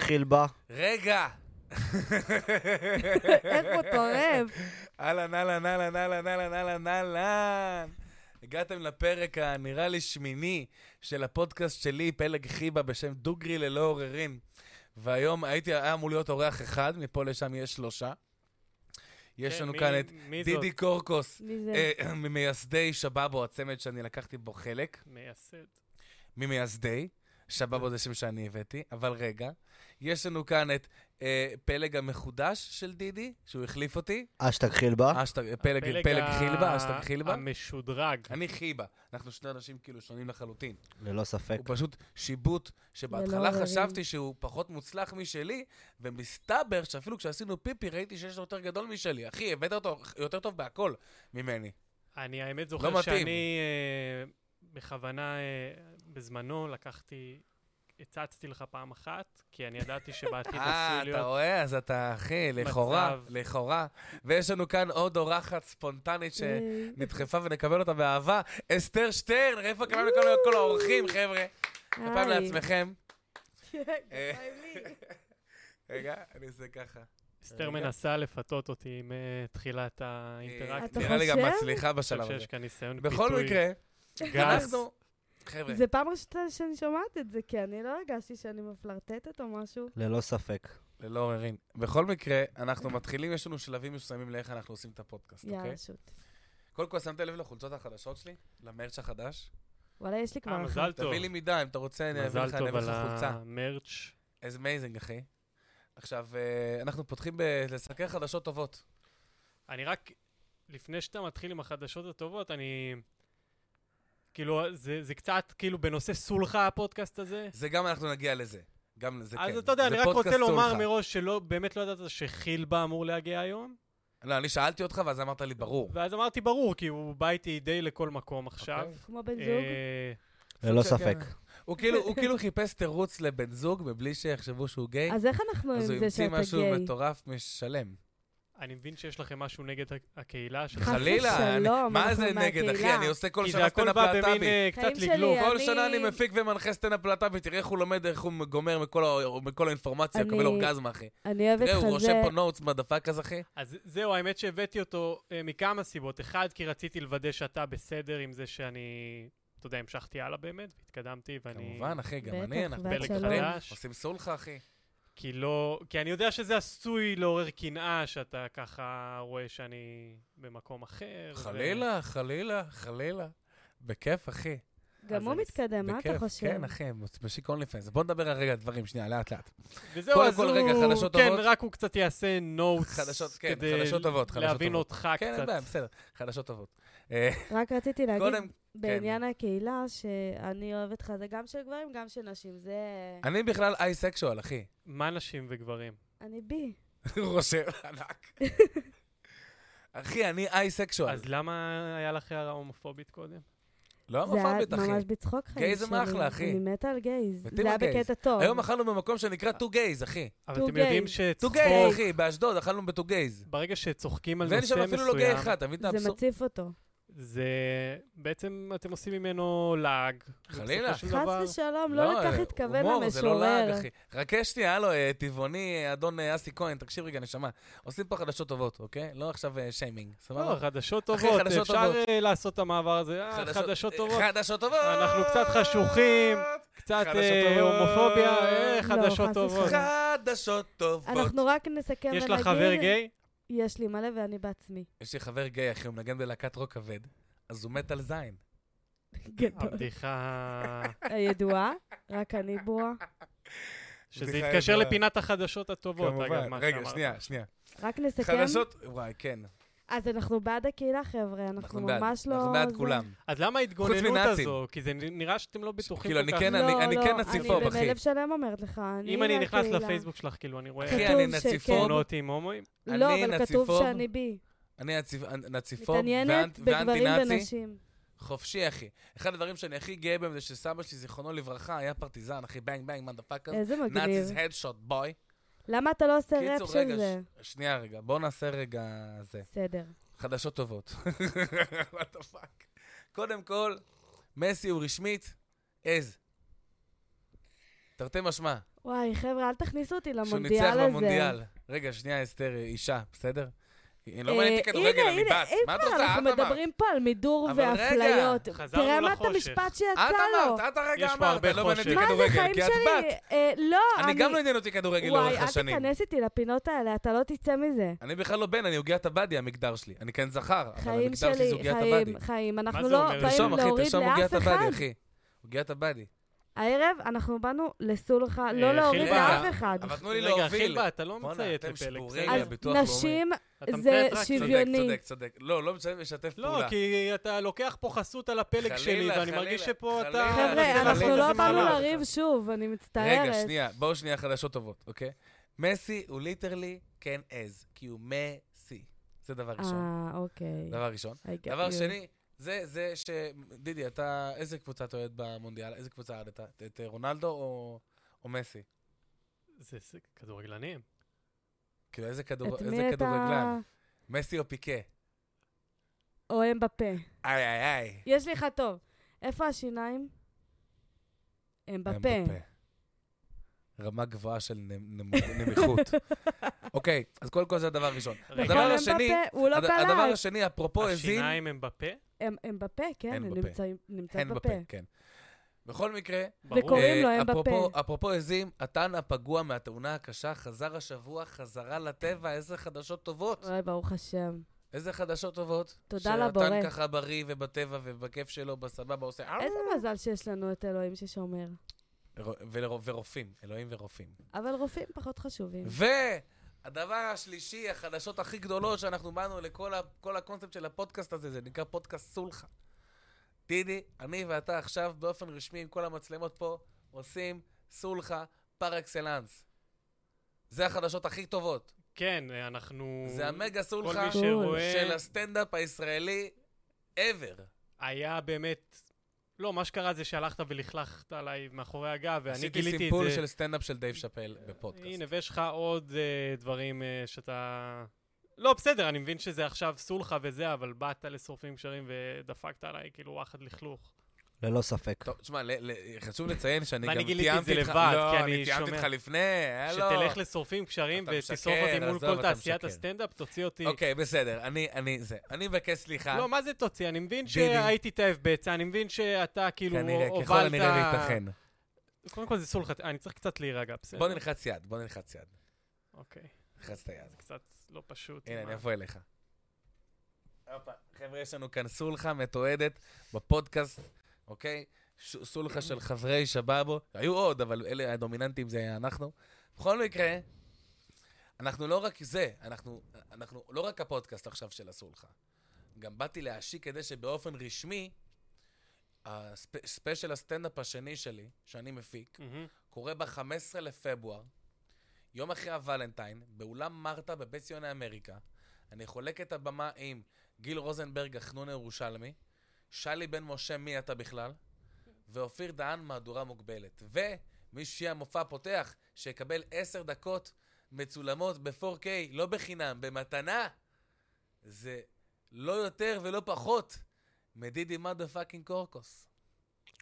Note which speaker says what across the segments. Speaker 1: התחיל בה.
Speaker 2: רגע!
Speaker 3: איך הוא טורף?
Speaker 2: אהלן, אהלן, אהלן, אהלן, אהלן, אהלן, אהלן. הגעתם לפרק הנראה לי שמיני של הפודקאסט שלי, פלג חיבה, בשם דוגרי ללא עוררין. והיום הייתי, היה אמור להיות אורח אחד, מפה לשם יש שלושה. יש
Speaker 4: כן,
Speaker 2: לנו
Speaker 4: מי-
Speaker 2: כאן את
Speaker 4: מי זאת?
Speaker 2: דידי קורקוס,
Speaker 3: מי זה?
Speaker 2: אה, ממייסדי שבאבו, הצמד שאני לקחתי בו חלק.
Speaker 4: מייסד.
Speaker 2: ממייסדי, שבאבו זה שם שאני הבאתי, אבל רגע, יש לנו כאן את אה, פלג המחודש של דידי, שהוא החליף אותי,
Speaker 1: אשתג
Speaker 4: אה.
Speaker 1: חילבה.
Speaker 2: אשטג, אה, פלג,
Speaker 4: הפלג
Speaker 2: פלג
Speaker 4: ה-
Speaker 2: חילבה, אשטג חילבה.
Speaker 4: המשודרג.
Speaker 2: אני חיבה, אנחנו שני אנשים כאילו שונים לחלוטין.
Speaker 1: ללא ספק.
Speaker 2: הוא פשוט שיבוט
Speaker 3: ללא
Speaker 2: שבהתחלה
Speaker 3: עוררין.
Speaker 2: חשבתי שהוא פחות מוצלח משלי, ומסתבר שאפילו כשעשינו פיפי ראיתי שיש לו יותר גדול משלי. אחי, הבאת אותו יותר טוב בהכל ממני.
Speaker 4: אני האמת
Speaker 2: לא
Speaker 4: זוכר
Speaker 2: מתאים.
Speaker 4: שאני אה, בכוונה, אה, בזמנו לקחתי, הצצתי לך פעם אחת, כי אני ידעתי שבעתיד
Speaker 2: אה,
Speaker 4: עשוי
Speaker 2: אתה
Speaker 4: להיות...
Speaker 2: רואה? אז אתה, אחי, לכאורה,
Speaker 4: מצב.
Speaker 2: לכאורה. ויש לנו כאן עוד אורחת ספונטנית ש...
Speaker 3: אה,
Speaker 2: נדחפה ונקבל אותה באהבה. אסתר שטרן, איפה כמה לכל כל האורחים, חבר'ה? כפיים
Speaker 3: היי.
Speaker 2: לעצמכם. אה.
Speaker 3: כפיים לי.
Speaker 2: רגע, אני עושה ככה.
Speaker 4: אסתר מנסה לפתות אותי עם אה, תחילת האינטראקציה.
Speaker 3: אתה
Speaker 2: אה, נראה לי גם
Speaker 3: חושב?
Speaker 2: מצליחה
Speaker 4: אני
Speaker 2: בשלב
Speaker 4: חושב
Speaker 2: הזה.
Speaker 4: שיש כאן ניסיון פיתוי.
Speaker 2: בכל מקרה,
Speaker 4: גס.
Speaker 2: אנחנו... חבר'ה,
Speaker 3: זה פעם ראשונה שאני שומעת את זה, כי אני לא הרגשתי שאני מפלרטטת או משהו.
Speaker 1: ללא ספק.
Speaker 2: ללא עוררין. בכל מקרה, אנחנו מתחילים, יש לנו שלבים מסוימים לאיך אנחנו עושים את הפודקאסט, אוקיי?
Speaker 3: יאללה, שוט.
Speaker 2: קודם כל, שמת לב לחולצות החדשות שלי? למרץ' החדש?
Speaker 3: וואלה, יש לי
Speaker 4: אה,
Speaker 3: כבר אחת.
Speaker 4: מזל טוב.
Speaker 2: תביא לי מידה, אם אתה רוצה, אני אביא לך
Speaker 4: מזל
Speaker 2: אני
Speaker 4: טוב
Speaker 2: אביא
Speaker 4: על
Speaker 2: לך חולצה.
Speaker 4: המרץ'.
Speaker 2: אז מייזינג, אחי. עכשיו, אה, אנחנו פותחים בלסקר חדשות טובות.
Speaker 4: אני רק, לפני שאתה מתחיל עם החדשות הטובות, אני... כאילו, זה, זה קצת, כאילו, בנושא סולחה הפודקאסט הזה.
Speaker 2: זה גם אנחנו נגיע לזה. גם לזה, כן.
Speaker 4: אז אתה יודע,
Speaker 2: זה
Speaker 4: אני רק רוצה
Speaker 2: פודקאסט
Speaker 4: לומר
Speaker 2: סולחה.
Speaker 4: מראש שלא, באמת לא ידעת שחילבה אמור להגיע היום.
Speaker 2: לא, אני שאלתי אותך, ואז אמרת לי, ברור.
Speaker 4: ואז אמרתי, ברור, כי הוא בא איתי די לכל מקום עכשיו.
Speaker 2: אוקיי.
Speaker 3: כמו בן זוג.
Speaker 4: אה,
Speaker 1: ללא
Speaker 2: כן.
Speaker 1: ספק.
Speaker 2: הוא כאילו- הוא כאילו חיפש תירוץ לבן זוג מבלי שיחשבו שהוא גיי,
Speaker 3: אז איך אנחנו
Speaker 2: אז הוא
Speaker 3: עם זה
Speaker 2: המציא
Speaker 3: שאתה
Speaker 2: משהו
Speaker 3: גיי?
Speaker 2: מטורף משלם.
Speaker 4: אני מבין שיש לכם משהו נגד ה- הקהילה שלך.
Speaker 3: חס
Speaker 2: חלילה, אני-
Speaker 3: ושלום,
Speaker 2: מה
Speaker 3: אנחנו
Speaker 2: זה נגד, אחי?
Speaker 3: מהקהילה.
Speaker 2: אני עושה כל
Speaker 4: כי זה
Speaker 2: שנה
Speaker 4: הכל
Speaker 2: סטנדאפ
Speaker 4: בא במין
Speaker 2: להט"בי.
Speaker 4: אה, קצת
Speaker 3: חיים שלי,
Speaker 4: לגלוב.
Speaker 3: אה,
Speaker 2: כל
Speaker 3: אני-
Speaker 2: שנה אני מפיק ומנחה סטנדאפ להט"בי, תראה איך הוא לומד, איך הוא גומר מכל ה- מכל האינפורמציה,
Speaker 3: אני-
Speaker 2: מקבל אורגזמה, אחי.
Speaker 3: אני אוהבת
Speaker 2: תראה,
Speaker 3: לך
Speaker 2: הוא רושם
Speaker 3: זה.
Speaker 2: פה נוטס מהדפק אז, אחי.
Speaker 4: אז זהו, האמת שהבאתי אותו אה, מכמה סיבות. אחד, כי רציתי לוודא שאתה בסדר עם זה שאני, אתה יודע, המשכתי הלאה באמת, והתקדמתי, ואני...
Speaker 2: כמובן, אחי, גם
Speaker 3: בטח,
Speaker 2: אני, אנחנו
Speaker 3: בת
Speaker 4: פלג
Speaker 2: חברים.
Speaker 3: שלום.
Speaker 4: חדש.
Speaker 2: עושים סולחה, אחי.
Speaker 4: כי לא... כי אני יודע שזה עשוי לעורר קנאה, שאתה ככה רואה שאני במקום אחר. ו-
Speaker 2: חלילה, חלילה, חלילה. בכיף, אחי.
Speaker 3: גם
Speaker 4: אז
Speaker 3: הוא
Speaker 4: אני-
Speaker 3: מתקדם, מה אתה
Speaker 2: בכיף,
Speaker 3: חושב?
Speaker 2: כן, אחי, משיק אונלי פנס. בוא נדבר על רגע דברים, שנייה, לאט-לאט.
Speaker 4: וזהו,
Speaker 2: קודם
Speaker 4: אז
Speaker 2: כל,
Speaker 4: הוא...
Speaker 2: רגע, חדשות
Speaker 4: כן,
Speaker 2: טובות.
Speaker 4: רק הוא קצת יעשה נוטס.
Speaker 2: חדשות, כן,
Speaker 4: כדי
Speaker 2: חדשות טובות, חדשות
Speaker 4: להבין
Speaker 2: טובות.
Speaker 4: אותך
Speaker 2: כן, אין
Speaker 4: קצת.
Speaker 2: בעיה, בסדר. חדשות טובות. אה,
Speaker 3: רק רציתי להגיד
Speaker 2: קודם, כן.
Speaker 3: בעניין הקהילה, שאני אוהבת לך זה גם של גברים, גם של נשים. זה...
Speaker 2: אני בכלל אייסקשואל, אחי.
Speaker 4: מה נשים וגברים?
Speaker 3: אני בי.
Speaker 2: הוא רושם ענק. אחי, אני אייסקשואל.
Speaker 4: אז למה היה לך הערה הומופובית קודם?
Speaker 2: לא
Speaker 3: זה היה
Speaker 2: המופבית, אחי.
Speaker 3: ממש בצחוק חיים שלי.
Speaker 2: גיי זה מאחלה, אחי.
Speaker 3: אני מתה על גייז.
Speaker 2: מתים
Speaker 3: זה היה
Speaker 2: על גייז.
Speaker 3: בקטע טוב.
Speaker 2: היום אכלנו במקום שנקרא טו גייז, אחי.
Speaker 4: אבל
Speaker 3: טו
Speaker 4: אתם יודעים
Speaker 3: גייז.
Speaker 2: טו
Speaker 4: שצחוק...
Speaker 2: גייז, אחי, באשדוד אכלנו בטו גייז.
Speaker 4: ברגע שצוחקים על נושא
Speaker 2: ואין שם
Speaker 4: מסוים,
Speaker 2: אפילו לא גיי אחד, אתה מבין את
Speaker 3: זה
Speaker 2: האבסורד?
Speaker 3: מציף אותו.
Speaker 4: זה בעצם אתם עושים ממנו לעג.
Speaker 2: חלילה.
Speaker 4: ובסופו של
Speaker 3: חס
Speaker 4: דבר-
Speaker 3: ושלום, לא
Speaker 2: אה,
Speaker 3: לכך התכוון
Speaker 2: הומור, זה לא לעג,
Speaker 3: המשורר.
Speaker 2: אחי. חכה שנייה, הלו, אה, טבעוני, אה, אדון אה, אסי כהן, תקשיב רגע, נשמה. עושים פה חדשות טובות, אוקיי? לא עכשיו אה, שיימינג,
Speaker 4: לא,
Speaker 2: סבבה?
Speaker 4: חדשות
Speaker 2: אחי,
Speaker 4: טובות,
Speaker 2: חדשות
Speaker 4: אפשר
Speaker 2: טובות.
Speaker 4: אה, לעשות את המעבר הזה. אה, חדשות טובות,
Speaker 2: חדשות טובות.
Speaker 4: אנחנו קצת חשוכים. קצת
Speaker 2: חדשות
Speaker 4: אה,
Speaker 2: טובות.
Speaker 4: הומופוביה, אה,
Speaker 3: לא,
Speaker 4: חדשות
Speaker 3: חס
Speaker 2: נכון.
Speaker 4: טובות.
Speaker 3: ושלום.
Speaker 2: חדשות טובות.
Speaker 3: אנחנו רק נסכם ונגיד...
Speaker 4: יש לך חבר גיי?
Speaker 3: יש לי מלא ואני בעצמי.
Speaker 2: יש לי חבר גיי, אחי, הוא מנגן בלהקת רוק כבד, אז הוא מת על זין.
Speaker 3: גדול.
Speaker 2: אוקיי.
Speaker 4: הבדיחה...
Speaker 3: הידועה, רק אני ברורה.
Speaker 4: שזה
Speaker 2: בדיחה
Speaker 4: יתקשר
Speaker 2: ידועה.
Speaker 4: לפינת החדשות הטובות, אגב, מה
Speaker 2: רגע,
Speaker 4: שאמרת.
Speaker 2: שנייה, שנייה.
Speaker 3: רק נסכם.
Speaker 2: חדשות, וואי, כן.
Speaker 3: אז אנחנו בעד הקהילה, חבר'ה. אנחנו
Speaker 2: אנחנו בעד.
Speaker 3: ממש לא...
Speaker 2: אנחנו בעד
Speaker 3: זה-
Speaker 2: כולם.
Speaker 4: אז למה ההתגוננות
Speaker 2: מנאצים.
Speaker 4: הזו? כי זה נראה שאתם לא בטוחים
Speaker 2: כאילו,
Speaker 4: כל
Speaker 2: אני
Speaker 4: כך.
Speaker 2: כן,
Speaker 3: לא,
Speaker 2: אני- אני
Speaker 3: לא,
Speaker 2: כן נציפוב,
Speaker 3: אני
Speaker 2: אחי.
Speaker 3: בלב שלם אומרת לך, לא, אני כן,
Speaker 4: אם אני נכנס
Speaker 3: לקהילה.
Speaker 4: לפייסבוק שלך, כאילו, אני רואה
Speaker 2: אחי,
Speaker 3: כתוב
Speaker 2: אני
Speaker 3: שכן.
Speaker 2: נציפוב,
Speaker 4: תמונות עם הומואים,
Speaker 3: לא,
Speaker 2: אני
Speaker 3: אבל כתוב
Speaker 2: נציפוב.
Speaker 3: שאני בי.
Speaker 2: אני הציפ- נציפוב
Speaker 3: מתעניינת
Speaker 2: ואנט-
Speaker 3: בגברים
Speaker 2: ואנטי-נאצי.
Speaker 3: ונשים.
Speaker 2: חופשי, אחי. אחד הדברים שאני הכי גאה בהם זה שסבא שלי, זיכרונו לברכה, היה פרטיזן, אחי, בנג בנג, מה דפאקר.
Speaker 3: איזה מגניב.
Speaker 2: נאציז הדשוט, בוי.
Speaker 3: למה אתה לא עושה ראפ
Speaker 2: קיצור,
Speaker 3: של
Speaker 2: רגע,
Speaker 3: זה?
Speaker 2: ש- שנייה רגע, בואו נעשה רגע זה.
Speaker 3: בסדר.
Speaker 2: חדשות טובות. וואט דה פאק. קודם כל, מסי הוא רשמית עז. תרתי משמע,
Speaker 3: וואי, חבר'ה, אל תכניסו אותי
Speaker 2: שהוא
Speaker 3: למונדיאל
Speaker 2: ניצח
Speaker 3: הזה.
Speaker 2: במונדיאל. רגע, שנייה, אסתר, אישה, בסדר? היא לא
Speaker 3: אה,
Speaker 2: מעניין אותי כדורגל,
Speaker 3: הנה,
Speaker 2: אני
Speaker 3: הנה,
Speaker 2: בת. מה את
Speaker 3: אה,
Speaker 2: רוצה?
Speaker 3: אנחנו
Speaker 2: את אמרת.
Speaker 3: מדברים פה על מידור
Speaker 2: אבל רגע,
Speaker 3: ואפליות.
Speaker 4: חזרנו
Speaker 3: תראה מה את
Speaker 4: לחושך.
Speaker 3: המשפט
Speaker 2: את
Speaker 3: שיצא לו.
Speaker 2: אמרת, את הרגע
Speaker 4: יש פה
Speaker 2: אמרת,
Speaker 4: הרבה
Speaker 2: לא מעניין אותי
Speaker 4: חושך.
Speaker 3: מה זה
Speaker 2: כדורגל,
Speaker 3: חיים
Speaker 2: כי את בת.
Speaker 3: שלי? אה, לא, אני...
Speaker 2: אני גם לא עניין אותי כדורגל לאורך
Speaker 3: וואי,
Speaker 2: השנים.
Speaker 3: אל תיכנס איתי לפינות האלה, אתה לא תצא מזה.
Speaker 2: אני בכלל לא בן, אני עוגיית הבאדי, המגדר שלי. אני כן זכר, אבל
Speaker 3: חיים
Speaker 2: המגדר שלי זה
Speaker 3: שלי,
Speaker 2: עוגיית הבאדי.
Speaker 3: חיים, חיים. אנחנו
Speaker 4: זה
Speaker 3: לא
Speaker 2: תרשום,
Speaker 3: באים
Speaker 4: אומר?
Speaker 2: אחי,
Speaker 3: להוריד
Speaker 2: תרשום עוגיית
Speaker 3: לאף
Speaker 2: הבאדי,
Speaker 3: אחד.
Speaker 2: אחי. עוגיית הבאדי.
Speaker 3: הערב אנחנו באנו לסולחה,
Speaker 4: אה,
Speaker 3: לא להוריד
Speaker 4: חילבה.
Speaker 3: לאף אחד.
Speaker 2: אבל תנו לי
Speaker 4: רגע,
Speaker 2: להוביל.
Speaker 4: חילבה, אתה לא
Speaker 2: בואנה,
Speaker 4: מציית
Speaker 2: אתם
Speaker 4: לפלג.
Speaker 2: שבורים,
Speaker 4: בסדר?
Speaker 3: אז
Speaker 2: רגע, ביטוח לאומי. אה,
Speaker 3: נשים
Speaker 4: אתה
Speaker 3: זה
Speaker 4: מציית רק-
Speaker 2: צודק,
Speaker 3: שוויון. שוויוני.
Speaker 2: צודק, צודק. לא, לא משתף
Speaker 4: לא,
Speaker 2: פעולה.
Speaker 4: כי אתה לוקח פה חסות על הפלג
Speaker 2: חלילה,
Speaker 4: שלי, ואני
Speaker 2: חלילה,
Speaker 4: מרגיש שפה
Speaker 2: חלילה.
Speaker 4: אתה...
Speaker 3: חבר'ה,
Speaker 2: חלילה,
Speaker 3: אנחנו לא
Speaker 2: חלילה.
Speaker 3: באנו
Speaker 2: חלילה.
Speaker 3: לריב שוב, אני מצטערת.
Speaker 2: רגע, שנייה, בואו שנייה חדשות טובות, אוקיי? מסי הוא ליטרלי כן עז, כי הוא מסי. זה דבר ראשון.
Speaker 3: אה, אוקיי.
Speaker 2: דבר ראשון.
Speaker 3: I get
Speaker 2: דבר
Speaker 3: you.
Speaker 2: שני, זה, זה ש... דידי, אתה, איזה קבוצה אתה אוהד במונדיאל? איזה קבוצה אוהדת? את אה, רונלדו או, או מסי?
Speaker 4: זה זה כדורגלנים.
Speaker 2: כאילו, איזה, כדור,
Speaker 3: את
Speaker 2: איזה
Speaker 3: מי אתה
Speaker 2: כדורגלן? מסי או פיקה?
Speaker 3: אוהם בפה?
Speaker 2: איי, איי, איי.
Speaker 3: יש לי לך טוב. איפה השיניים? הם בפה.
Speaker 2: אמבפה. אה, רמה גבוהה של נמ- נמ- נמיכות. אוקיי, אז קודם כל זה הדבר הראשון.
Speaker 4: רגע.
Speaker 2: הדבר
Speaker 3: גם
Speaker 2: השני,
Speaker 3: אמבפה, הוא לא
Speaker 2: הד- הדבר
Speaker 3: קלט.
Speaker 2: השני, אפרופו עזים,
Speaker 4: השיניים הם בפה?
Speaker 3: הם- הם בפה, כן,
Speaker 2: הן
Speaker 3: הם
Speaker 2: בפה.
Speaker 3: נמצאים- נמצאים
Speaker 2: הן
Speaker 3: בפה.
Speaker 2: בפה, כן. בכל מקרה,
Speaker 4: ברור.
Speaker 3: וקוראים
Speaker 2: אה,
Speaker 3: לו, הם
Speaker 2: אפרופו-
Speaker 3: בפה.
Speaker 2: אפרופו עזים, הטן הפגוע מהתאונה הקשה חזר השבוע חזרה לטבע, איזה חדשות טובות.
Speaker 3: אוי, ברוך השם.
Speaker 2: איזה חדשות טובות.
Speaker 3: אה. תודה
Speaker 2: שהטן
Speaker 3: לבורא.
Speaker 2: ככה בריא ובטבע ובכיף שלו, בסבבה, עושה... "אה",
Speaker 3: איזה מזל שיש לנו את אלוהים ששומר.
Speaker 2: ולרו- ורופאים, אלוהים ורופאים.
Speaker 3: אבל רופאים פחות חשובים.
Speaker 2: והדבר השלישי, החדשות הכי גדולות שאנחנו באנו לכל ה- כל הקונספט של הפודקאסט הזה, זה נקרא פודקאסט סולחה. דידי, אני ואתה עכשיו באופן רשמי עם כל המצלמות פה, עושים סולחה פר אקסלנס. זה החדשות הכי טובות.
Speaker 4: כן, אה, אנחנו...
Speaker 2: זה המגה
Speaker 4: כל
Speaker 2: סולחה
Speaker 4: מי שרואה...
Speaker 2: של הסטנדאפ הישראלי ever.
Speaker 4: היה באמת... לא, מה שקרה זה שהלכת ולכלכת עליי מאחורי הגב, ואני
Speaker 2: עשיתי
Speaker 4: גיליתי את
Speaker 2: סימפול
Speaker 4: זה.
Speaker 2: של סטנדאפ של דייב שאפל בפודקאסט.
Speaker 4: הנה, ויש לך עוד אה, דברים אה, שאתה... לא, בסדר, אני מבין שזה עכשיו סולחה וזה, אבל באת לשורפים קשרים ודפקת עליי כאילו וואחד לכלוך.
Speaker 1: ללא ספק.
Speaker 2: טוב, תשמע, ל- ל- חשוב לציין שאני גם
Speaker 4: ואני
Speaker 2: תיאמתי איתך...
Speaker 4: גיליתי את זה לבד,
Speaker 2: לא,
Speaker 4: כי אני
Speaker 2: אני תיאמתי
Speaker 4: שומע.
Speaker 2: איתך לפני, הלו.
Speaker 4: שתלך לשורפים קשרים
Speaker 2: אתה
Speaker 4: ותשרוף
Speaker 2: משקר,
Speaker 4: אותי מול
Speaker 2: עזוב,
Speaker 4: כל
Speaker 2: אתה
Speaker 4: תעשיית
Speaker 2: משקר.
Speaker 4: הסטנדאפ, תוציא אותי.
Speaker 2: אוקיי, בסדר, אני, אני, זה. אני מבקש סליחה.
Speaker 4: לא, מה זה תוציא? אני מבין
Speaker 2: דידי.
Speaker 4: שהייתי תאב בצע, אני מבין שאתה כאילו
Speaker 2: כנראה,
Speaker 4: הובלת...
Speaker 2: ככל הנראה וייתכן.
Speaker 4: קודם כל זה סולחה, אני צריך קצת להירגע, בסדר?
Speaker 2: בוא נלחץ יד, בוא נלחץ יד.
Speaker 4: אוקיי,
Speaker 2: נלחץ את היד.
Speaker 4: זה קצת לא פשוט.
Speaker 2: הנה, אני
Speaker 4: מה?
Speaker 2: אבוא אליך. הופה, חבר'ה, יש לנו כאן סולחה מתועדת בפודקאסט, אוקיי? ש- סולחה של חברי שבאבו. היו עוד, אבל אלה הדומיננטים זה היה אנחנו. בכל מקרה, אנחנו לא רק זה, אנחנו, אנחנו לא רק הפודקאסט עכשיו של הסולחה. גם באתי להשיק כדי שבאופן רשמי, הספ- ספיישל הסטנדאפ השני שלי, שאני מפיק,
Speaker 4: מהמם.
Speaker 2: קורה ב-15 לפברואר, יום אחרי הוולנטיין, באולם מרתה בבית ציוני אמריקה. אני חולק את הבמה עם גיל רוזנברג, החנון ירושלמי, שלי בן משה, מי אתה בכלל? ואופיר דהן, מהדורה מוגבלת. ומי שיהיה המופע הפותח, שיקבל 10 דקות מצולמות ב-4K, לא בחינם, במתנה, זה לא יותר ולא פחות מדידי מדה פאקינג קורקוס.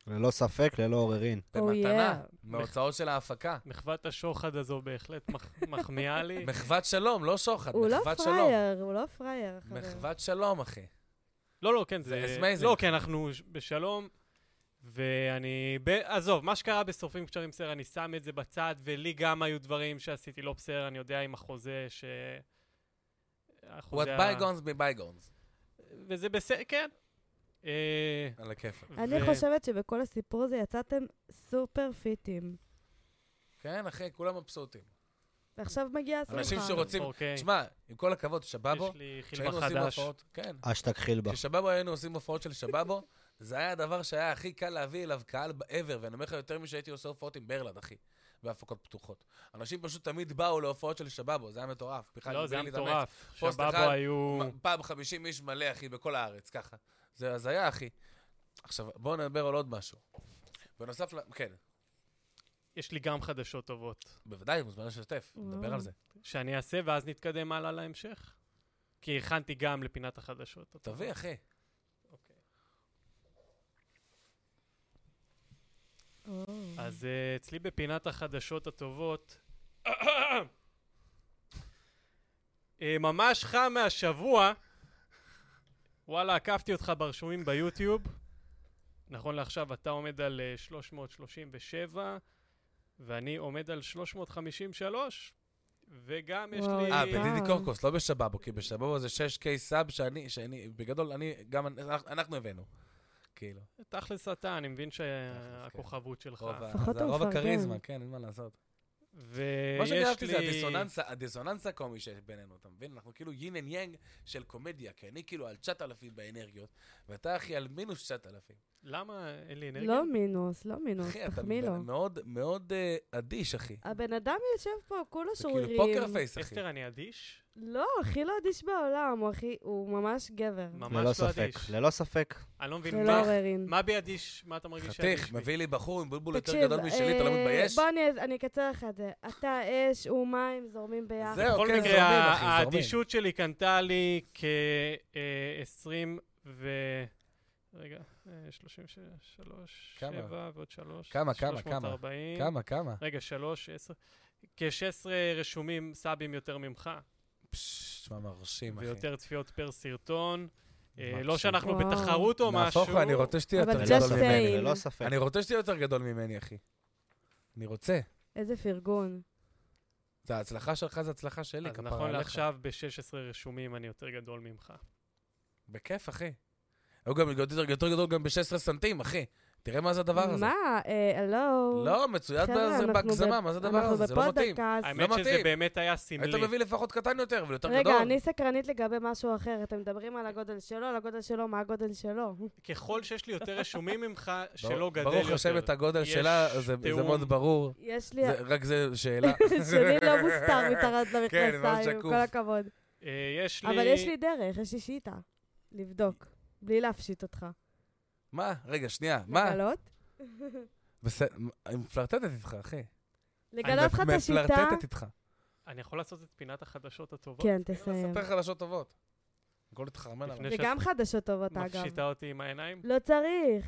Speaker 1: ללא ספק, ללא עוררין.
Speaker 3: Oh,
Speaker 2: במתנה,
Speaker 3: yeah.
Speaker 2: מההוצאות של ההפקה.
Speaker 4: מחוות השוחד הזו בהחלט מח- מחמיאה לי.
Speaker 2: מחוות שלום, לא שוחד,
Speaker 3: הוא לא
Speaker 2: מחוות שלום.
Speaker 3: פראייר, הוא לא פראייר. חבר.
Speaker 2: מחוות שלום, אחי.
Speaker 4: לא, לא, כן,
Speaker 2: זה
Speaker 4: זה...
Speaker 2: amazing.
Speaker 4: לא, כי אנחנו ש- בשלום, ואני... ב... עזוב, מה שקרה בשורפים קשרים בסדר, אני שם את זה בצד, ולי גם היו דברים שעשיתי לא בסדר, אני יודע עם החוזה ש...
Speaker 2: What
Speaker 4: החוזה ה-
Speaker 2: bygones be bygones.
Speaker 4: וזה בסדר, כן. אה,
Speaker 2: על הכיפאק.
Speaker 3: אני
Speaker 4: ו-
Speaker 3: חושבת שבכל הסיפור הזה יצאתם סופר פיטים.
Speaker 2: כן, אחי, כולם מבסוטים.
Speaker 3: ועכשיו מגיע הסולחה.
Speaker 2: אנשים שרוצים...
Speaker 4: אוקיי.
Speaker 2: תשמע, עם כל הכבוד, שבאבו,
Speaker 4: יש לי
Speaker 2: כשהיינו
Speaker 4: חילבה
Speaker 2: עושים
Speaker 4: חדש.
Speaker 2: הופעות... כן.
Speaker 1: אשתג חילבה.
Speaker 2: כששבאבו היינו עושים הופעות של שבאבו, זה היה הדבר שהיה הכי קל להביא אליו קהל ever, ואני אומר לך יותר משהייתי עושה הופעות עם ברלד, אחי, בהפקות פתוחות. אנשים פשוט תמיד באו להופעות של שבאבו, זה היה מטורף. בכלל,
Speaker 4: לא, זה
Speaker 2: בלי
Speaker 4: היה
Speaker 2: להתאמץ.
Speaker 4: מטורף.
Speaker 2: פוסט
Speaker 4: שבאבו
Speaker 2: אחד,
Speaker 4: היו...
Speaker 2: מ- פעם 50 איש מלא, אחי, בכל הארץ, ככה. זה הזיה, אחי. עכשיו, בואו נדבר על עוד משהו. בנוסף ל... כן,
Speaker 4: יש לי גם חדשות טובות.
Speaker 2: בוודאי, מוזמן לשתף, נדבר על זה.
Speaker 4: שאני אעשה, ואז נתקדם הלאה להמשך. כי הכנתי גם לפינת החדשות.
Speaker 2: תביא, אחי.
Speaker 4: אוקיי. אז אה, אצלי בפינת החדשות הטובות, אה, ממש חם מהשבוע, וואלה, עקפתי אותך ברשומים ביוטיוב. נכון לעכשיו אתה עומד על אה, 337, ואני עומד על 353, וגם יש
Speaker 3: וואו,
Speaker 4: לי...
Speaker 2: אה,
Speaker 3: אה.
Speaker 2: בדידי קורקוס, לא בשבאבו, כי בשבאבו זה 6K סאב שאני, שאני, בגדול, אני, גם אני- אנחנו הבאנו. כאילו,
Speaker 4: תכלס אתה, אני מבין
Speaker 2: כן.
Speaker 4: שהכוכבות שלך.
Speaker 2: רוב ה-
Speaker 3: לפחות
Speaker 2: זה
Speaker 3: הוא
Speaker 2: הרוב
Speaker 3: מפרגן.
Speaker 2: הכריזמה, כן, אין מה לעשות. מה
Speaker 4: ויש אה, לי...
Speaker 2: שגרתי זה הדיסוננס, הדיסוננס הקומי שיש בינינו, אתה מבין? אנחנו כאילו יין אנד יאנג של קומדיה, כי אני כאילו על 9,000 באנרגיות, ואתה אחי על מינוס 9,000.
Speaker 4: למה אין לי אנרגיה?
Speaker 3: לא מינוס, לא מינוס,
Speaker 2: אחי, אתה
Speaker 3: תחמיא לו.
Speaker 2: בן- מאוד מאוד אה, אדיש, אחי.
Speaker 3: הבן אדם יושב פה, כולו
Speaker 2: זה כאילו
Speaker 3: שרירים.
Speaker 2: פוקר פייס, אחי.
Speaker 4: אסתר, אני אדיש?
Speaker 3: לא, הכי לא אדיש בעולם, הוא הכי, הוא ממש גבר.
Speaker 4: ממש
Speaker 1: ללא
Speaker 4: לא
Speaker 1: ספק,
Speaker 4: אדיש.
Speaker 1: ללא ספק.
Speaker 4: אני לא מבין,
Speaker 3: ללא
Speaker 4: מה-
Speaker 3: עוררין.
Speaker 4: מה בי אדיש? מה אתה מרגיש שאדיש?
Speaker 2: חתיך,
Speaker 4: בי?
Speaker 2: מביא לי בחור עם בולבול יותר
Speaker 3: תקשיב,
Speaker 2: גדול משלי, אתה לא
Speaker 3: אה,
Speaker 2: מתבייש?
Speaker 3: בוא אני- אני אקצר לך את זה. אתה אש, הוא מים, זורמים ביחד.
Speaker 2: זהו,
Speaker 4: בכל
Speaker 2: כן,
Speaker 4: מקרה,
Speaker 2: זורמים, אחי,
Speaker 4: ה-
Speaker 2: זורמים.
Speaker 4: האדישות שלי קנתה לי כ-20 ו... רגע, אה, 33,
Speaker 2: כמה?
Speaker 4: 7 ועוד 3.
Speaker 2: כמה, כמה, כמה? כמה, כמה?
Speaker 4: רגע, 3, 10. כ-16 רשומים סאבים יותר ממך,
Speaker 2: פשש, תשמע, מרשים, אחי.
Speaker 4: ויותר צפיות פר סרטון. אה,
Speaker 2: מרשים.
Speaker 4: לא שאנחנו
Speaker 3: וואו.
Speaker 4: בתחרות או משהו.
Speaker 2: נהפוך הוא, אני רוצה שתהיה
Speaker 3: אבל
Speaker 2: יותר
Speaker 1: ללא
Speaker 3: just
Speaker 2: גדול
Speaker 1: ספק,
Speaker 2: ממני.
Speaker 3: saying.
Speaker 1: ללא ספק.
Speaker 2: אני רוצה שתהיה יותר גדול ממני, אחי. אני רוצה.
Speaker 3: איזה פרגון.
Speaker 2: זה ההצלחה שלך, זה הצלחה שלי,
Speaker 4: אז
Speaker 2: כפרה
Speaker 4: נכון
Speaker 2: עליך.
Speaker 4: לעכשיו, ב-16 רשומים אני יותר גדול ממך.
Speaker 2: בכיף, אחי. הוא גם יותר יותר גדול גם ב-16 סנטים, אחי. תראה מה זה הדבר הזה.
Speaker 3: מה? אה, הלו.
Speaker 2: לא, מצויד
Speaker 3: חבר'ה,
Speaker 2: בזה
Speaker 3: אנחנו
Speaker 2: בהגזמה,
Speaker 3: ב-
Speaker 2: מה זה הדבר הזה? זה לא
Speaker 3: אנחנו
Speaker 2: מתאים.
Speaker 3: בפודקאסט.
Speaker 4: האמת שזה
Speaker 2: מתאים.
Speaker 4: באמת היה סמלי.
Speaker 2: היית מביא לפחות קטן יותר, אבל יותר גדול.
Speaker 3: רגע, אני סקרנית לגבי משהו אחר. אתם מדברים על הגודל שלו, על הגודל שלו, מה הגודל שלו.
Speaker 4: ככל שיש לי יותר רשומים ממך,
Speaker 2: ברור-
Speaker 4: שלא גדל יותר.
Speaker 2: ברוך השם את הגודל
Speaker 4: יש
Speaker 2: שלה, זה- זה
Speaker 4: תיאום.
Speaker 2: מאוד ברור.
Speaker 3: יש לי...
Speaker 2: זה- רק זה שאלה.
Speaker 3: שלי לא מוסתר מתחת
Speaker 2: כן, זה מאוד
Speaker 3: למכנסיים,
Speaker 2: שקוף.
Speaker 3: כל הכבוד.
Speaker 4: אה, יש לי...
Speaker 3: אבל יש לי דרך, יש לי שיטה. לבדוק. בלי להפשיט אותך.
Speaker 2: מה? רגע, שנייה, מה?
Speaker 3: לגלות?
Speaker 2: בסדר, היא מפלרטטת איתך, אחי.
Speaker 3: לגלות לך את השיטה?
Speaker 2: מפלרטטת איתך.
Speaker 4: אני יכול לעשות את פינת החדשות הטובות?
Speaker 3: כן,
Speaker 2: אני לא
Speaker 3: תסיים.
Speaker 2: אספר חדשות טובות. הכל תחרמן עליי.
Speaker 4: לפני
Speaker 3: זה גם חדשות טובות,
Speaker 4: שאת
Speaker 3: אגב.
Speaker 4: מפשיטה אותי עם העיניים?
Speaker 3: לא צריך.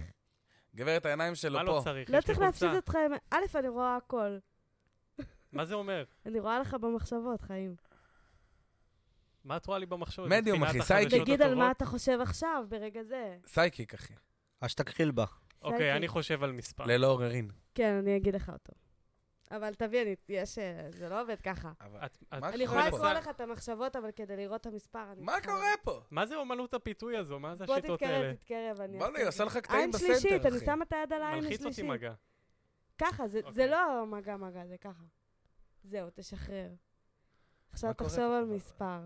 Speaker 2: גברת, העיניים שלו
Speaker 4: מה לא
Speaker 2: פה.
Speaker 4: צריך?
Speaker 3: לא
Speaker 4: יש לי
Speaker 3: צריך
Speaker 4: חולצה.
Speaker 3: להפשיט אותך. עם- א', אני רואה הכל.
Speaker 4: מה זה אומר?
Speaker 3: אני רואה לך במחשבות, חיים.
Speaker 4: מה את רואה לי במחשב?
Speaker 2: מדיום,
Speaker 4: פינת
Speaker 2: אחי,
Speaker 4: החדשות
Speaker 2: סייקיק.
Speaker 3: תגיד על מה
Speaker 4: הטובות?
Speaker 3: אתה חושב עכשיו, ברגע זה.
Speaker 2: סייקיק, אחי.
Speaker 1: אשתכחיל בה.
Speaker 4: אוקיי,
Speaker 3: סייקיק.
Speaker 4: אני חושב על מספר.
Speaker 2: ללא עוררין.
Speaker 3: כן, אני אגיד לך אותו. אבל תביא, אני- יש... אה, זה לא עובד ככה.
Speaker 2: אבל-
Speaker 4: את- את-
Speaker 2: מה
Speaker 3: אני
Speaker 2: קורה
Speaker 3: יכולה
Speaker 2: פה?
Speaker 3: לקרוא לך את המחשבות, אבל כדי לראות את המספר, אני...
Speaker 2: מה
Speaker 3: צריכה-
Speaker 2: קורה פה?
Speaker 4: מה זה אומנות הפיתוי הזו? מה זה
Speaker 3: בוא
Speaker 4: השיטות האלה?
Speaker 3: תתקרב, תתקרב, אני...
Speaker 2: בוא'נה,
Speaker 3: אעשה
Speaker 2: היא
Speaker 3: את זה.
Speaker 2: עושה לך קטעים
Speaker 3: עין שלישית,
Speaker 2: בסנטר,
Speaker 3: אני
Speaker 2: אחי.
Speaker 3: שמה את היד על העין
Speaker 4: מלחיץ אותי
Speaker 3: השלישית.
Speaker 4: מגע.
Speaker 3: ככה, זה- זה
Speaker 4: אוקיי.
Speaker 3: לא מגע מגע, זה ככה. זהו, תשחרר. עכשיו
Speaker 2: מה קורה
Speaker 3: תחשוב
Speaker 2: פה?
Speaker 3: על מספר.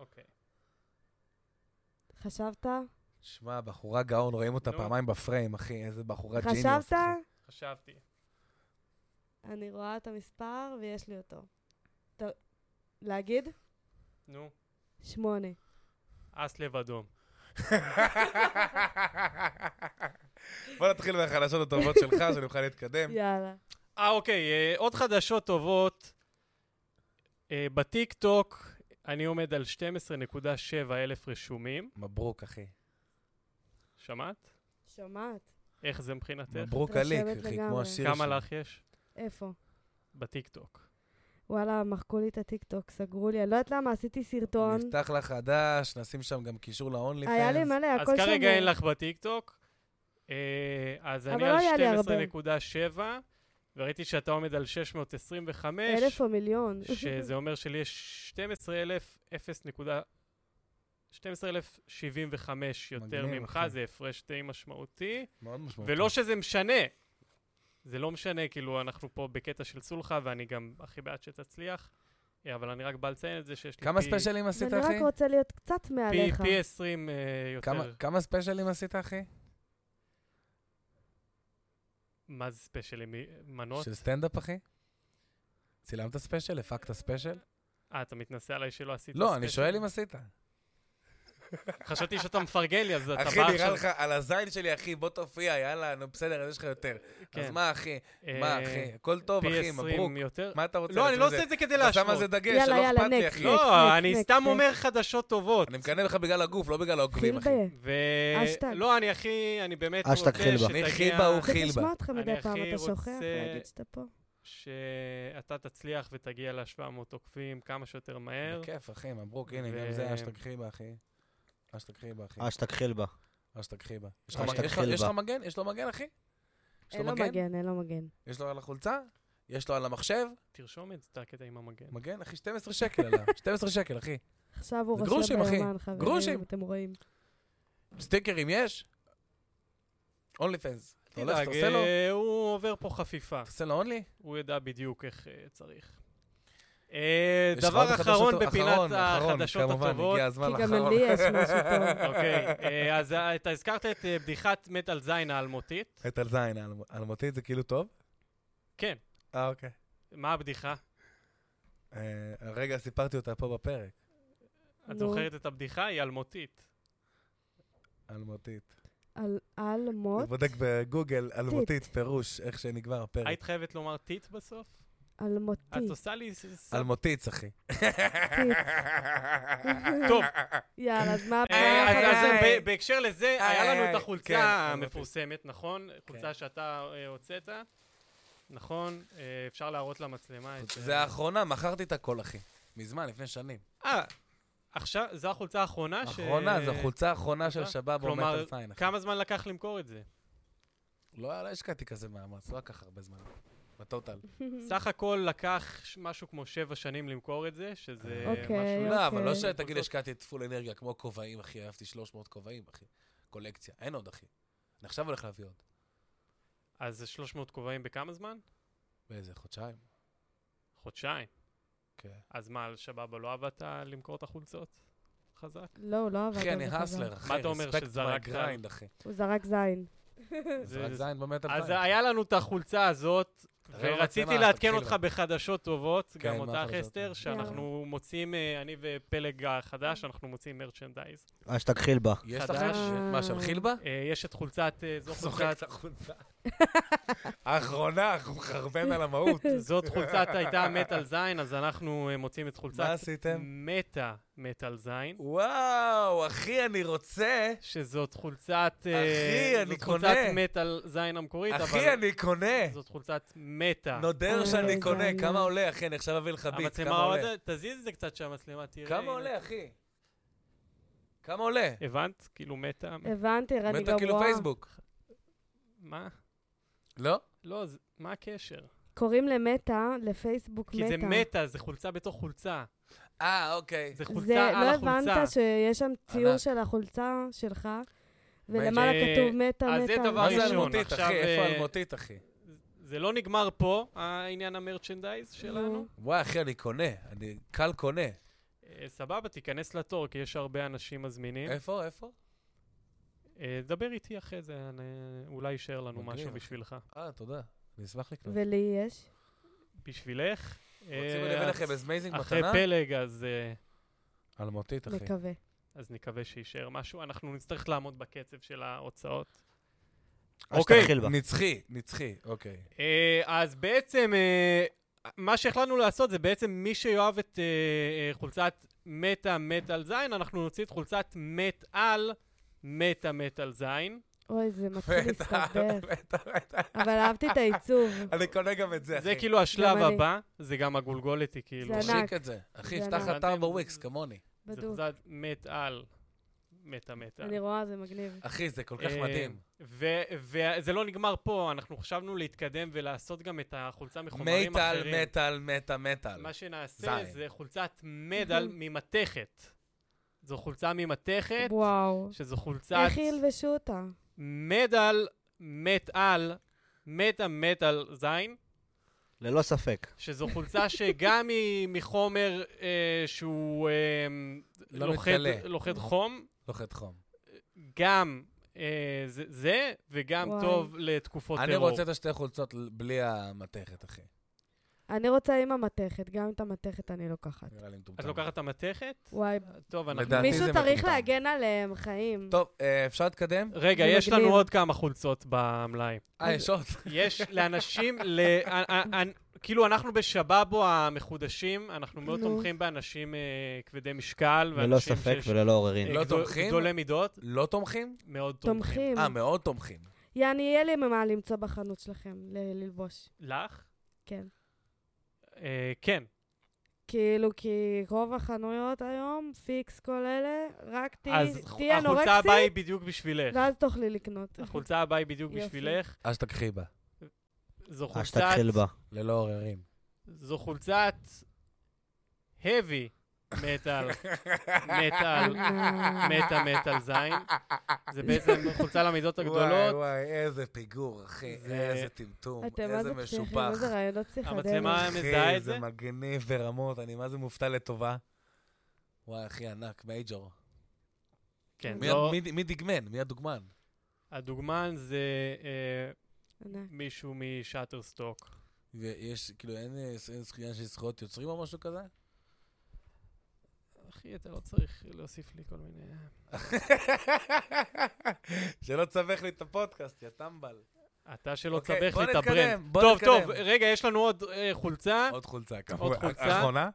Speaker 4: אוקיי.
Speaker 3: חשבת?
Speaker 2: שמע, בחורה גאון, רואים אותה
Speaker 4: נו.
Speaker 2: פעמיים בפריים, אחי. איזה בחורה ג'יניוס.
Speaker 3: חשבת?
Speaker 2: אחי.
Speaker 4: חשבתי.
Speaker 3: אני רואה את המספר ויש לי אותו. טוב, להגיד?
Speaker 4: נו,
Speaker 3: שמונה.
Speaker 4: אס לב אדום.
Speaker 2: בוא נתחיל מהחדשות הטובות שלך, שנוכל להתקדם.
Speaker 3: יאללה.
Speaker 4: אה, אוקיי, אה, עוד חדשות טובות. אה, בטיקטוק אני עומד על 12.7 אלף רשומים.
Speaker 2: מברוק, אחי.
Speaker 4: שמעת?
Speaker 3: שומעת?
Speaker 4: איך זה מבחינתך?
Speaker 2: מברוק עליק,
Speaker 3: מתרשמת
Speaker 2: אחי, כמו
Speaker 3: לגמרי.
Speaker 2: השיר
Speaker 4: כמה
Speaker 2: שלי.
Speaker 4: לך יש?
Speaker 3: איפה?
Speaker 4: בטיקטוק.
Speaker 3: וואלה, מחקו לי את הטיקטוק, סגרו לי, אני לא יודעת למה, עשיתי סרטון.
Speaker 2: נפתח לך חדש, נשים שם גם קישור ל-only
Speaker 3: היה לי
Speaker 2: fans.
Speaker 3: מלא, הכל
Speaker 4: אז
Speaker 3: שם.
Speaker 4: כרגע אין לך בטיקטוק, אה, אז אני
Speaker 3: אבל לא היה לי
Speaker 4: על
Speaker 3: הרבה.
Speaker 4: 12.7, וראיתי שאתה עומד על 625,
Speaker 3: אלף או מיליון.
Speaker 4: שזה אומר שלי יש 12,000, 12,075 יותר
Speaker 2: מגניב,
Speaker 4: ממך,
Speaker 2: אחי.
Speaker 4: זה הפרש די משמעותי.
Speaker 2: מאוד משמעותי.
Speaker 4: ולא שזה משנה. זה לא משנה, כאילו, אנחנו פה בקטע של סולחה, ואני גם הכי בעד שתצליח, אה, אבל אני רק בא לציין את זה שיש לי
Speaker 2: כמה
Speaker 4: פי-
Speaker 2: ספיישלים עשית,
Speaker 3: אני רק
Speaker 2: אחי?
Speaker 3: רוצה להיות קצת
Speaker 4: פי,
Speaker 3: מעליך.
Speaker 4: פי 20 אה, יותר.
Speaker 2: כמה- כמה ספיישלים עשית, אחי?
Speaker 4: מה זה ספיישלים? מ- מנות?
Speaker 2: של סטנדאפ, אחי? צילמת ספיישל? הפקת ספיישל?
Speaker 4: אה, אתה מתנשא עליי שלא עשית
Speaker 2: לא,
Speaker 4: ספיישל?
Speaker 2: אני שואל אם עשית.
Speaker 4: חשבתי שאתה מפרגן לי, אז אתה בא
Speaker 2: אחי,
Speaker 4: עכשיו...
Speaker 2: נראה לך, על הזין שלי, אחי, בוא תופיע, יאללה, נו בסדר, אז יש לך יותר.
Speaker 4: כן.
Speaker 2: אז מה, אחי?
Speaker 4: אה,
Speaker 2: מה, אחי? הכל טוב,
Speaker 4: פי
Speaker 2: אחי,
Speaker 4: 20
Speaker 2: מברוק.
Speaker 4: יותר.
Speaker 2: מה אתה רוצה?
Speaker 4: לא, אני
Speaker 2: לעשות
Speaker 4: לא
Speaker 2: מזה?
Speaker 4: עושה את זה כדי
Speaker 2: אתה שם על זה
Speaker 4: להשוות.
Speaker 2: דגש,
Speaker 3: יאללה,
Speaker 2: שלא
Speaker 3: יאללה,
Speaker 2: אכפת לי,
Speaker 3: next,
Speaker 2: אחי.
Speaker 3: next,
Speaker 4: לא,
Speaker 3: next,
Speaker 4: אני
Speaker 3: next,
Speaker 4: סתם
Speaker 3: next.
Speaker 4: אומר חדשות טובות.
Speaker 2: אני מקנא לך בגלל הגוף, לא בגלל העוקבים, אחי.
Speaker 3: חילבה.
Speaker 4: ו...
Speaker 3: אשטג.
Speaker 4: לא, אני הכי, אני באמת
Speaker 1: אשטג
Speaker 4: רוצה
Speaker 1: חילבה.
Speaker 4: שתגיע...
Speaker 2: אני חיבה הוא
Speaker 3: צריך לשמוע
Speaker 2: חילבה.
Speaker 3: אותך
Speaker 4: אני
Speaker 3: מדי פעם,
Speaker 4: הכי
Speaker 3: אתה שוכח
Speaker 4: רוצה-
Speaker 3: להגיד שאתה פה.
Speaker 4: שאתה תצליח ותגיע ל-700 עוקבים כמה שיותר מהר.
Speaker 2: בכיף, אחי, מברוק, הנה,
Speaker 4: ו-
Speaker 2: גם זה אשתג חיבה, אחי. אשתג חיבה,
Speaker 3: אה,
Speaker 2: אחי.
Speaker 1: אשתג חילבה.
Speaker 2: אשתג חיבה. יש לך
Speaker 1: אשתג
Speaker 2: מגן- יש לך-
Speaker 1: חילבה.
Speaker 2: יש לך מגן? יש לו מגן, אחי? יש
Speaker 3: אין לו מגן, אין לו מגן.
Speaker 2: יש לו על החולצה? יש לו על המחשב?
Speaker 4: תרשום את זה, הקטע עם המגן.
Speaker 2: מגן, אחי, 12 שקל עליו. 12 שקל, אחי.
Speaker 3: עכשיו הוא רשם
Speaker 2: גרושים, אחי.
Speaker 3: ביומן, חברים,
Speaker 2: גרושים.
Speaker 3: אתם רואים.
Speaker 2: סטיקרים יש? אונלי פנס. אתה הולך,
Speaker 4: תדאג,
Speaker 2: אתה עושה לו?
Speaker 4: אה, הוא עובר פה חפיפה.
Speaker 2: אתה עושה לו אונלי?
Speaker 4: הוא ידע בדיוק איך אה, צריך. אה,
Speaker 2: יש לך עוד
Speaker 4: דבר
Speaker 2: חדשות
Speaker 4: אחרון
Speaker 2: טוב-
Speaker 4: בפינת
Speaker 2: אחרון, אחרון,
Speaker 4: החדשות
Speaker 2: כמובן,
Speaker 4: הטובות.
Speaker 2: הגיע הזמן
Speaker 3: כי גם
Speaker 2: לאחרון.
Speaker 3: לי יש משהו טוב.
Speaker 4: אוקיי, אה, אז אה, אתה הזכרת את אה, בדיחת מת על זין האלמותית.
Speaker 2: את על זין, האל- אלמותית זה כאילו טוב?
Speaker 4: כן.
Speaker 2: אה, אוקיי.
Speaker 4: מה הבדיחה?
Speaker 2: אה, הרגע סיפרתי אותה פה בפרק.
Speaker 4: את
Speaker 3: נו.
Speaker 4: זוכרת את הבדיחה? היא אלמותית.
Speaker 2: אלמותית.
Speaker 3: על- על
Speaker 2: אני
Speaker 3: מות,
Speaker 2: בודק בגוגל, אלמותית, פירוש, איך שנגמר הפרק.
Speaker 4: היית חייבת לומר טיט בסוף?
Speaker 3: על מותי.
Speaker 4: את עושה לי... ס- ס-
Speaker 2: אלמותית, אחי.
Speaker 4: טוב.
Speaker 3: יאללה, אז מה
Speaker 4: אה,
Speaker 3: הבעיה?
Speaker 4: אז אז
Speaker 2: איי,
Speaker 4: זה-
Speaker 2: איי.
Speaker 4: ב- בהקשר לזה,
Speaker 2: איי,
Speaker 4: היה לנו
Speaker 2: איי,
Speaker 4: את
Speaker 2: כן, אוקיי.
Speaker 4: החולצה
Speaker 2: אמרתי.
Speaker 4: המפורסמת, נכון? חולצה שאתה אה, הוצאת. נכון, אה, אפשר להראות למצלמה את
Speaker 2: זה האחרונה, מכרתי את הכל, אחי. מזמן, לפני שנים.
Speaker 4: אה, עכשיו, זו החולצה האחרונה ש...
Speaker 2: אחרונה, זו החולצה האחרונה של
Speaker 4: אה,
Speaker 2: שבאב או
Speaker 4: כלומר,
Speaker 2: מטל סיין. אחי.
Speaker 4: כמה זמן לקח למכור את זה?
Speaker 2: לא לא השקעתי כזה מאמץ, לא לקח הרבה זמן. בטוטל.
Speaker 4: סך הכל לקח ש- משהו כמו שבע שנים למכור את זה, שזה
Speaker 2: אוקיי.
Speaker 4: משהו...
Speaker 2: לא, אבל
Speaker 3: אוקיי.
Speaker 2: לא שתגיד השקעתי את פול אנרגיה, כמו כובעים, אחי, אהבתי 300 כובעים, אחי. קולקציה, אין עוד, אחי. אני עכשיו הולך להביא עוד.
Speaker 4: אז זה 300 כובעים בכמה זמן?
Speaker 2: באיזה, חודשיים?
Speaker 4: חודשיים.
Speaker 2: כן.
Speaker 4: אז מה, על שבאבה לא עבדת למכור את החולצות? חזק?
Speaker 3: לא, הוא לא עבד.
Speaker 2: אחי,
Speaker 3: על
Speaker 2: אני
Speaker 3: זה חזק.
Speaker 2: הסלר, אחי.
Speaker 4: מה אתה אומר,
Speaker 2: respect my
Speaker 4: שזרקת?
Speaker 2: grind, אחי.
Speaker 3: הוא זרק זין.
Speaker 4: זה-
Speaker 2: זרק
Speaker 4: זה-
Speaker 2: זין במטל סיין.
Speaker 4: אז היה לנו את החולצה הזאת,
Speaker 2: תראה לו
Speaker 4: ורציתי
Speaker 2: מצלמה,
Speaker 4: לעדכן
Speaker 2: לא תתחיל
Speaker 4: אותך
Speaker 2: בה.
Speaker 4: בחדשות טובות,
Speaker 2: כן,
Speaker 4: גם
Speaker 2: מה
Speaker 4: אותך
Speaker 2: החדשות?
Speaker 4: אסתר, שאנחנו מוצאים, אה, אני ופלג החדש, אנחנו מוצאים מרצ'נדייז.
Speaker 1: אשתג חילבה.
Speaker 2: יש לך?
Speaker 4: חדש.
Speaker 2: מה, של חילבה?
Speaker 4: אה, יש את חולצת, אה, זו
Speaker 2: זוחק
Speaker 4: חולצת,
Speaker 2: את החולצה. האחרונה, אנחנו מחרבן על המהות.
Speaker 4: זאת חולצת הייתה מת על זין, אז אנחנו אה, מוצאים את
Speaker 2: מה
Speaker 4: חולצת
Speaker 2: עשיתם?
Speaker 4: מתה מת על זין,
Speaker 2: וואו, אחי, אני רוצה...
Speaker 4: שזאת חולצת... אה,
Speaker 2: אחי, אני
Speaker 4: זאת
Speaker 2: קונה.
Speaker 4: חולצת מת על זין המקורית, אבל...
Speaker 2: אחי, אני קונה.
Speaker 4: זאת חולצת מתה.
Speaker 2: נודר
Speaker 3: אוי,
Speaker 2: שאני
Speaker 3: זה
Speaker 2: קונה.
Speaker 3: עלה.
Speaker 2: כמה עולה, אחי? אני עכשיו אביא לך ביט.
Speaker 4: המצלמה כן.
Speaker 2: כמה עולה?
Speaker 4: עוד... תזיז את זה קצת שהמצלמה תראה.
Speaker 2: כמה
Speaker 4: הנה.
Speaker 2: עולה, אחי? כמה עולה?
Speaker 4: הבנת? כאילו מתה?
Speaker 3: הבנתי, אני גבוהה.
Speaker 2: מתה כאילו פייסבוק.
Speaker 4: מה?
Speaker 2: לא?
Speaker 4: לא, זה- מה הקשר?
Speaker 3: קוראים למטה, לפייסבוק מטה.
Speaker 4: כי זה מטה, זה חולצה בתוך חולצה.
Speaker 2: אה, אוקיי.
Speaker 4: זה
Speaker 3: זה,
Speaker 4: חולצה על
Speaker 3: לא
Speaker 4: החולצה.
Speaker 3: הבנת שיש שם ציור
Speaker 2: ענק.
Speaker 3: של החולצה שלך, ולמעלה
Speaker 4: אה,
Speaker 3: כתוב מטה,
Speaker 4: אז זה
Speaker 3: מטה.
Speaker 4: דבר
Speaker 2: מה זה
Speaker 4: ראשון,
Speaker 2: אלמותית,
Speaker 4: עכשיו,
Speaker 2: אחי? איפה
Speaker 4: אה,
Speaker 2: אלמותית, אחי?
Speaker 4: זה לא נגמר פה, העניין המרצ'נדייז שלנו.
Speaker 3: נו.
Speaker 2: וואי, אחי, אני קונה. אני קל קונה.
Speaker 4: אה, סבבה, תיכנס לתור, כי יש הרבה אנשים מזמינים.
Speaker 2: איפה? איפה?
Speaker 4: אה, דבר איתי אחרי זה, אני- אולי יישאר לנו
Speaker 2: מגניב,
Speaker 4: משהו
Speaker 2: אחי.
Speaker 4: בשבילך.
Speaker 2: אה, תודה. אני אשמח לקנות.
Speaker 3: ולי יש.
Speaker 4: בשבילך?
Speaker 2: רוצים
Speaker 4: אה,
Speaker 2: להביא
Speaker 4: אז
Speaker 2: לכם איזה מייזינג
Speaker 4: אחרי
Speaker 2: מתנה?
Speaker 4: פלג, אז... אה,
Speaker 2: אלמותית, אחי.
Speaker 3: נקווה.
Speaker 4: אז נקווה שיישאר משהו. אנחנו נצטרך לעמוד בקצב של ההוצאות.
Speaker 1: אשתג
Speaker 4: אוקיי,
Speaker 1: חילבה.
Speaker 2: נצחי, נצחי, אוקיי.
Speaker 4: אה, אז בעצם, אה, מה שהחלטנו לעשות זה בעצם מי שיאהב את אה, אה, חולצת מטה מת על זין, אנחנו נוציא את חולצת מת על מטה מת על זין.
Speaker 3: אוי, זה מתחיל להסתבך.
Speaker 2: בטח, בטח.
Speaker 3: אבל אהבתי את העיצוב.
Speaker 2: אני קונה גם את זה, אחי.
Speaker 4: זה כאילו השלב
Speaker 3: גם אני.
Speaker 4: הבא, זה גם הגולגולת היא כאילו.
Speaker 3: זה
Speaker 2: תשיק
Speaker 3: ענק.
Speaker 2: את זה. אחי,
Speaker 3: זה
Speaker 2: פתח
Speaker 4: ענק.
Speaker 2: אתר בוויקס, כמוני.
Speaker 4: זה
Speaker 3: בדוק.
Speaker 4: חולצת מת על מטה מטה.
Speaker 3: אני רואה, זה מגניב.
Speaker 2: אחי, זה כל כך
Speaker 4: אה,
Speaker 2: מדהים.
Speaker 4: וזה לא נגמר פה, אנחנו חשבנו להתקדם ולעשות גם את החולצה מחומרים
Speaker 2: מטאל,
Speaker 4: אחרים.
Speaker 2: מטאל, מטאל, מטאל.
Speaker 4: מה שנעשה
Speaker 2: זין.
Speaker 4: זה חולצת מדל ממתכת. זו חולצה ממתכת,
Speaker 3: וואו.
Speaker 4: שזו חולצת
Speaker 3: איך ילבשו אותה?
Speaker 4: מדל מת על, מטה מטל זין,
Speaker 1: ללא ספק.
Speaker 4: שזו חולצה שגם היא מחומר אה, שהוא אה,
Speaker 2: לא
Speaker 4: לוכד,
Speaker 2: מתכלה.
Speaker 4: לוכד חום,
Speaker 2: לוחת חום.
Speaker 4: גם אה, זה, זה, וגם
Speaker 3: וואי.
Speaker 4: טוב לתקופות
Speaker 2: אני
Speaker 4: טרור.
Speaker 2: רוצה את השתי חולצות ל- בלי המתכת, אחי.
Speaker 3: אני רוצה עם המתכת, גם את המתכת אני לוקחת.
Speaker 2: נראה לי מטומטם.
Speaker 4: את לוקחת את המתכת?
Speaker 3: וואי,
Speaker 4: טוב, אנחנו...
Speaker 2: לדעתי
Speaker 3: מישהו
Speaker 2: זה
Speaker 3: צריך
Speaker 2: מטומטם.
Speaker 3: להגן עליהם, חיים.
Speaker 2: טוב, אה, אפשר להתקדם?
Speaker 4: רגע,
Speaker 3: זה
Speaker 4: יש לנו
Speaker 3: מגניב.
Speaker 4: עוד כמה חולצות במלאי.
Speaker 2: אה, יש עוד.
Speaker 4: יש לאנשים, ל... אה, אה, אה, כאילו אנחנו בשבאבו המחודשים, אנחנו מאוד
Speaker 3: נו.
Speaker 4: תומכים באנשים אה, כבדי משקל,
Speaker 1: ללא
Speaker 4: ואנשים
Speaker 1: ספק
Speaker 4: שיש-
Speaker 1: וללא עוררין.
Speaker 4: אה,
Speaker 2: לא
Speaker 4: גדול-
Speaker 2: תומכים?
Speaker 4: גדולי מידות,
Speaker 2: לא תומכים?
Speaker 4: מאוד תומכים.
Speaker 3: תומכים.
Speaker 2: אה, מאוד תומכים.
Speaker 3: יעני, יהיה לי ממה למצוא בחנות שלכם, ל- ללבוש.
Speaker 4: לך?
Speaker 3: כן.
Speaker 4: אה, כן.
Speaker 3: כאילו, כי רוב החנויות היום, פיקס כל אלה, רק תה-
Speaker 4: אז ח-
Speaker 3: תהיי
Speaker 4: החולצה הבאה
Speaker 3: אנורקסית,
Speaker 4: היא בדיוק בשבילך.
Speaker 3: ואז תוכלי לקנות.
Speaker 4: החולצה הבאה היא בדיוק
Speaker 3: יופי.
Speaker 4: בשבילך.
Speaker 2: אז תקחי בה.
Speaker 4: זו חולצת...
Speaker 1: אשתג חלבה.
Speaker 2: ללא עוררין.
Speaker 4: זו חולצת... heavy מטאל. מטאל.
Speaker 3: אה.
Speaker 4: מטה מטאל זין. זה בעצם חולצה למידות
Speaker 2: וואי,
Speaker 4: הגדולות.
Speaker 2: וואי, איזה פיגור, אחי.
Speaker 4: זה-
Speaker 2: איזה טמטום.
Speaker 3: אתם מה
Speaker 2: איזה
Speaker 3: זה פסיכים,
Speaker 2: משופח.
Speaker 3: איזה רעיונות שיחה
Speaker 4: המצלמה-
Speaker 2: אחי,
Speaker 4: מזהה את זה?
Speaker 2: מגניב ברמות, אני מה זה מופתע לטובה. וואי, אחי, ענק, מייג'ור.
Speaker 4: כן,
Speaker 2: מי-
Speaker 4: זו...
Speaker 2: מי- מי דגמן? מי הדוגמן?
Speaker 4: הדוגמן זה אה,
Speaker 3: ענק.
Speaker 4: מישהו משאטרסטוק.
Speaker 2: ויש, כאילו, אין אה, ס- אין זכייה של זכויות יוצרים או משהו כזה?
Speaker 4: אחי, אתה לא צריך להוסיף לי כל מיני...
Speaker 2: שלא תסבך לי את הפודקאסט, יא טמבל.
Speaker 4: אתה שלא
Speaker 2: אוקיי,
Speaker 4: תסבך
Speaker 2: בוא
Speaker 4: לי את
Speaker 2: נתקדם,
Speaker 4: הברנד.
Speaker 2: בוא
Speaker 4: טוב,
Speaker 2: נתקדם.
Speaker 4: טוב, רגע, יש לנו עוד אה, חולצה.
Speaker 2: עוד חולצה,
Speaker 4: עוד
Speaker 2: כמובן.
Speaker 4: חולצה?
Speaker 2: אחרונה?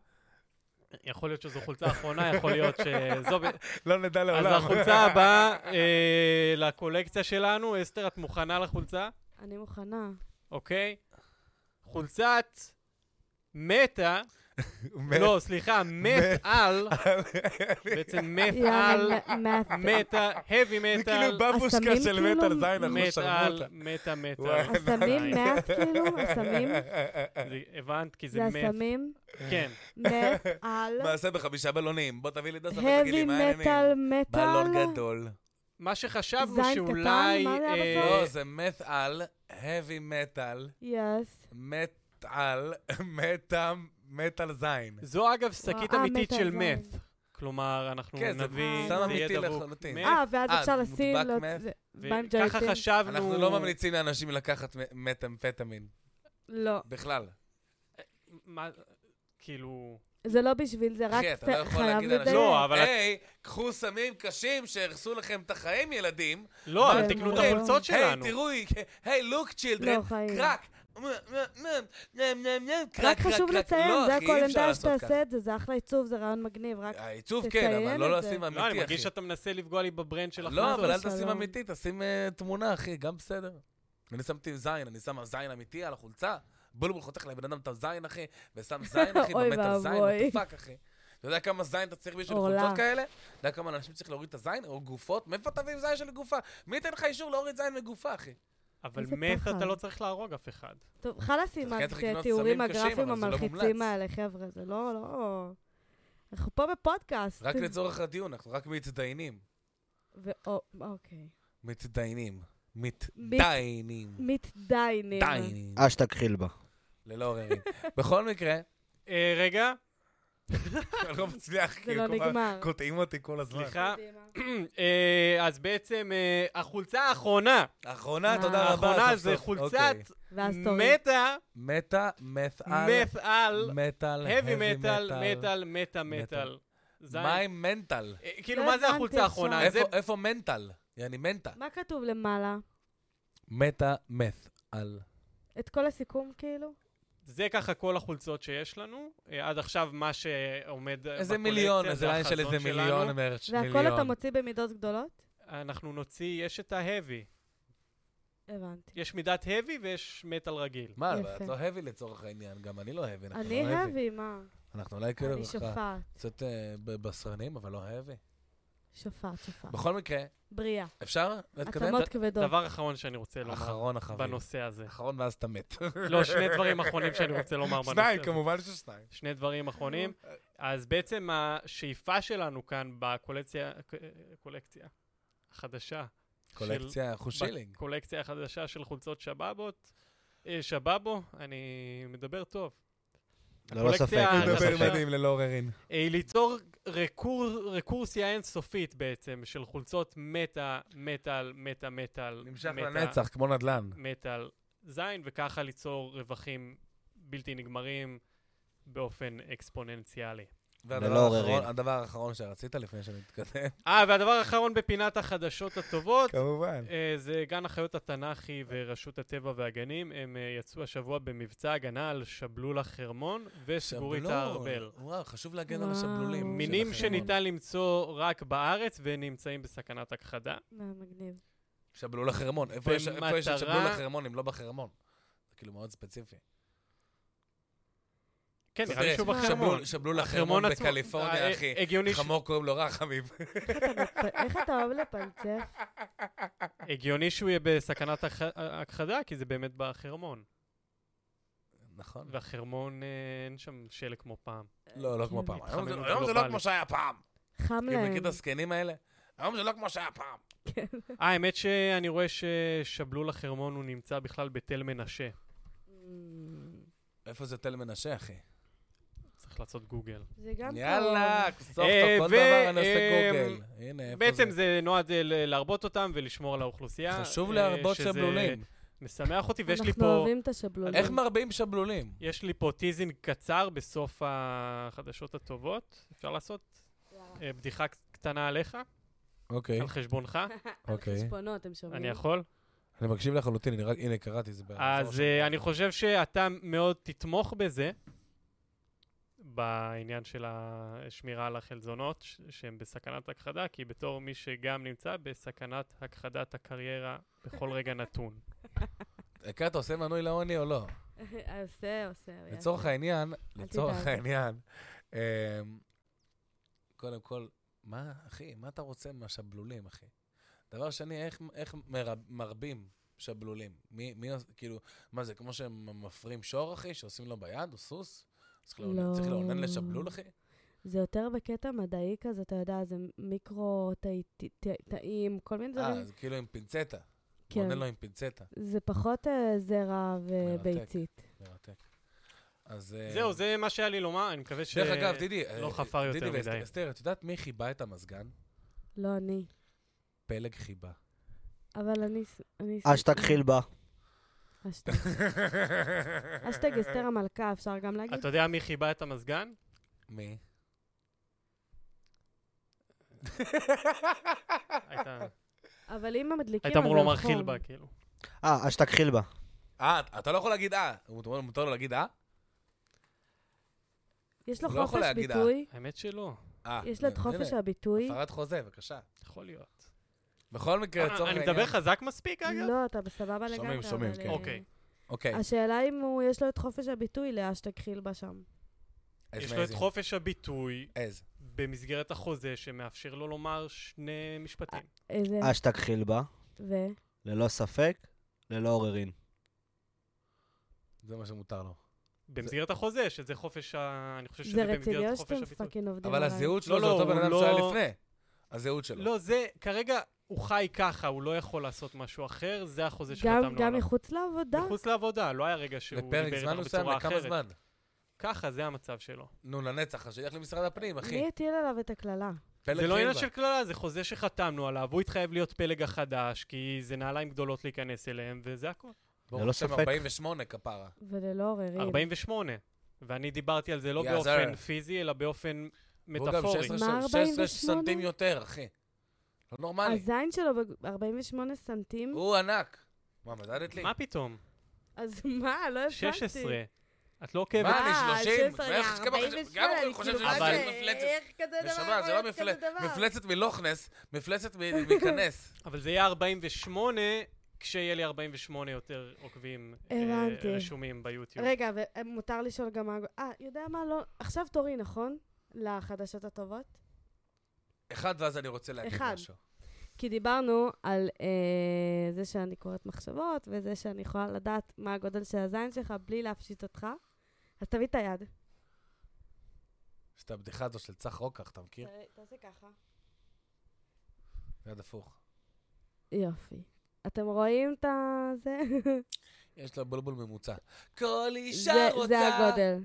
Speaker 2: אוקיי.
Speaker 4: יכול להיות שזו חולצה אחרונה, יכול להיות שזו... ב-
Speaker 2: לא נדע
Speaker 4: אז
Speaker 2: לעולם.
Speaker 4: החולצה הבאה אה, לקולקציה שלנו, אסתר, את מוכנה לחולצה?
Speaker 3: אני מוכנה.
Speaker 4: אוקיי? חולצת מטה,
Speaker 2: מת.
Speaker 4: לא, סליחה, מת על, בעצם מת על,
Speaker 3: יעני, מת.
Speaker 4: מטה, heavy
Speaker 2: זה כאילו
Speaker 4: metal,
Speaker 2: בבושקה
Speaker 3: הסמים
Speaker 2: של
Speaker 3: כאילו-
Speaker 2: מטאל זין, אנחנו
Speaker 4: מת על,
Speaker 2: שרמוטה.
Speaker 4: מטה
Speaker 2: וואי.
Speaker 4: מטה.
Speaker 3: הסמים מת, כאילו? הסמים?
Speaker 4: הבנת? כי זה
Speaker 3: זה
Speaker 4: מת.
Speaker 3: הסמים?
Speaker 4: כן.
Speaker 3: מת על?
Speaker 2: מעשה בחמישה בלונים, בוא תביא לי דסה ותגיד לי
Speaker 3: heavy
Speaker 2: מה העניינים.
Speaker 3: metal
Speaker 2: בלון
Speaker 3: metal?
Speaker 2: גדול.
Speaker 4: מה שחשבנו
Speaker 3: זין
Speaker 4: שאולי...
Speaker 3: קטן, מה זה היה
Speaker 4: אה,
Speaker 2: לא, זה מת על, heavy metal,
Speaker 3: יס.
Speaker 2: מת על, מטאם, מטאל זין.
Speaker 4: זו אגב שקית
Speaker 3: אה,
Speaker 4: אמיתית
Speaker 3: metal
Speaker 4: של
Speaker 3: זין.
Speaker 4: מת. כלומר, אנחנו
Speaker 2: כן, זה
Speaker 4: נביא,
Speaker 3: סם
Speaker 4: זה יהיה
Speaker 2: אמיתי
Speaker 4: דבוק.
Speaker 2: לחלוטין.
Speaker 4: מת,
Speaker 3: אה, ואז
Speaker 2: אה,
Speaker 3: אפשר
Speaker 2: מודבק
Speaker 3: לשים לו...
Speaker 2: מת?
Speaker 3: זה-
Speaker 4: וככה
Speaker 3: בנג'ויטים.
Speaker 4: חשבנו...
Speaker 3: כאילו-
Speaker 2: אנחנו לא ממליצים לאנשים לקחת מ- מטאמפטמין,
Speaker 3: לא.
Speaker 2: בכלל.
Speaker 4: מה- כאילו...
Speaker 3: זה לא בשביל זה, רק
Speaker 2: אחי,
Speaker 3: ת-
Speaker 2: אתה לא יכול
Speaker 3: חייב
Speaker 2: להגיד
Speaker 3: לדייק.
Speaker 2: אנשים,
Speaker 4: לא, אבל-
Speaker 2: היי, קחו סמים קשים שהרסו לכם את החיים, ילדים.
Speaker 4: לא,
Speaker 3: מה
Speaker 4: אבל
Speaker 3: אתם
Speaker 4: תקנו את
Speaker 3: אומרים?
Speaker 4: החולצות
Speaker 2: היי,
Speaker 4: שלנו.
Speaker 2: תראו, היי, לוק צ'ילדרן,
Speaker 3: לא, חיים.
Speaker 2: קרק. מ- מ- מ- נם, נם, נם, קרק,
Speaker 3: רק
Speaker 2: קרק,
Speaker 3: חשוב
Speaker 2: קרק.
Speaker 3: לציין,
Speaker 2: לא,
Speaker 3: זה
Speaker 2: אחי,
Speaker 3: הכל
Speaker 2: אי
Speaker 3: אין
Speaker 2: אפשר
Speaker 3: בעיה
Speaker 2: לעשות
Speaker 3: שתעשה את זה, זה אחלה עיצוב, זה רעיון מגניב, רק...
Speaker 2: ככה. העיצוב כן, אבל
Speaker 3: תציין
Speaker 2: לא
Speaker 3: את זה.
Speaker 2: לשים אמיתי,
Speaker 4: לא,
Speaker 2: אחי.
Speaker 4: אני מרגיש שאתה מנסה לפגוע לי בברנד של
Speaker 2: לא,
Speaker 4: החולצות.
Speaker 2: אבל אל
Speaker 3: שלום.
Speaker 2: תשים אמיתי, תשים אה, תמונה, אחי, גם בסדר. אני שמתי זין, אני שם זין אמיתי על החולצה. בולבול חותך לבן אדם את הזין, אחי, ושם זין, אחי,
Speaker 3: אוי
Speaker 2: באמת על זין,
Speaker 3: ואבוי.
Speaker 2: what the fuck, אחי. אתה יודע כמה זין אתה צריך בשביל
Speaker 3: עורלה.
Speaker 2: חולצות כאלה? אתה יודע כמה אנשים צריך להוריד את הזין? או גופות? מאיפה תביא זין של גופה? מי ייתן לך אישור להוריד זין מגופה, אחי?
Speaker 4: אבל
Speaker 3: איזה
Speaker 4: מת
Speaker 3: פחד.
Speaker 4: אתה לא צריך להרוג אף אחד.
Speaker 3: טוב, חלאס עם
Speaker 2: אתה כן צריך לקנות
Speaker 3: התיאורים
Speaker 2: סמים קשים,
Speaker 3: הגרפיים
Speaker 2: אבל זה לא
Speaker 3: המלחיצים
Speaker 2: מומלץ.
Speaker 3: האלה, חבר'ה, זה לא, לא... אנחנו פה בפודקאסט.
Speaker 4: כן.
Speaker 2: רק לצורך הדיון, אנחנו רק מצטיינים.
Speaker 3: ו- או- אוקיי.
Speaker 2: מצטיינים.
Speaker 3: מת-
Speaker 2: מתדיינים.
Speaker 3: מתדיינים.
Speaker 2: דיינים.
Speaker 1: אשתג חילבה.
Speaker 2: ללא עוררין. בכל מקרה,
Speaker 4: אה, רגע,
Speaker 2: אני לא מצליח,
Speaker 3: זה
Speaker 2: כאילו,
Speaker 3: לא
Speaker 2: כל פעם
Speaker 3: נגמר.
Speaker 2: קוטעים אותי כל הזמן.
Speaker 4: סליחה. אה, אז בעצם אה, החולצה האחרונה,
Speaker 2: האחרונה,
Speaker 3: אה.
Speaker 2: תודה רבה.
Speaker 4: האחרונה
Speaker 2: סוף
Speaker 4: זה
Speaker 2: סוף. אוקיי.
Speaker 4: חולצת
Speaker 3: ואז תוריד.
Speaker 4: מטה,
Speaker 2: מטא, מת'אל,
Speaker 4: מת על,
Speaker 2: מטאל,
Speaker 4: heavy metal, מטאל, מטה מטאל. זין.
Speaker 2: מה עם מנטל?
Speaker 4: אה, כאילו,
Speaker 3: לא
Speaker 4: מה זה
Speaker 3: הבנתי
Speaker 4: החולצה האחרונה?
Speaker 3: עכשיו.
Speaker 4: זה-
Speaker 2: איפה- איפה מנטל? יעני מנטה.
Speaker 3: מה כתוב למעלה?
Speaker 2: מטא,
Speaker 4: אה,
Speaker 2: מת'אל.
Speaker 3: את כל הסיכום, כאילו?
Speaker 4: זה ככה כל החולצות שיש לנו. אה, עד עכשיו מה שעומד בקולקציה
Speaker 2: איזה מיליון,
Speaker 4: זה
Speaker 2: איזה ליין של
Speaker 4: החזון
Speaker 2: איזה
Speaker 4: שלנו.
Speaker 2: מיליון מרץ',
Speaker 3: והכל אתה
Speaker 2: מיליון.
Speaker 3: מוציא במידות גדולות?
Speaker 4: אנחנו נוציא, יש את ה-heavy.
Speaker 3: הבנתי.
Speaker 4: יש מידת heavy ויש מטאל רגיל.
Speaker 2: מה, אבל
Speaker 3: יפה.
Speaker 2: את לא heavy לצורך העניין, גם אני לא heavy, אנחנו
Speaker 3: אני
Speaker 2: לא heavy.
Speaker 3: האבי, מה?
Speaker 2: אנחנו אולי כאילו
Speaker 3: אני
Speaker 2: ככה
Speaker 3: שופעת.
Speaker 2: קצת אה, ב- בשרנים, אבל לא heavy.
Speaker 3: שופעת, שופעת.
Speaker 2: בכל מקרה,
Speaker 3: בריאה.
Speaker 2: אפשר להתקדם?
Speaker 3: עצמות כבדות.
Speaker 4: דבר אחרון שאני רוצה לומר
Speaker 2: אחרון אחרון.
Speaker 4: בנושא הזה.
Speaker 2: אחרון ואז אתה מת.
Speaker 4: לא, שני דברים אחרונים שאני רוצה לומר בנושא
Speaker 2: שניים,
Speaker 4: הזה.
Speaker 2: כמובן ששניים.
Speaker 4: שני דברים אחרונים. אז בעצם השאיפה שלנו כאן בקולקציה, קולקציה החדשה,
Speaker 2: קולקציה, אנחנו שילינג.
Speaker 4: בקולקציה החדשה של חולצות שבבות, אה, שבאבו, אני מדבר טוב.
Speaker 1: ללא
Speaker 4: הקולקציה
Speaker 1: ספק, ללא
Speaker 4: החדשה.
Speaker 1: ספק.
Speaker 2: ללא עוררין.
Speaker 4: אה, ליצור רקור, רקורסיה אינסופית בעצם של חולצות מטה, מטאל, מטה, מטאל,
Speaker 2: נמשך
Speaker 4: מטה,
Speaker 2: לנצח, כמו נדל"ן.
Speaker 4: מטאל, זין, וככה ליצור רווחים בלתי נגמרים באופן אקספוננציאלי.
Speaker 2: והדבר
Speaker 1: ללא
Speaker 2: האחרון-
Speaker 1: עוררין.
Speaker 2: הדבר האחרון שרצית לפני שנתקדם.
Speaker 4: אה, והדבר האחרון בפינת החדשות הטובות,
Speaker 2: כמובן.
Speaker 4: אה, זה גן החיות התנ"כי ורשות הטבע והגנים. הם אה, יצאו השבוע במבצע הגנה על שבלול החרמון וסגורית הארבל.
Speaker 2: וואו, חשוב להגן על
Speaker 3: וואו.
Speaker 2: השבלולים. של
Speaker 4: מינים
Speaker 2: החרמון.
Speaker 4: שניתן למצוא רק בארץ ונמצאים בסכנת הכחדה.
Speaker 3: מה, מגניב.
Speaker 2: שבלול החרמון. איפה יש- איפה יש את
Speaker 4: במטרה-
Speaker 2: שבלול החרמון אם לא בחרמון? זה כאילו מאוד ספציפי.
Speaker 4: כן,
Speaker 2: טוב,
Speaker 4: נראה לי
Speaker 2: תראה,
Speaker 4: שהוא
Speaker 3: שבלול-
Speaker 4: בחרמון.
Speaker 2: שבלול- שבלול החרמון
Speaker 4: עצמו.
Speaker 2: בקליפורניה,
Speaker 4: אה,
Speaker 2: אחי.
Speaker 4: הגיוני ש-
Speaker 2: חמור קוראים לו רחמים.
Speaker 3: איך אתה מפ- איך אתה אוהב לפלצף?
Speaker 4: הגיוני שהוא יהיה בסכנת הכ- הכחדה, כי זה באמת בחרמון.
Speaker 2: נכון.
Speaker 4: והחרמון, אה, אין שם שלג כמו פעם.
Speaker 2: לא, לא כמו פעם.
Speaker 4: התחממות
Speaker 2: היום זה- היום זה לא
Speaker 4: גלובלית.
Speaker 2: כמו שהיה פעם.
Speaker 3: כן. חם
Speaker 2: כאילו, מכיר
Speaker 3: להם. כן.
Speaker 2: את הזקנים האלה? היום זה לא כמו שהיה פעם.
Speaker 4: אה, האמת שאני רואה ששבלול החרמון הוא נמצא בכלל בתל מנשה.
Speaker 3: אמ,
Speaker 4: Mm.
Speaker 2: איפה זה תל מנשה, אחי?
Speaker 4: צריך לעשות גוגל.
Speaker 3: זה גם קרוב.
Speaker 2: יאללה, סוף סוף
Speaker 4: אה,
Speaker 2: כל
Speaker 4: ו-
Speaker 2: דבר אני עושה
Speaker 4: אה,
Speaker 2: גוגל. הנה, איפה זה?
Speaker 4: בעצם זה נועד אה, ל- להרבות אותם ולשמור על האוכלוסייה.
Speaker 2: חשוב
Speaker 4: אה,
Speaker 2: להרבות
Speaker 4: שזה
Speaker 2: שבלולים.
Speaker 4: משמח אותי, ויש לי
Speaker 3: אנחנו
Speaker 4: פה...
Speaker 3: אוהבים את השבלולים.
Speaker 2: איך מרבים שבלולים?
Speaker 4: יש לי פה טיזינג קצר בסוף החדשות הטובות. אפשר לעשות
Speaker 3: יאללה.
Speaker 4: אה, בדיחה ק- קטנה עליך,
Speaker 2: אוקיי,
Speaker 4: על חשבונך.
Speaker 2: אוקיי.
Speaker 3: חשבונות, הם שומעים.
Speaker 4: אני יכול?
Speaker 2: אני מקשיב לחלוטין, אני רק- הנה, קראתי זה. באזור
Speaker 4: אז
Speaker 2: שם.
Speaker 4: אה, אני חושב שאתה מאוד תתמוך בזה, בעניין של השמירה על החלזונות, ש- שהם בסכנת הכחדה, כי בתור מי שגם נמצא בסכנת הכחדת הקריירה בכל רגע נתון.
Speaker 2: דקה, אתה עושה מנוי לעוני או לא?
Speaker 3: עושה, עושה.
Speaker 2: לצורך
Speaker 3: יעשה.
Speaker 2: העניין, לצורך
Speaker 3: תדאג.
Speaker 2: העניין, אמ, קודם כל, מה, אחי, מה אתה רוצה מהשבלולים, אחי? דבר שני, איך- איך מרב- מרבים שבלולים? מי, מי עוש- כאילו, מה זה, כמו שהם מפרים שור, אחי, שעושים לו ביד, או סוס? צריך לאונן-
Speaker 3: לא.
Speaker 2: צריך לאונן לשבלול, אחי?
Speaker 3: זה יותר בקטע מדעי כזה, אתה יודע, זה מיקרו, תאי- תאי- תאים, כל מיני
Speaker 2: אה,
Speaker 3: דברים.
Speaker 2: זה כאילו עם פינצטה.
Speaker 3: לא-
Speaker 2: כן.
Speaker 3: כן.
Speaker 2: עונה לו עם פינצטה,
Speaker 3: זה פחות אה, זרע
Speaker 2: מרתק.
Speaker 3: וביצית.
Speaker 2: מרתק. אז... אה,
Speaker 4: זהו, זה מה שהיה לי לומר, אני מקווה ש...
Speaker 2: דרך אגב, דידי, אה,
Speaker 4: לא חפר יותר
Speaker 2: דידי
Speaker 4: מדי.
Speaker 2: ואסתר, את יודעת מי חיבה את המזגן?
Speaker 3: לא אני.
Speaker 2: פלג חיבה.
Speaker 3: אבל אני... ס- אני ס-
Speaker 1: אשתג חילבה.
Speaker 3: אשתג. אשתג אסתר המלכה, אפשר גם להגיד?
Speaker 4: אתה יודע מי חיבה את המזגן?
Speaker 2: מי?
Speaker 4: היית
Speaker 3: אבל אם המדליקים...
Speaker 4: היית אמור
Speaker 3: כן, אז נכון. על
Speaker 4: לומר
Speaker 3: חום.
Speaker 4: חילבה, כאילו.
Speaker 1: אה, אשתג חילבה.
Speaker 3: כן.
Speaker 2: אה, אתה לא יכול להגיד אה. הוא- הוא- מותר לו להגיד אה?
Speaker 3: יש לו
Speaker 2: הוא לא יכול
Speaker 3: חופש
Speaker 2: להגיד, אה.
Speaker 3: ביטוי?
Speaker 4: האמת שלא,
Speaker 2: אה.
Speaker 3: יש לו את
Speaker 2: הנה,
Speaker 3: חופש
Speaker 2: הנה,
Speaker 3: הביטוי?
Speaker 2: הפרת חוזה, בבקשה.
Speaker 4: יכול להיות. אה,
Speaker 2: בכל מקרה, כן, לצורך
Speaker 4: אני
Speaker 2: העניין...
Speaker 4: מדבר חזק מספיק, אגב?
Speaker 3: לא, אתה בסבבה לגמרי.
Speaker 2: שומעים, שומעים,
Speaker 3: אבל,
Speaker 2: כן.
Speaker 3: אה,
Speaker 4: אוקיי.
Speaker 2: אוקיי.
Speaker 3: השאלה אם הוא, יש לו את חופש הביטוי לאשתג חילבה שם.
Speaker 2: אז
Speaker 4: יש לו את
Speaker 2: מאיזים.
Speaker 4: חופש הביטוי
Speaker 2: אז.
Speaker 4: במסגרת החוזה שמאפשר לו לומר שני
Speaker 2: אה,
Speaker 4: משפטים.
Speaker 3: איזה...
Speaker 1: אשתג חילבה,
Speaker 3: ו...
Speaker 1: ללא ספק, ללא עוררין.
Speaker 2: זה מה שמותר לו.
Speaker 4: במסגרת החוזה, שזה חופש ה... אני חושב שזה
Speaker 3: זה רציני
Speaker 4: במסגרת
Speaker 3: או
Speaker 4: חופש
Speaker 3: שאתם
Speaker 4: הביטוי.
Speaker 3: פאקינג עובדים
Speaker 2: אבל
Speaker 3: עליי?
Speaker 2: הזהות
Speaker 4: לא,
Speaker 2: שלו זה
Speaker 4: לא,
Speaker 2: אותו בן
Speaker 4: הוא
Speaker 2: אדם
Speaker 4: לא-
Speaker 2: שהיה לפני. הזהות שלו.
Speaker 4: לא, זה כרגע, הוא חי ככה, הוא לא יכול לעשות משהו אחר, זה החוזה
Speaker 3: גם-
Speaker 4: שחתמנו
Speaker 3: גם
Speaker 4: עליו.
Speaker 3: מחוץ לעבודה?
Speaker 4: מחוץ לעבודה, לא היה רגע שהוא דיבר
Speaker 2: לפרק זמן
Speaker 4: איתנו
Speaker 2: מסוים,
Speaker 4: בצורה
Speaker 2: לכמה
Speaker 4: אחרת.
Speaker 2: זמן?
Speaker 4: ככה, זה המצב שלו.
Speaker 2: נו, לנצח, אז שילך למשרד הפנים, אחי.
Speaker 3: מי הטיל עליו את הקללה?
Speaker 2: פלג
Speaker 4: זה לא עניין
Speaker 2: חילבה.
Speaker 4: של קללה, זה חוזה שחתמנו עליו, הוא התחייב להיות פלג החדש, כי זה נעליים גדולות להיכנס אליהם, וזה הכול.
Speaker 2: ברוך
Speaker 1: ללא
Speaker 2: השם,
Speaker 1: ספק.
Speaker 2: 48 כפרה.
Speaker 3: וללא לא עוררין.
Speaker 4: 48. ואני דיברתי על זה לא
Speaker 2: יא
Speaker 4: באופן
Speaker 2: זר.
Speaker 4: פיזי, אלא באופן
Speaker 2: והוא גם
Speaker 4: מטאפורי.
Speaker 2: 16
Speaker 3: מה,
Speaker 2: 16
Speaker 3: 48?
Speaker 2: סנטים יותר, אחי. לא נורמלי.
Speaker 3: הזין שלו ב-48 סנטים?
Speaker 2: הוא ענק. מה, מדדת לי?
Speaker 4: מה פתאום?
Speaker 3: אז מה? לא הבנתי.
Speaker 4: 16. את לא
Speaker 2: מה,
Speaker 4: עוקבת.
Speaker 2: אני
Speaker 3: אה,
Speaker 2: 30?
Speaker 3: 16,
Speaker 2: ואיך- כמה-
Speaker 3: 48,
Speaker 2: גם
Speaker 3: אני
Speaker 2: אני חושב
Speaker 3: כאילו,
Speaker 2: שזה לא
Speaker 3: מה
Speaker 4: אבל-
Speaker 3: זה?
Speaker 2: מפלצת.
Speaker 3: איך כזה דבר
Speaker 2: נשמה, זה לא
Speaker 3: יכול להיות
Speaker 2: מפלצת,
Speaker 3: כזה דבר?
Speaker 2: מפלצת מלוכנס, מפלצת מ- מכנס.
Speaker 4: אבל זה יהיה 48 כשיהיה לי 48 יותר עוקבים אה,
Speaker 3: הבנתי.
Speaker 4: רשומים ביוטיוב.
Speaker 3: רגע, ומותר לשאול גם מה... אה, יודע מה? לא... עכשיו תורי, נכון? לחדשות הטובות?
Speaker 2: אחד, ואז אני רוצה להגיד
Speaker 3: אחד.
Speaker 2: משהו.
Speaker 3: כי דיברנו על אה, זה שאני קוראת מחשבות, וזה שאני יכולה לדעת מה הגודל של הזין שלך בלי להפשיט אותך. אז תביא את היד.
Speaker 2: יש את הבדיחה הזו של צח רוקח, אתה מכיר?
Speaker 3: תעשה ככה.
Speaker 2: יד הפוך.
Speaker 3: יופי. אתם רואים את ה... זה?
Speaker 2: יש לו בולבול ממוצע. כל אישה
Speaker 3: זה-
Speaker 2: רוצה...
Speaker 3: זה הגודל.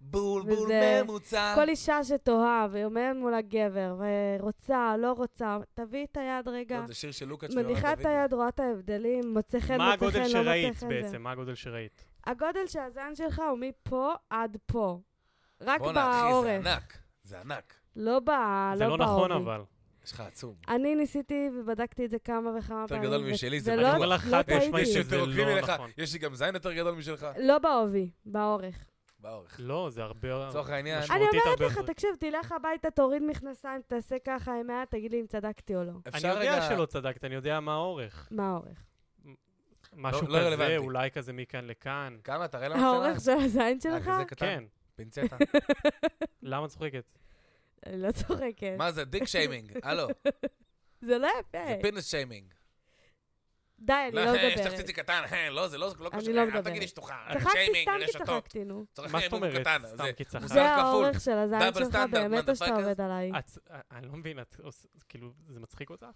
Speaker 2: בולבול
Speaker 3: וזה-
Speaker 4: אה.
Speaker 2: ממוצע.
Speaker 3: כל אישה שתוהה ועומדת מול הגבר ורוצה, לא רוצה, תביא את היד רגע.
Speaker 2: לא, זה שיר של לוקאץ' ויורם
Speaker 3: מניחה את
Speaker 2: דוידי.
Speaker 3: היד, רואה את ההבדלים, מוצא חן,
Speaker 4: מה
Speaker 3: מוצא חן, לא
Speaker 4: הגודל
Speaker 3: מוצא
Speaker 4: שראית
Speaker 3: חן. זה.
Speaker 4: בעצם? מה הגודל שראית?
Speaker 3: הגודל של הזין שלך הוא מפה עד פה. רק
Speaker 2: בואנה, אחי, זה
Speaker 3: בעורף.
Speaker 2: ענק. זה ענק.
Speaker 3: לא ב...
Speaker 4: זה לא נכון
Speaker 3: בעורף.
Speaker 4: אבל.
Speaker 2: יש לך עצום.
Speaker 3: אני ניסיתי ובדקתי את זה כמה וכמה
Speaker 2: יותר
Speaker 3: פעמים.
Speaker 2: גדול
Speaker 3: ו-
Speaker 2: משלי, זה
Speaker 3: ולא-
Speaker 2: בטוח.
Speaker 4: אני אומר לך
Speaker 3: לא
Speaker 4: חד משמעית
Speaker 3: טעיתי.
Speaker 2: יש
Speaker 4: שזה
Speaker 2: יותר
Speaker 4: לא
Speaker 2: עוקבים ממך,
Speaker 4: נכון.
Speaker 2: יש לי גם זין יותר גדול משלך.
Speaker 3: לא בעובי, בעורך.
Speaker 2: באורך.
Speaker 4: לא, זה הרבה...
Speaker 2: לצורך העניין,
Speaker 3: אני
Speaker 4: משמעותית
Speaker 3: אומרת
Speaker 4: הרבה
Speaker 3: לך,
Speaker 4: יותר.
Speaker 3: תקשיב, תלך הביתה, תוריד מכנסיים, תעשה ככה עם היד, תגיד לי אם צדקתי או לא.
Speaker 4: אני יודע שלא צדקת, אני יודע מה האורך.
Speaker 3: מה האורך?
Speaker 4: משהו
Speaker 2: לא רלוונטי.
Speaker 4: כזה, אולי כזה מכאן לכאן.
Speaker 2: כמה? תראה
Speaker 4: לא,
Speaker 2: למה
Speaker 3: האורך של הזין שלך?
Speaker 2: כזה קטן?
Speaker 4: כן.
Speaker 2: פינצטה.
Speaker 4: למה את צוחקת?
Speaker 3: אני לא צוחקת.
Speaker 2: מה זה? דיק שיימינג. הלו,
Speaker 3: זה לא
Speaker 2: זה
Speaker 3: יפה.
Speaker 2: פינס שיימינג.
Speaker 3: די, אני לא
Speaker 2: אה, יש לך
Speaker 3: מדברת.
Speaker 2: ציצי קטן, אה, לא, זה לא זה לא
Speaker 3: אני
Speaker 2: קשור.
Speaker 3: לא
Speaker 2: אל
Speaker 3: מדברת.
Speaker 2: תגידי שטוחה.
Speaker 3: צחקתי,
Speaker 2: שיימינג,
Speaker 3: סתם כי
Speaker 2: רשתות.
Speaker 3: צחקתי, נו.
Speaker 2: צריך
Speaker 4: מה זאת
Speaker 2: חימום
Speaker 4: אומרת?
Speaker 2: קטן.
Speaker 4: סתם
Speaker 2: זה-
Speaker 4: כי צחקת.
Speaker 3: זה
Speaker 2: מוסר כפול.
Speaker 3: האורך של הזין
Speaker 2: דאבל
Speaker 3: שלך,
Speaker 2: סטנדרט,
Speaker 3: באמת או שאתה
Speaker 2: motherfuckers.
Speaker 3: עובד עליי?
Speaker 4: את- אני לא מבין, את עושה... כאילו, זה מצחיק אותך?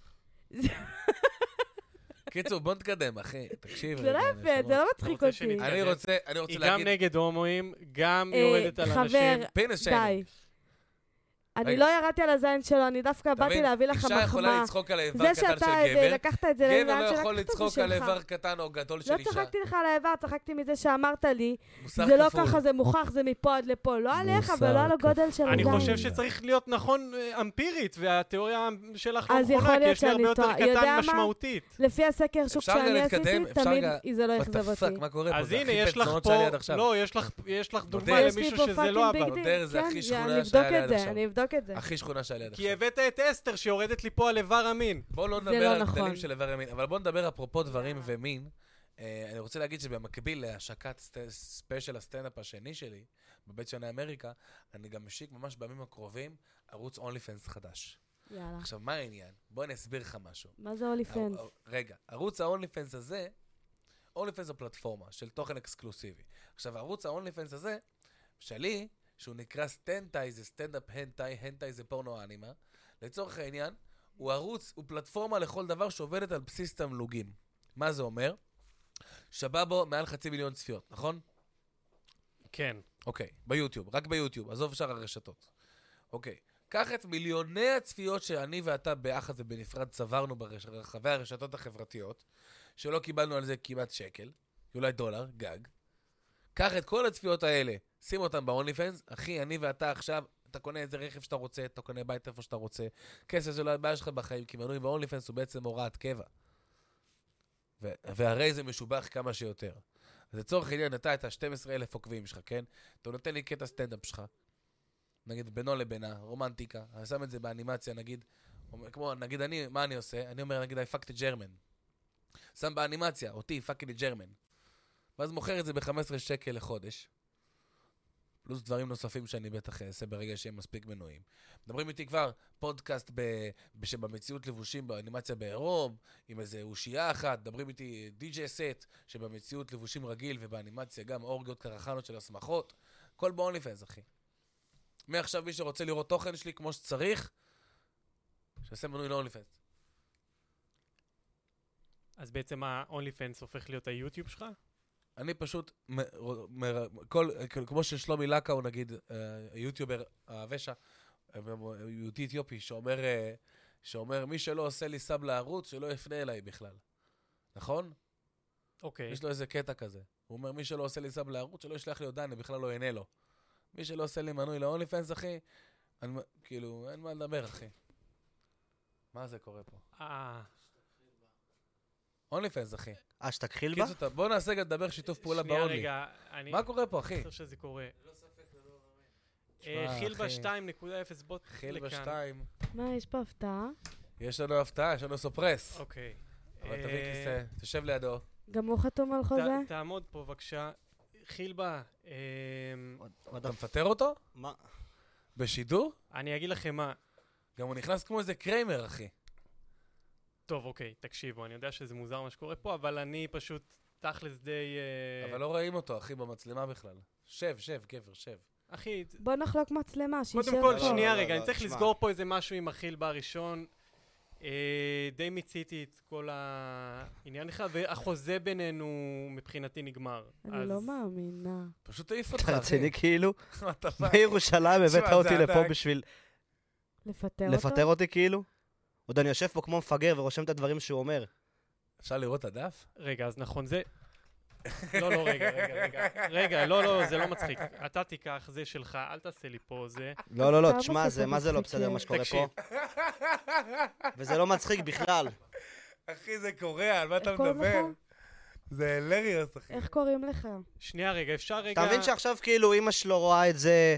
Speaker 2: קיצור, בוא נתקדם, אחי. תקשיב.
Speaker 3: זה לא
Speaker 2: רגע,
Speaker 3: יפה,
Speaker 2: נשמה.
Speaker 3: זה לא
Speaker 4: אתה
Speaker 3: מצחיק
Speaker 4: רוצה
Speaker 3: אותי.
Speaker 4: שנתקדם?
Speaker 2: אני רוצה, אני רוצה
Speaker 4: היא גם
Speaker 2: להגיד,
Speaker 4: נגד הומואים, גם
Speaker 3: אה,
Speaker 4: יורדת על אנשים.
Speaker 3: חבר,
Speaker 2: פינס שיימינג.
Speaker 3: די. אני
Speaker 2: רגע.
Speaker 3: לא ירדתי על הזין שלו, אני דווקא
Speaker 2: אתה
Speaker 3: באתי
Speaker 2: מבין?
Speaker 3: להביא לך
Speaker 2: אישה יכולה
Speaker 3: מחמאה.
Speaker 2: לצחוק על האיבר
Speaker 3: זה
Speaker 2: קטן
Speaker 3: שאתה
Speaker 2: של
Speaker 3: אה,
Speaker 2: גבר,
Speaker 3: לקחת את זה
Speaker 2: גבר
Speaker 3: לאיבר
Speaker 2: לא
Speaker 3: שלך,
Speaker 2: יכול
Speaker 3: לקחת את זה
Speaker 2: לצחוק על
Speaker 3: שלך.
Speaker 2: איבר קטן או גדול של
Speaker 3: לא
Speaker 2: אישה.
Speaker 3: צחקתי לך על האיבר, צחקתי מזה שאמרת לי.
Speaker 2: מוסר
Speaker 3: זה לא
Speaker 2: כפול.
Speaker 3: ככה, זה מוכח, זה מפה עד לפה. לא עליך
Speaker 1: מוסר
Speaker 3: ולא על
Speaker 1: כפול.
Speaker 3: הגודל של
Speaker 4: אני
Speaker 3: הזין.
Speaker 4: חושב שצריך להיות נכון אה, אמפירית, והתיאוריה שלך לא
Speaker 3: אז יכול
Speaker 4: נכונה, כי
Speaker 3: להיות
Speaker 4: יש לי הרבה
Speaker 3: שאני
Speaker 4: יותר
Speaker 3: טועה. יודע
Speaker 4: קטן
Speaker 3: מה?
Speaker 4: משמעותית.
Speaker 3: לפי הסקר שוק
Speaker 2: אפשר גם
Speaker 3: שאני
Speaker 2: להתקדם,
Speaker 3: עשיתי,
Speaker 2: אפשר
Speaker 3: תמיד
Speaker 2: גם-
Speaker 3: זה לא
Speaker 2: What
Speaker 3: אכזב
Speaker 2: the fuck,
Speaker 3: אותי.
Speaker 2: מה קורה פה?
Speaker 4: אז
Speaker 2: זה
Speaker 4: הנה,
Speaker 2: הכי
Speaker 4: יש לך
Speaker 2: פצצונות שהיה לי
Speaker 4: פה...
Speaker 2: עד עכשיו.
Speaker 4: לא, יש לך- יש לך דוגמה
Speaker 2: יש
Speaker 3: יש לי
Speaker 4: למישהו
Speaker 3: פה
Speaker 4: שזה לא עבר.
Speaker 3: פאקינג ביג
Speaker 2: נודר
Speaker 3: דיל.
Speaker 2: זה הכי
Speaker 3: כן,
Speaker 2: שכונה
Speaker 3: אני
Speaker 2: שהיה
Speaker 3: אבדוק
Speaker 2: לי עד
Speaker 3: את זה,
Speaker 2: עכשיו.
Speaker 3: אני אבדוק את זה.
Speaker 2: הכי שכונה שהיה לי עד
Speaker 4: כי
Speaker 2: עכשיו.
Speaker 4: הבאת את אסתר שיורדת לי פה על איבר המין.
Speaker 2: בואו לא
Speaker 3: זה
Speaker 2: נדבר
Speaker 3: לא
Speaker 2: על
Speaker 3: נכון.
Speaker 2: גדלים של איבר ימין, אבל בואו נדבר אפרופו דברים ומין. אה, אני רוצה להגיד שבמקביל להשקת סט- ספיישל הסטנדאפ השני שלי, בבית שני אמריקה, אני גם משיק ממש בימים הקרובים ערוץ אונלי פנס חדש.
Speaker 3: יאללה.
Speaker 2: עכשיו, מה העניין? בוא אני אסביר לך משהו.
Speaker 3: מה זה הולי פנס?
Speaker 2: ערו- רגע, ערוץ ההונלי פנס הזה, הונלי פנס זו פלטפורמה של תוכן אקסקלוסיבי. עכשיו, ערוץ ההונלי פנס הזה, שלי, שהוא נקרא סטנטאי, זה סטנדאפ הנטאי, הנטאי זה פורנו אנימה, לצורך העניין, הוא ערוץ, הוא פלטפורמה לכל דבר שעובדת על בסיס תמלוגים. מה זה אומר? שבבו מעל חצי מיליון צפיות, נכון?
Speaker 4: כן.
Speaker 2: אוקיי, ביוטיוב, רק ביוטיוב, עזוב שאר הרשתות. אוקיי, קח את מיליוני הצפיות שאני ואתה ביחד ובנפרד צברנו ברחבי הרשתות החברתיות, שלא קיבלנו על זה כמעט שקל, אולי דולר, גג. קח את כל הצפיות האלה, שים אותן ב-only fans, אחי, אני ואתה עכשיו, אתה קונה איזה רכב שאתה רוצה, אתה קונה בית איפה שאתה רוצה, כסף זה לא הבעיה שלך בחיים, כי מנוי ב-only fans הוא בעצם הוראת קבע. ו- והרי זה משובח כמה שיותר. אז לצורך העניין, אתה את ה-12,000 עוקבים שלך, כן? אתה נותן לי קטע סטנדאפ שלך, נגיד בינו לבינה, רומנטיקה, אני שם את זה באנימציה, נגיד, אומר- כמו, נגיד אני, מה אני עושה? אני אומר, נגיד, I fucked a German. שם באנימציה, אותי, fucking a German. ואז מוכר את זה ב-15 שקל לחודש, פלוס דברים נוספים שאני בטח אעשה ברגע שיהיה מספיק מנויים. מדברים איתי כבר פודקאסט ב- ב- שבמציאות לבושים באנימציה בעירום, עם איזה אושייה אחת, מדברים איתי די.ג'י סט, שבמציאות לבושים רגיל ובאנימציה גם אורגיות קרחנות של הסמכות. הכל ב-only fans, אחי. מעכשיו מי שרוצה לראות תוכן שלי כמו שצריך, שיעשה מנוי ל-only fans.
Speaker 4: אז בעצם ה-only fans הופך להיות היוטיוב שלך?
Speaker 2: אני פשוט, מ- מ- כל, כל- כמו ששלומי לקאו, נגיד, אה, יוטיובר, הוושע, אה, יהודי אתיופי, שאומר, אה, שאומר, מי שלא עושה לי סאב לערוץ, שלא יפנה אליי בכלל. נכון?
Speaker 4: אוקיי.
Speaker 2: יש לו איזה קטע כזה. הוא אומר, מי שלא עושה לי סאב לערוץ, שלא ישלח לי הודעה, אני בכלל לא אענה לו. מי שלא עושה לי מנוי ל-only fans, אחי, אני, מ- כאילו, אין מה לדבר, אחי. מה זה קורה פה?
Speaker 4: אה,
Speaker 2: אונלי פנס, אחי.
Speaker 1: אה, שתכחיל בה?
Speaker 2: קיצור, טוב, בוא נעשה גם לדבר שיתוף פעולה
Speaker 4: שנייה
Speaker 2: באונלי.
Speaker 4: רגע, אני...
Speaker 2: מה קורה פה, אחי?
Speaker 4: חושב שזה קורה.
Speaker 2: תשמע,
Speaker 4: אה, חילבה
Speaker 2: אחי.
Speaker 4: 2.0 בוט לכאן.
Speaker 2: חילבה 2.
Speaker 3: מה, יש פה הפתעה?
Speaker 2: יש לנו הפתעה, יש לנו סופרס.
Speaker 4: אוקיי.
Speaker 2: אבל תביא
Speaker 4: אה,
Speaker 2: כיסא, תשב לידו.
Speaker 3: גם הוא חתום על
Speaker 4: ת-
Speaker 3: חוזה?
Speaker 4: תעמוד פה בבקשה. חילבה, אמ,
Speaker 2: אתה מפטר אותו?
Speaker 1: מה?
Speaker 2: בשידור?
Speaker 4: אני אגיד לכם מה.
Speaker 2: גם הוא נכנס כמו איזה קריימר, אחי.
Speaker 4: טוב, אוקיי, תקשיבו, אני יודע שזה מוזר מה שקורה פה, אבל אני פשוט תכלס די... אה,
Speaker 2: אבל לא רואים אותו, אחי, במצלמה בכלל. שב, שב, גבר, שב.
Speaker 4: אחי,
Speaker 3: בוא נחלוק מצלמה, שישב
Speaker 4: קודם כל,
Speaker 1: לא,
Speaker 3: פה.
Speaker 4: שנייה
Speaker 1: לא,
Speaker 4: רגע,
Speaker 1: לא,
Speaker 4: אני צריך
Speaker 1: תשמע.
Speaker 4: לסגור פה איזה משהו עם החילבה הראשון. אה, די מיציתי את כל העניין לך, והחוזה בינינו מבחינתי נגמר.
Speaker 3: אני
Speaker 4: אז-
Speaker 3: לא מאמינה.
Speaker 2: פשוט העיף אותך,
Speaker 1: אתה רציני
Speaker 2: אחי.
Speaker 1: כאילו?
Speaker 2: מה אתה בא?
Speaker 1: מירושלים הבאת
Speaker 2: תשמע,
Speaker 1: אותי
Speaker 2: זה
Speaker 1: לפה
Speaker 2: ענק.
Speaker 1: בשביל
Speaker 3: לפטר אותו?
Speaker 1: לפטר אותי כאילו? עוד אני יושב פה כמו מפגר ורושם את הדברים שהוא אומר.
Speaker 2: אפשר לראות את הדף?
Speaker 4: רגע, אז נכון, זה... לא, לא, רגע, רגע, רגע. רגע, לא, לא, זה לא מצחיק. אתה תיקח, זה שלך, אל תעשה לי פה, זה...
Speaker 1: לא, לא, לא,
Speaker 3: אתה
Speaker 1: תשמע,
Speaker 3: בסוף
Speaker 1: זה מה זה לא
Speaker 3: מצחיק
Speaker 1: בסדר מה
Speaker 3: לי.
Speaker 1: שקורה
Speaker 4: תקשיב.
Speaker 1: פה? וזה לא מצחיק בכלל.
Speaker 2: אחי, זה קורע, על מה אתה
Speaker 3: איך קוראים
Speaker 2: מדבר?
Speaker 3: לך?
Speaker 2: זה הלריאס, אחי.
Speaker 3: נכון. איך קוראים לך?
Speaker 4: שנייה רגע, אפשר רגע...
Speaker 1: אתה מבין שעכשיו כאילו אימא שלו רואה את זה,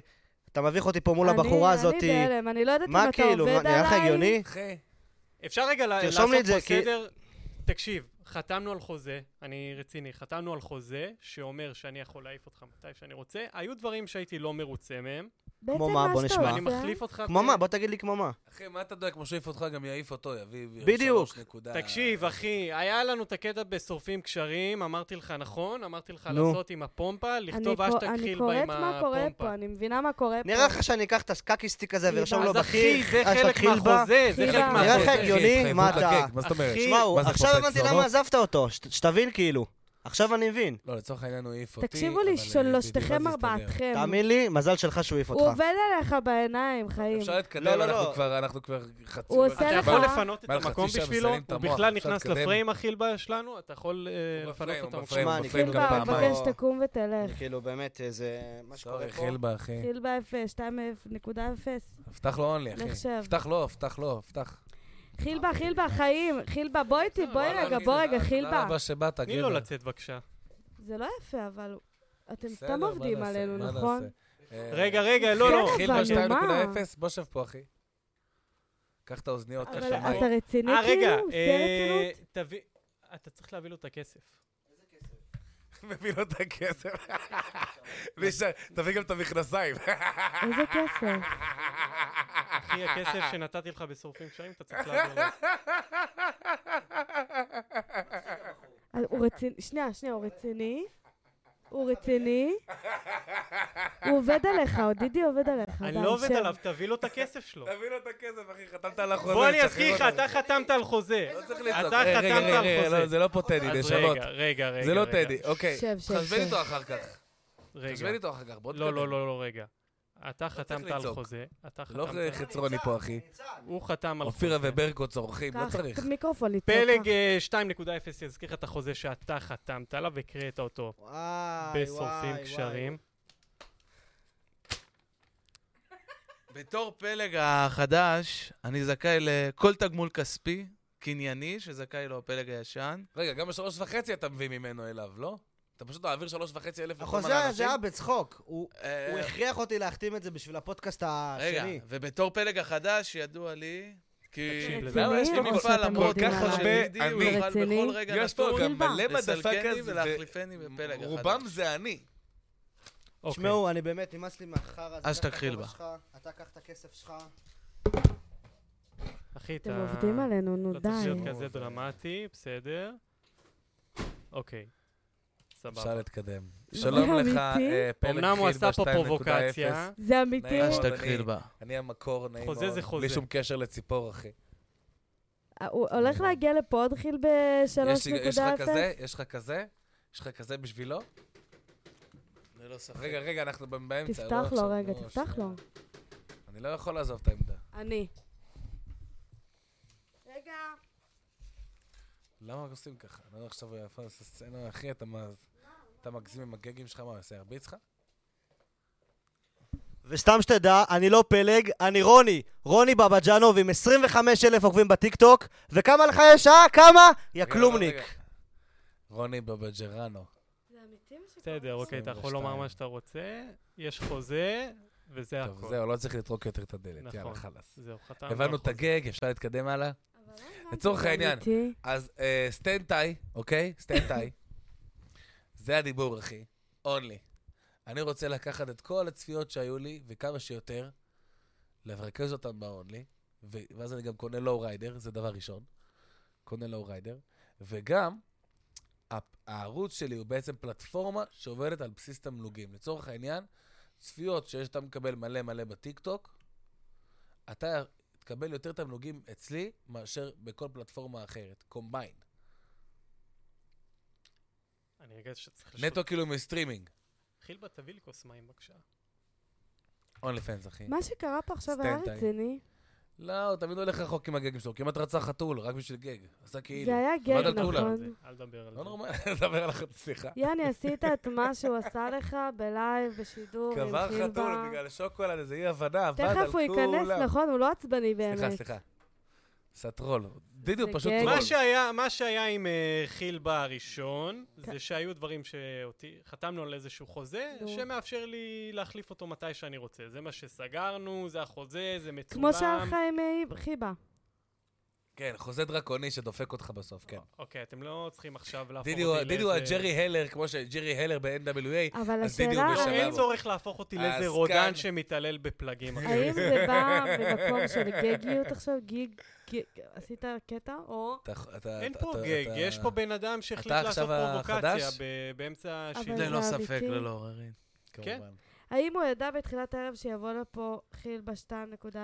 Speaker 1: אתה מביך אותי פה מול
Speaker 3: אני-
Speaker 1: הבחורה הזאת.
Speaker 3: אני בהלם, אני לא יודעת אם
Speaker 1: מה
Speaker 3: אתה
Speaker 1: כאילו, מה,
Speaker 3: עובד
Speaker 1: נראה לך
Speaker 3: עליי.
Speaker 1: הגיוני?
Speaker 4: אוקיי.
Speaker 2: אחי,
Speaker 4: אפשר רגע ל- לעשות
Speaker 1: תרשום לי את
Speaker 4: פה
Speaker 1: זה, כי-
Speaker 4: סדר? תקשיב, חתמנו על חוזה, אני רציני, חתמנו על חוזה שאומר שאני יכול להעיף אותך מתי שאני רוצה. היו דברים שהייתי לא מרוצה מהם.
Speaker 3: בעצם
Speaker 1: כמו מה? בוא
Speaker 3: שאתה
Speaker 1: נשמע.
Speaker 4: אני
Speaker 3: עושה-
Speaker 4: מחליף אותך...
Speaker 1: כמו מה? בוא תגיד לי כמו מה.
Speaker 2: אחי, מה אתה דואג? כמו שיעיף אותך, גם יעיף אותו, יביא...
Speaker 1: בדיוק.
Speaker 2: שלוש נקודה.
Speaker 4: תקשיב, אחי, היה לנו את הקטע בשורפים קשרים, אמרתי לך נכון, אמרתי לך
Speaker 1: נו.
Speaker 4: לעשות עם הפומפה, לכתוב
Speaker 3: אני קור-
Speaker 4: אשטג
Speaker 3: אני
Speaker 4: חילבה
Speaker 3: קוראת
Speaker 4: עם
Speaker 3: מה קורה פה,
Speaker 4: הפומפה.
Speaker 3: אני מבינה מה קורה פה. כאילו,
Speaker 1: נראה לך שאני אקח את הקקיסטיק הזה
Speaker 3: חילבה.
Speaker 1: וארשום לו אה,
Speaker 4: אז אחי,
Speaker 1: בכיר,
Speaker 4: זה חלק מהחוזה, זה
Speaker 3: חילבה.
Speaker 4: חלק
Speaker 3: נראה
Speaker 1: לך
Speaker 4: מהחוזה.
Speaker 2: אחי,
Speaker 1: הגיוני?
Speaker 2: התחייבות
Speaker 1: מה אתה-
Speaker 2: לקייק, מה זאת אומרת?
Speaker 4: אחי,
Speaker 1: תשמעו,
Speaker 2: מה זה,
Speaker 1: עכשיו
Speaker 2: כמו
Speaker 1: הבנתי למה
Speaker 2: פצלונות?
Speaker 1: עזבת אותו, שת- שתבין כאילו. עכשיו אני מבין.
Speaker 2: לא, לצורך העניין הוא העיף אותי.
Speaker 3: תקשיבו
Speaker 2: אבל,
Speaker 3: לי,
Speaker 2: אה, בדיוק,
Speaker 3: שלושתכם
Speaker 2: אז הסתדר.
Speaker 3: ארבעתכם.
Speaker 1: תאמין לי, מזל שלך שהוא העיף
Speaker 3: הוא
Speaker 1: אותך.
Speaker 3: עובד עליך בעיניים, חיים.
Speaker 2: אפשר
Speaker 1: לא,
Speaker 2: להתקדם,
Speaker 1: לא,
Speaker 2: אנחנו
Speaker 1: לא.
Speaker 2: כבר- אנחנו כבר חצי...
Speaker 3: הוא עושה
Speaker 4: אתה
Speaker 3: לך-
Speaker 2: אה,
Speaker 4: יכול לפנות את
Speaker 2: מה, חצי
Speaker 4: המקום
Speaker 2: שעה
Speaker 4: בשבילו?
Speaker 2: מסיימים את
Speaker 4: הוא
Speaker 2: המוח,
Speaker 4: בכלל
Speaker 2: אפשר
Speaker 4: נכנס
Speaker 2: להתקדם?
Speaker 4: לפריים החילבה שלנו? אתה יכול אה,
Speaker 2: הוא
Speaker 4: לפנות
Speaker 2: בפריים,
Speaker 4: אותו?
Speaker 2: הוא
Speaker 4: המקום.
Speaker 2: בפריים, הוא
Speaker 1: שמע,
Speaker 2: בפריים
Speaker 1: אני
Speaker 2: גם
Speaker 1: כאילו-
Speaker 3: חילבה,
Speaker 1: פעמיים.
Speaker 2: פעמיים. כן.
Speaker 1: בבקשה.
Speaker 3: כן מבקש שתקום ותלך.
Speaker 1: כאילו באמת, אה, זה מה שקורה
Speaker 2: סורי,
Speaker 1: פה.
Speaker 2: חילבה, אחי.
Speaker 3: חילבה 0, 2.0, נקודה 0.
Speaker 2: פתח לו אונלי, אחי. לא,
Speaker 3: נחשב.
Speaker 2: פתח לו, פתח לו, פתח.
Speaker 3: חילבה, חילבה, חיים. חילבה, בוא איתי, בואי
Speaker 2: וואלה,
Speaker 3: רגע,
Speaker 2: אחי,
Speaker 3: בוא
Speaker 2: תודה-
Speaker 3: רגע,
Speaker 2: תודה
Speaker 3: חילבה.
Speaker 2: רבה שבאת,
Speaker 4: תני לו
Speaker 2: גבר.
Speaker 4: לצאת בבקשה.
Speaker 3: זה לא יפה, אבל אתם
Speaker 2: בסדר,
Speaker 3: סתם
Speaker 2: מה
Speaker 3: עובדים
Speaker 2: נעשה,
Speaker 3: עלינו,
Speaker 2: מה
Speaker 3: נכון?
Speaker 2: נעשה? אה,
Speaker 4: רגע, רגע, לא, לא.
Speaker 3: כן,
Speaker 2: חילבה
Speaker 3: אבל נו, מה?
Speaker 2: 2.0, בוא שב פה, אחי. קח את האוזניות,
Speaker 3: אבל
Speaker 2: השמיים.
Speaker 3: אתה רציני
Speaker 4: אה, רגע,
Speaker 3: כאילו? זה
Speaker 4: אה,
Speaker 3: רצינות?
Speaker 4: תביא... אתה צריך להביא לו את הכסף.
Speaker 2: מביא לו את הכסף. נשאר, תביא גם את המכנסיים.
Speaker 3: איזה כסף?
Speaker 4: אחי, הכסף שנתתי לך בשורפים קשרים, אתה צריך להעביר לו. אה,
Speaker 3: אז אה, הוא רציני, שנייה, שנייה, הוא רציני. הוא רציני. הוא עובד עליך, עודדי עובד עליך.
Speaker 4: אני
Speaker 3: די,
Speaker 4: לא עובד
Speaker 3: שב.
Speaker 4: עליו, תביא לו את הכסף שלו.
Speaker 2: תביא לו את הכסף, אחי, חתמת על החוזה.
Speaker 4: בוא אני
Speaker 2: תשחרר
Speaker 4: אזכיר לך,
Speaker 2: אותו.
Speaker 4: אתה חתמת על חוזה.
Speaker 2: לא צריך לצעוק.
Speaker 4: אתה
Speaker 2: רגע, רגע,
Speaker 4: חתמת על
Speaker 2: רגע,
Speaker 4: חוזה.
Speaker 2: לא, זה לא פה טדי,
Speaker 4: אז
Speaker 2: נשמות.
Speaker 4: רגע, רגע, רגע.
Speaker 2: זה לא
Speaker 4: רגע.
Speaker 2: טדי, אוקיי.
Speaker 3: שב, שב,
Speaker 2: חשבן
Speaker 3: שב.
Speaker 2: איתו אחר כך. חשבן
Speaker 4: רגע.
Speaker 2: איתו אחר כך, בוא
Speaker 4: לא,
Speaker 2: תתקדם.
Speaker 4: לא, לא, לא, רגע. אתה חתמת על
Speaker 2: לצעוק.
Speaker 4: חוזה, אתה חתמת
Speaker 2: לא
Speaker 4: על חוזה.
Speaker 2: חצרוני פה, אחי.
Speaker 4: הוא חתם על חוזה.
Speaker 2: אופירה וברקו צורכים, לא
Speaker 3: קח
Speaker 2: צריך.
Speaker 3: את המיקרופון לצעוק.
Speaker 4: פלג אה, 2.0 יזכיר לך את החוזה שאתה חתמת עליו והקראת אותו
Speaker 1: וואי, וואי,
Speaker 4: בשורפים
Speaker 1: וואי.
Speaker 4: קשרים.
Speaker 5: בתור פלג החדש, אני זכאי לכל תגמול כספי, קנייני, שזכאי לו הפלג הישן.
Speaker 2: רגע, גם בשלוש וחצי אתה מביא ממנו אליו, לא? אתה פשוט מעביר שלוש וחצי אלף לכל מיני
Speaker 1: החוזה הזה
Speaker 2: נכון, אנשים?
Speaker 1: נכון, היה בצחוק. הוא
Speaker 5: אה,
Speaker 1: הוא הכריח אותי להחתים את זה בשביל הפודקאסט
Speaker 5: רגע, אוקיי.
Speaker 1: השני.
Speaker 5: ובתור פלג החדש, ידוע לי, כי...
Speaker 4: תקשיב,
Speaker 3: רציני,
Speaker 2: למה יש לי
Speaker 3: או
Speaker 2: מפעל
Speaker 5: מפעל
Speaker 3: שאתם
Speaker 5: למרות
Speaker 3: מודים
Speaker 5: ככה
Speaker 2: ככה
Speaker 3: עליי?
Speaker 5: שלידי, הוא
Speaker 2: אני.
Speaker 5: יוכל בכל
Speaker 3: רציני?
Speaker 5: רגע
Speaker 2: יש פה
Speaker 5: נתון
Speaker 2: גם
Speaker 3: חילבה.
Speaker 2: מלא
Speaker 5: לסלקני
Speaker 2: מדפקה
Speaker 5: ולהחליפני בפלג החדש.
Speaker 2: רובם זה אני.
Speaker 4: אוקיי.
Speaker 1: תשמעו, אני באמת, נמאס לי מהחרא הזה.
Speaker 5: אז
Speaker 1: קח את
Speaker 5: תתחיל
Speaker 1: הכובע
Speaker 5: בה.
Speaker 1: שלך, אתה קח את הכסף שלך.
Speaker 4: אחי, אתה...
Speaker 3: אתם עובדים עלינו, נו
Speaker 4: לא צריך
Speaker 3: די.
Speaker 4: להיות כזה דרמטי, בסדר. אוקיי.
Speaker 2: אפשר
Speaker 4: סבבה.
Speaker 2: להתקדם.
Speaker 3: זה
Speaker 2: שלום לך,
Speaker 3: לא, אמיתי?
Speaker 2: אה, פלג חילבה 2.0.
Speaker 4: אמנם הוא עשה פה פרובוקציה.
Speaker 3: זה אמיתי?
Speaker 2: נעים מאוד.
Speaker 5: אשתג חילבה.
Speaker 2: אני המקור, נעים מאוד.
Speaker 4: חוזה זה חוזה.
Speaker 2: בלי שום קשר לציפור, אחי.
Speaker 3: הוא הולך להגיע לפה עוד חיל ב-3.0?
Speaker 2: יש לי- יש לך כזה? יש לך כזה? יש לך כזה בשבילו?
Speaker 5: ללא לא ספק.
Speaker 2: רגע, רגע, אנחנו ב- באמצע. לא
Speaker 3: תפתח
Speaker 2: עכשיו,
Speaker 3: לו רגע,
Speaker 2: נו,
Speaker 3: תפתח לו.
Speaker 2: שנייה. אני לא יכול לעזוב את העמדה.
Speaker 3: אני. רגע.
Speaker 2: למה עושים ככה? אני לא יודע, עכשיו הוא יפה לעשות סצנה, אחי, אתה מה- אתה מגזים עם הגגים שלך, מה הוא יעשה, ירביץ לך?
Speaker 1: וסתם שתדע, אני לא פלג, אני רוני. רוני בבג'אנוב עם 25 אלף עוקבים בטיקטוק, וכמה לך יש, אה? כמה? יא
Speaker 2: רגע,
Speaker 1: כלומניק.
Speaker 2: רגע. רוני בבג'רנו.
Speaker 3: זה אמיתי מה שקורה?
Speaker 4: בסדר, אוקיי, אתה יכול
Speaker 2: 22.
Speaker 4: לומר מה שאתה רוצה, יש חוזה, וזה
Speaker 2: טוב,
Speaker 4: הכל.
Speaker 2: זהו, לא צריך לטרוק יותר את הדלת,
Speaker 4: נכון. לא
Speaker 2: יאללה, חלאס.
Speaker 4: זהו, חתמנו. על
Speaker 2: הבנו את
Speaker 4: חוזה.
Speaker 2: הגג, אפשר להתקדם הלאה?
Speaker 3: אבל לא הבנתי,
Speaker 2: לצורך
Speaker 3: זה
Speaker 2: העניין.
Speaker 3: אמיתי?
Speaker 2: אז אה, סטנטאי, אוקיי? סטנטאי. זה הדיבור, אחי. אונלי. אני רוצה לקחת את כל הצפיות שהיו לי, וכמה שיותר, לרכז אותן באונלי, ו- ואז אני גם קונה לואו ריידר, זה דבר ראשון. קונה לואו ריידר. וגם, ה- הערוץ שלי הוא בעצם פלטפורמה שעובדת על בסיס תמלוגים. לצורך העניין, צפיות שאתה מקבל מלא מלא בטיקטוק, אתה תקבל יותר תמלוגים אצלי מאשר בכל פלטפורמה אחרת, קומביין.
Speaker 4: אני רגע שצריך לשאול.
Speaker 2: נטו כאילו מסטרימינג.
Speaker 4: חילבה, תביא לי כוס מים בבקשה.
Speaker 2: אונלי פנס, אחי.
Speaker 3: מה שקרה פה עכשיו היה
Speaker 2: סטנדאי.
Speaker 3: רציני.
Speaker 2: לא, הוא תמיד הולך רחוק עם הגגים שלו, כמעט רצה חתול, רק בשביל גג. עשה כאילו.
Speaker 3: זה היה גג,
Speaker 2: על כולם.
Speaker 3: נכון?
Speaker 4: אל תדבר על זה.
Speaker 2: לא נורמלי, לדבר על החתול, סליחה.
Speaker 3: יאני, עשית את מה שהוא עשה לך בלייב, בשידור, עם
Speaker 2: קבר חתול
Speaker 3: חילבה.
Speaker 2: בגלל שוקולד, איזה אי הבנה, עבד על כולם.
Speaker 3: כאילו, אה. תכף הוא ייכנס, נכון? הוא לא עצבני באמת.
Speaker 2: סליחה, סליחה. עשה טרול. דידי הוא
Speaker 3: זה
Speaker 2: פשוט
Speaker 3: גג.
Speaker 2: טרול.
Speaker 4: מה שהיה, מה שהיה עם אה, חילבה הראשון,
Speaker 3: כן.
Speaker 4: זה שהיו דברים שאותי, חתמנו על איזשהו חוזה,
Speaker 3: נו.
Speaker 4: שמאפשר לי להחליף אותו מתי שאני רוצה. זה מה שסגרנו, זה החוזה, זה מצולם.
Speaker 3: כמו שהיה לך עם אה, חיבה.
Speaker 2: כן, חוזה דרקוני שדופק אותך בסוף, כן.
Speaker 4: אוקיי, אתם לא צריכים עכשיו להפוך
Speaker 2: דידי
Speaker 4: אותי
Speaker 2: הוא-
Speaker 4: לאיזה...
Speaker 2: דידי הוא הג'רי הלר, כמו שג'רי הלר ב-NWA.
Speaker 3: אבל
Speaker 2: אז בדיוק,
Speaker 3: השאלה,
Speaker 2: בשלב-
Speaker 4: אין
Speaker 2: סבבה.
Speaker 4: צורך להפוך אותי לאיזה
Speaker 2: אז
Speaker 4: רודן
Speaker 2: כאן-
Speaker 4: שמתעלל בפלגים. אחי.
Speaker 3: האם זה בא ממקום של גגיות עכשיו? גיג, גיג, עשית קטע? או...
Speaker 2: אתה- אתה-
Speaker 4: אין
Speaker 2: אתה-
Speaker 4: פה
Speaker 2: אתה-
Speaker 4: גג,
Speaker 2: אתה-
Speaker 4: יש פה בן אדם שהחליט
Speaker 2: אתה
Speaker 4: לעשות
Speaker 2: עכשיו
Speaker 4: פרובוקציה
Speaker 2: החדש?
Speaker 4: ב- באמצע
Speaker 3: אבל
Speaker 4: השידור.
Speaker 3: זה
Speaker 5: ללא
Speaker 3: אמיתי.
Speaker 5: לא ספק, ללא עוררין.
Speaker 4: כן?
Speaker 2: כמובן.
Speaker 3: האם הוא ידע בתחילת הערב שיבוא לפה חילבה 2.0?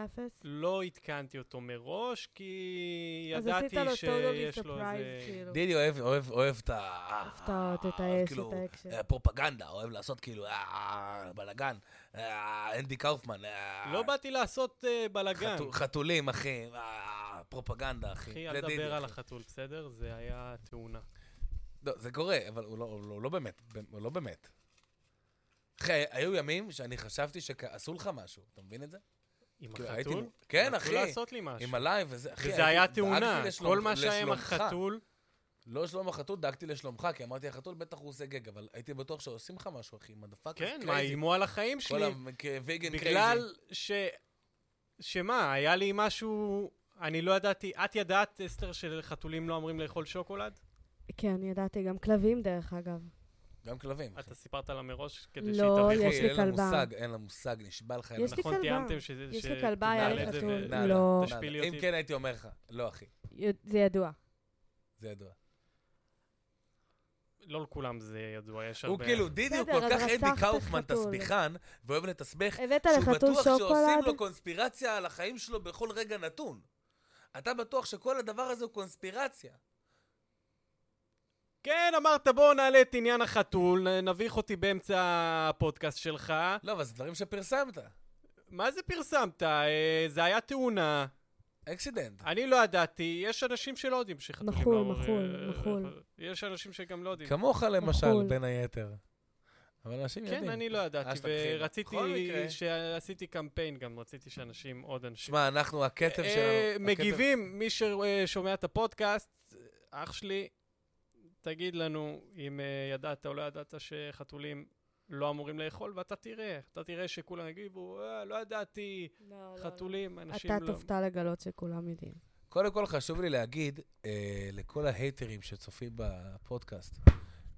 Speaker 4: לא עדכנתי אותו מראש, כי
Speaker 3: אז עשית
Speaker 4: ידעתי
Speaker 3: לו טוטלי
Speaker 4: שיש לו
Speaker 3: ספרייז,
Speaker 4: איזה...
Speaker 3: כאילו.
Speaker 2: דידי אוהב- אוהב אוהב את ה...
Speaker 3: הפתעות, את האש, את האקשן.
Speaker 2: אה, פרופגנדה, אוהב לעשות כאילו אה, בלאגן, אה, אנדי קאופמן. אה,
Speaker 4: לא באתי לעשות אה, בלאגן.
Speaker 2: חתו- חתולים, אחי, אה, פרופגנדה, אחי.
Speaker 4: אחי,
Speaker 2: זה
Speaker 4: אל
Speaker 2: דידי,
Speaker 4: תדבר על
Speaker 2: אחי.
Speaker 4: החתול, בסדר? זה היה תאונה.
Speaker 2: לא, זה קורה, אבל הוא לא- הוא לא- הוא לא באמת, הוא לא באמת. אחי, היו ימים שאני חשבתי שעשו לך משהו, אתה מבין את זה?
Speaker 4: עם
Speaker 2: כאילו, הייתי-
Speaker 4: החתול?
Speaker 2: כן,
Speaker 4: רצו
Speaker 2: אחי.
Speaker 4: לעשות לי משהו.
Speaker 2: עם הלייב וזה, אחי.
Speaker 4: וזה היה
Speaker 2: הייתי-
Speaker 4: תאונה.
Speaker 2: דאגתי לשלום-
Speaker 4: כל מה שהיה עם
Speaker 2: לשלומך.
Speaker 4: החתול,
Speaker 2: לא שלום החתול, דאגתי לשלומך, כי אמרתי, החתול בטח הוא עושה גג, אבל הייתי בטוח שעושים לך משהו, אחי, מדפק.
Speaker 4: כן, מה, איימו על החיים
Speaker 2: כל
Speaker 4: שלי.
Speaker 2: הוויגן קרייזי.
Speaker 4: בגלל ש... שמה, היה לי משהו... אני לא ידעתי, את ידעת, אסתר, שלחתולים לא אמורים לאכול שוקולד?
Speaker 3: כן, ידעתי, גם כלבים דרך אגב.
Speaker 2: גם כלבים. אחי.
Speaker 4: אתה סיפרת לה מראש
Speaker 3: לא,
Speaker 4: כדי שתביכו.
Speaker 3: יש לי
Speaker 2: אין לה
Speaker 3: כלבה.
Speaker 2: מושג, אין לה מושג, נשבע לך. אין לה
Speaker 3: יש לי
Speaker 4: נכון,
Speaker 3: כלבה.
Speaker 4: תיאמתם שזה...
Speaker 3: יש
Speaker 4: ש-
Speaker 3: לי כלבה, היה
Speaker 4: תעלה
Speaker 3: לי
Speaker 4: את זה
Speaker 3: חתול.
Speaker 4: ו-
Speaker 2: נעלה,
Speaker 3: לא.
Speaker 2: נעלה.
Speaker 4: תשפילי
Speaker 2: אם
Speaker 4: אותי.
Speaker 2: כן הייתי אומר לך, לא אחי,
Speaker 3: י- זה ידוע.
Speaker 2: זה ידוע.
Speaker 4: לא לכולם זה ידוע, יש הרבה...
Speaker 2: הוא כאילו, דידי הוא
Speaker 3: בסדר,
Speaker 2: כל
Speaker 3: אז
Speaker 2: כך
Speaker 3: רצחת
Speaker 2: אנדי קאופמן
Speaker 3: חתול.
Speaker 2: תסביכן, ואוהב לתסבך,
Speaker 3: הבאת
Speaker 2: שהוא
Speaker 3: לחתול
Speaker 2: בטוח שעושים
Speaker 3: שוקולד?
Speaker 2: לו קונספירציה על החיים שלו בכל רגע נתון. אתה בטוח שכל הדבר הזה הוא קונספירציה.
Speaker 4: כן, אמרת, בואו נעלה את עניין החתול, נ- נביך אותי באמצע הפודקאסט שלך.
Speaker 2: לא, אבל זה דברים שפרסמת.
Speaker 4: מה זה פרסמת? אה, זה היה תאונה.
Speaker 2: אקסידנט.
Speaker 4: אני לא ידעתי, יש אנשים שלא יודעים שחתולים...
Speaker 3: מחול,
Speaker 4: לא-
Speaker 3: מחול, מחול.
Speaker 4: יש אנשים שגם לא יודעים.
Speaker 2: כמוך למשל,
Speaker 3: מחול.
Speaker 2: בין היתר. אבל אנשים יודעים.
Speaker 4: כן, אני לא
Speaker 2: אה,
Speaker 4: ידעתי,
Speaker 2: שאתה בחיל.
Speaker 4: ורציתי,
Speaker 2: בכל מקרה.
Speaker 4: שעשיתי קמפיין גם, רציתי שאנשים, עוד אנשים.
Speaker 2: שמע, אנחנו, הקצב
Speaker 4: אה,
Speaker 2: שלנו... הקצב-
Speaker 4: מגיבים, מי ששומע את הפודקאסט, אח שלי, תגיד לנו אם אה, ידעת או לא ידעת שחתולים לא אמורים לאכול, ואתה תראה, אתה תראה שכולם יגיבו, "אה, לא ידעתי, חתולים, אנשים
Speaker 3: לא, אתה
Speaker 4: לא...
Speaker 3: תופתע לגלות שכולם יודעים.
Speaker 2: קודם כל חשוב לי להגיד אה, לכל ההייטרים שצופים בפודקאסט,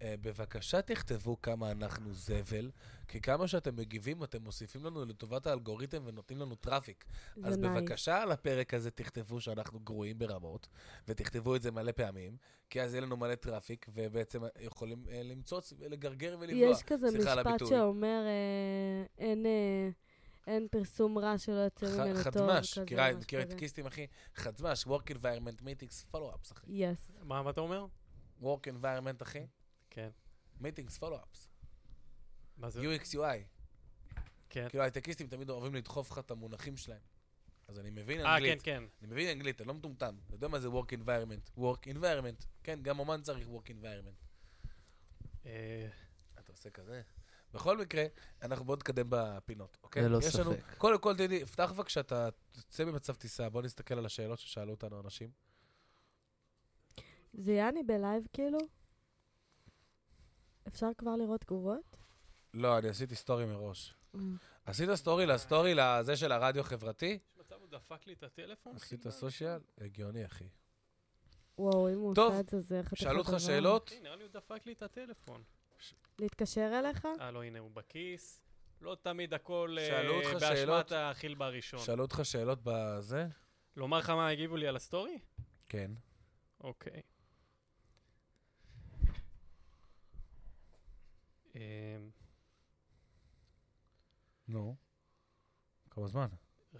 Speaker 2: אה, בבקשה תכתבו כמה אנחנו זבל, כי כמה שאתם מגיבים אתם מוסיפים לנו לטובת האלגוריתם ונותנים לנו טראפיק.
Speaker 3: זה
Speaker 2: אז
Speaker 3: נייס.
Speaker 2: בבקשה על הפרק הזה תכתבו שאנחנו גרועים ברמות, ותכתבו את זה מלא פעמים, כי אז יהיה לנו מלא טראפיק, ובעצם יכולים אה, למצוץ ולגרגר ולבלוע.
Speaker 3: יש כזה
Speaker 2: סליחה על
Speaker 3: משפט
Speaker 2: הביטוי.
Speaker 3: שאומר, אה, אין, אה, אין פרסום רע שלא יוצא
Speaker 2: ח-
Speaker 3: ממנו טוב.
Speaker 2: חדמ"ש,
Speaker 3: כזה,
Speaker 2: מכירה-
Speaker 3: משהו
Speaker 2: מכירה את
Speaker 3: כזה.
Speaker 2: קיסטים, אחי? חדמ"ש, Work Environment Meetings Follow-ups, אחי.
Speaker 3: יס.
Speaker 4: מה מה אתה אומר?
Speaker 2: Work Environment, אחי.
Speaker 4: כן.
Speaker 2: Meetings Follow-ups.
Speaker 4: מה זה?
Speaker 2: UX UI.
Speaker 4: כן.
Speaker 2: כאילו הייטקיסטים תמיד אוהבים לדחוף לך את המונחים שלהם. אז אני מבין
Speaker 4: אה, כן,
Speaker 2: אנגלית.
Speaker 4: כן.
Speaker 2: אני מבין אנגלית, אני לא מטומטם. אתה יודע מה זה Work Environment? Work Environment. כן, גם אומן צריך Work Environment.
Speaker 4: אה,
Speaker 2: אתה עושה כזה. בכל מקרה, אנחנו בואו נתקדם בפינות, אוקיי?
Speaker 5: ללא
Speaker 2: יש לנו-
Speaker 5: ספק.
Speaker 2: קודם כל, תדעי, פתח בבקשה, אתה תצא ממצב טיסה, בואו נסתכל על השאלות ששאלו אותנו אנשים.
Speaker 3: זה יעני בלייב כאילו? אפשר כבר לראות תגובות?
Speaker 2: לא, אני עשיתי סטורי מראש. עשית סטורי לסטורי לזה של הרדיו חברתי?
Speaker 4: יש מצב הוא דפק לי את הטלפון?
Speaker 2: עשית סושיאל? הגיוני, אחי.
Speaker 3: וואו, אם הוא
Speaker 2: טוב,
Speaker 3: עושה את זה, זה חתיכת
Speaker 2: שאלו אותך
Speaker 3: דבר.
Speaker 2: שאלות?
Speaker 4: אחי, נראה לי הוא דפק לי את הטלפון.
Speaker 3: להתקשר אליך?
Speaker 4: אה, לא, הנה, הוא בכיס. לא תמיד הכל אה,
Speaker 2: שאלו אותך שאלות?
Speaker 4: באשמת החילבה הראשון.
Speaker 2: שאלו אותך שאלות בזה?
Speaker 4: לומר לך מה הגיבו לי על הסטורי?
Speaker 2: כן.
Speaker 4: אוקיי. אמ,
Speaker 2: נו. כמה זמן?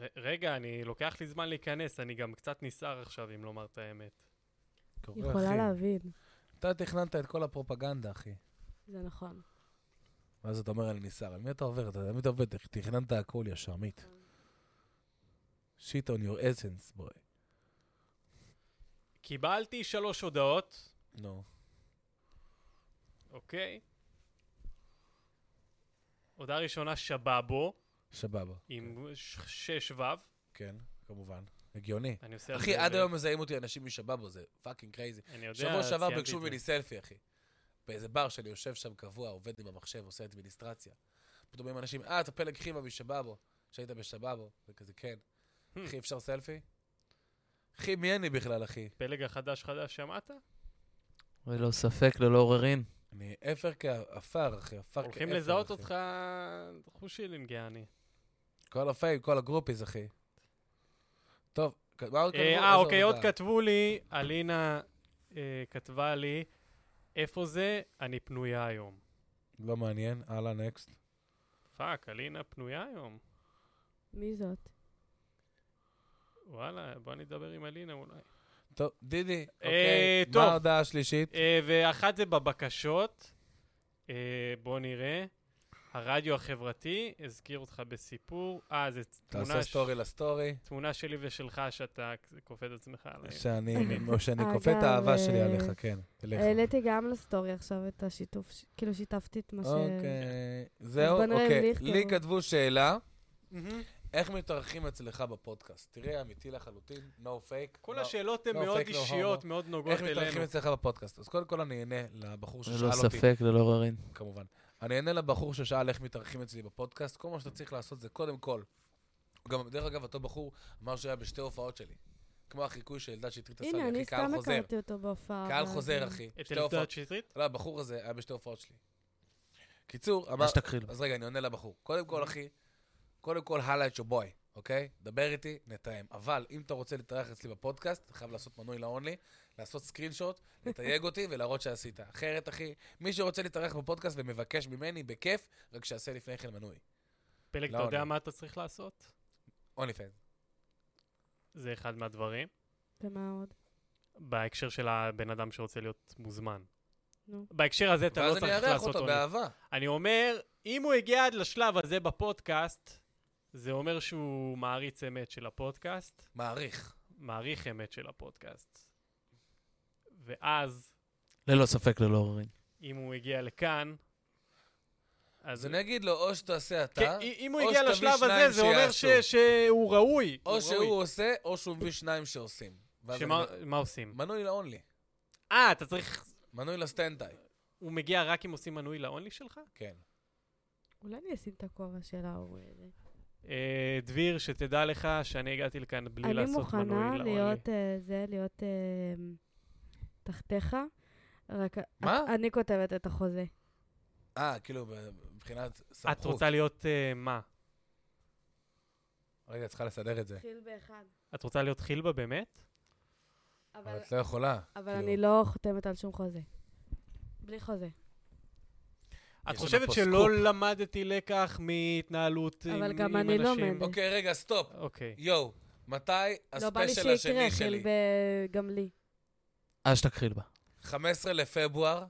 Speaker 4: ר- רגע, אני לוקח לי זמן להיכנס, אני גם קצת נסער עכשיו, אם לומר את האמת.
Speaker 2: קורה,
Speaker 3: יכולה
Speaker 2: אחי.
Speaker 3: להבין.
Speaker 2: אתה תכננת את כל הפרופגנדה, אחי.
Speaker 3: זה נכון.
Speaker 2: ואז אתה אומר, אני נסער. על מי אתה עובר? אתה על מי אתה עובד? תכננת הכל ישר, עמית. שיט on your essence, בואי.
Speaker 4: קיבלתי שלוש הודעות,
Speaker 2: נו.
Speaker 4: אוקיי? הודעה ראשונה, שבאבו,
Speaker 2: סבבה.
Speaker 4: עם ש- שש ו.
Speaker 2: כן, כמובן. הגיוני.
Speaker 4: אני עושה על
Speaker 2: אחי,
Speaker 4: זה-
Speaker 2: עד היום מזהים אותי אנשים משבאבו, זה פאקינג קרייזי.
Speaker 4: אני יודע,
Speaker 2: שבוע שעבר
Speaker 4: ציינתי
Speaker 2: ביקשו
Speaker 4: את זה.
Speaker 2: ממני סלפי, אחי. באיזה בר שאני יושב שם קבוע, עובד עם המחשב, עושה אדמיניסטרציה. פתאום אומרים אנשים, אה, אתה פלג חיבה משבאבו, שהיית בשבאבו, וכזה, כן.
Speaker 4: Hmm.
Speaker 2: אחי, אפשר סלפי? אחי, מי אני בכלל, אחי?
Speaker 4: פלג החדש חדש, שמעת?
Speaker 5: ולא לא ספק, ללא עוררין.
Speaker 2: אני אפר כעפר, אחי, אפר כאפר.
Speaker 4: הולכים לזהות
Speaker 2: אחי.
Speaker 4: אותך חושי לינגיאני.
Speaker 2: כל הפייק, כל הגרופיז, אחי. טוב, כ- מה עוד כתבו?
Speaker 4: אה,
Speaker 2: איזה
Speaker 4: אה, אוקיי, עוד
Speaker 2: הודעה?
Speaker 4: כתבו לי, אלינה אה, כתבה לי, איפה זה? אני פנויה היום.
Speaker 2: לא מעניין, הלאה, נקסט.
Speaker 4: פאק, אלינה פנויה היום.
Speaker 3: מי זאת?
Speaker 4: וואלה, בוא נדבר עם אלינה אולי.
Speaker 2: טוב, דידי,
Speaker 4: אה,
Speaker 2: אוקיי,
Speaker 4: טוב.
Speaker 2: מה ההודעה השלישית?
Speaker 4: אה, ואחת זה בבקשות. אה, בוא נראה. הרדיו החברתי הזכיר אותך בסיפור. אה, זו
Speaker 2: תעשה
Speaker 4: תמונה, ש...
Speaker 2: סטורי לסטורי,
Speaker 4: תמונה שלי ושלך שאתה כופה את עצמך עליי.
Speaker 2: שאני
Speaker 4: אה,
Speaker 2: או שאני
Speaker 3: אגב,
Speaker 2: כופה את האהבה שלי
Speaker 3: אה,
Speaker 2: עליך, כן. אליך.
Speaker 3: העליתי גם לסטורי עכשיו את השיתוף, ש- כאילו שיתפתי את מה ש...
Speaker 2: אוקיי, זהו,
Speaker 3: בוא נראה אם
Speaker 2: אוקיי.
Speaker 3: ליכטר-
Speaker 2: לי כתבו שאלה, איך מתארחים אצלך בפודקאסט? תראי, אמיתי לחלוטין, no fake.
Speaker 4: כל
Speaker 2: no-
Speaker 4: השאלות הן
Speaker 2: לא
Speaker 4: מאוד
Speaker 2: פייק, לא
Speaker 4: אישיות,
Speaker 2: הומו.
Speaker 4: מאוד נוגעות
Speaker 2: איך מתארחים
Speaker 4: אלינו.
Speaker 2: אצלך בפודקאסט? אז קודם כל אני אענה לבחור ששאל
Speaker 5: ללא
Speaker 2: אותי.
Speaker 5: לא ספק, ללא עוררין.
Speaker 2: כמובן. אני אענה לבחור ששאל איך מתארחים אצלי בפודקאסט. כל מה שאתה צריך לעשות זה קודם כל. גם, דרך אגב, אותו בחור אמר שהוא היה בשתי הופעות שלי. כמו החיקוי של אלדד שטרית עשה
Speaker 3: הנה,
Speaker 2: לי,
Speaker 3: אני
Speaker 2: אחי, קהל
Speaker 3: סתם
Speaker 2: חוזר.
Speaker 3: הכרתי אותו כן. בהופעה.
Speaker 2: קהל
Speaker 3: ואז-
Speaker 2: חוזר, אחי.
Speaker 4: את
Speaker 2: שתי הופעות.
Speaker 4: אלדד שטרית?
Speaker 2: לא, הבחור הזה היה בשתי הופעות שלי. קיצור, אמר...
Speaker 5: מה שתקחי לו.
Speaker 2: אז רגע, אני עונה לבחור. קודם כל, אחי, קודם כל, הלאה את שבוי, אוקיי? דבר איתי, נתאם. אבל אם אתה רוצה להתארח אצלי בפודקאסט, אתה חייב לעשות מנוי ל-only, לעשות סקרין שוט, לתייג אותי ולהראות שעשית. אחרת, אחי, מי שרוצה להתארח בפודקאסט ומבקש ממני, בכיף, רק שיעשה לפני כן מנוי.
Speaker 4: פלג,
Speaker 2: לא,
Speaker 4: אתה יודע
Speaker 2: לא.
Speaker 4: מה אתה צריך לעשות?
Speaker 2: אונלי פן.
Speaker 4: זה אחד מהדברים.
Speaker 3: ומה עוד?
Speaker 4: בהקשר של הבן אדם שרוצה להיות מוזמן.
Speaker 3: נו.
Speaker 4: בהקשר הזה אתה
Speaker 2: ואז
Speaker 4: לא
Speaker 2: אני
Speaker 4: צריך
Speaker 2: אארח
Speaker 4: לעשות
Speaker 2: אותו
Speaker 4: עונג.
Speaker 2: באהבה.
Speaker 4: אני אומר, אם הוא הגיע עד לשלב הזה בפודקאסט, זה אומר שהוא מעריץ אמת של הפודקאסט,
Speaker 2: מעריך.
Speaker 4: מעריך אמת של הפודקאסט. ואז,
Speaker 5: ללא לא ספק, ללא עוררין.
Speaker 4: אם הוא הגיע לכאן, אז...
Speaker 2: אז אני אגיד לו, או שתעשה אתה,
Speaker 4: כן, אם אם הוא
Speaker 2: או
Speaker 4: הגיע
Speaker 2: שתביא
Speaker 4: לשלב הזה,
Speaker 2: שניים
Speaker 4: זה אומר ש-
Speaker 2: שיעשו.
Speaker 4: שהוא ראוי. הוא
Speaker 2: או שהוא
Speaker 4: ראוי.
Speaker 2: עושה, או שהוא מביא שניים שעושים. ואז
Speaker 4: שמה
Speaker 2: אני-
Speaker 4: מה עושים?
Speaker 2: מנוי ל-only.
Speaker 4: אה, אתה צריך...
Speaker 2: מנוי לסטנדאי.
Speaker 4: הוא מגיע רק אם עושים מנוי לאונלי שלך?
Speaker 2: כן.
Speaker 3: אולי אני אשים את הכובע של ההוא הזה.
Speaker 4: אה, דביר, שתדע לך שאני הגעתי לכאן בלי
Speaker 3: אני
Speaker 4: לעשות מנוי לאונלי.
Speaker 3: מוכנה להיות אה, זה, להיות אה, תחתיך. רק...
Speaker 2: מה?
Speaker 3: את- אני כותבת את החוזה.
Speaker 2: אה, כאילו, מבחינת סמכות.
Speaker 4: את רוצה להיות אה, מה?
Speaker 2: רגע, את צריכה לסדר את זה.
Speaker 3: התחיל באחד.
Speaker 4: את רוצה להיות חילבה באמת?
Speaker 2: אבל
Speaker 3: אבל,
Speaker 2: את לא יכולה.
Speaker 3: אבל
Speaker 2: כאילו,
Speaker 3: אני לא חותמת על שום חוזה. בלי חוזה.
Speaker 4: את
Speaker 2: יש
Speaker 4: חושבת
Speaker 2: לנו פה
Speaker 4: שלא
Speaker 2: סקופ.
Speaker 4: למדתי לקח מהתנהלות עם עם
Speaker 3: אבל
Speaker 4: אנשים?
Speaker 3: גם אני לא עומדת.
Speaker 2: אוקיי, רגע, סטופ.
Speaker 4: אוקיי.
Speaker 2: יואו, מתי
Speaker 3: לא בא לי
Speaker 2: הספיישל
Speaker 3: שיקרה,
Speaker 2: השני
Speaker 3: התחיל
Speaker 2: שלי?
Speaker 3: ב- גם לי.
Speaker 5: אז שתכחיל בה.
Speaker 2: 15 לפברואר,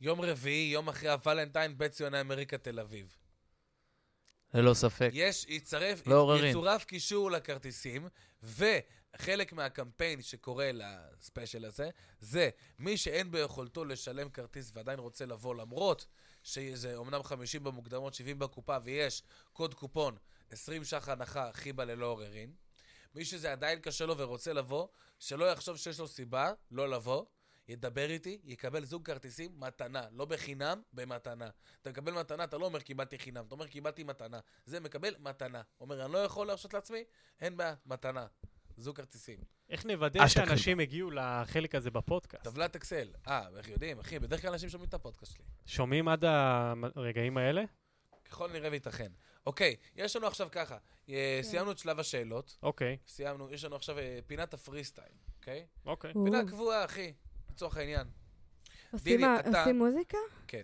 Speaker 2: יום רביעי, יום אחרי הוולנטיין, בית ציוני אמריקה, תל אביב.
Speaker 5: ללא לא ספק.
Speaker 2: יש, יצרף,
Speaker 5: לא עוררין.
Speaker 2: יצורף קישור לכרטיסים, וחלק מהקמפיין שקורה לספיישל הזה, זה מי שאין ביכולתו לשלם כרטיס ועדיין רוצה לבוא, למרות שזה אומנם 50 במוקדמות, 70 בקופה, ויש קוד קופון 20 ש"ח הנחה, חיבה ללא עוררין. מי שזה עדיין קשה לו ורוצה לבוא, שלא יחשוב שיש לו סיבה לא לבוא. ידבר איתי, יקבל זוג כרטיסים, מתנה. לא בחינם, במתנה. אתה מקבל מתנה, אתה לא אומר קיבלתי חינם, אתה אומר קיבלתי מתנה. זה מקבל מתנה. אומר, אני לא יכול להרשות לעצמי, אין בעיה, מתנה. זוג כרטיסים.
Speaker 4: איך נוודא
Speaker 5: אה, שתתחיל
Speaker 4: שאנשים הגיעו לחלק הזה בפודקאסט?
Speaker 2: טבלת אקסל. אה, איך יודעים, אחי, בדרך כלל אנשים שומעים את הפודקאסט שלי.
Speaker 4: שומעים עד הרגעים האלה?
Speaker 2: ככל נראה וייתכן. אוקיי, יש לנו עכשיו ככה. אה, סיימנו את שלב השאלות.
Speaker 4: אוקיי,
Speaker 2: סיימנו, יש לנו עכשיו אה, פינת הפרי סטייל, אוקיי?
Speaker 4: אוקיי.
Speaker 3: או,
Speaker 2: פינה קבועה, אחי, לצורך העניין.
Speaker 3: עושים מה-
Speaker 2: דידי, אתה-
Speaker 3: עושים מוזיקה?
Speaker 2: כן.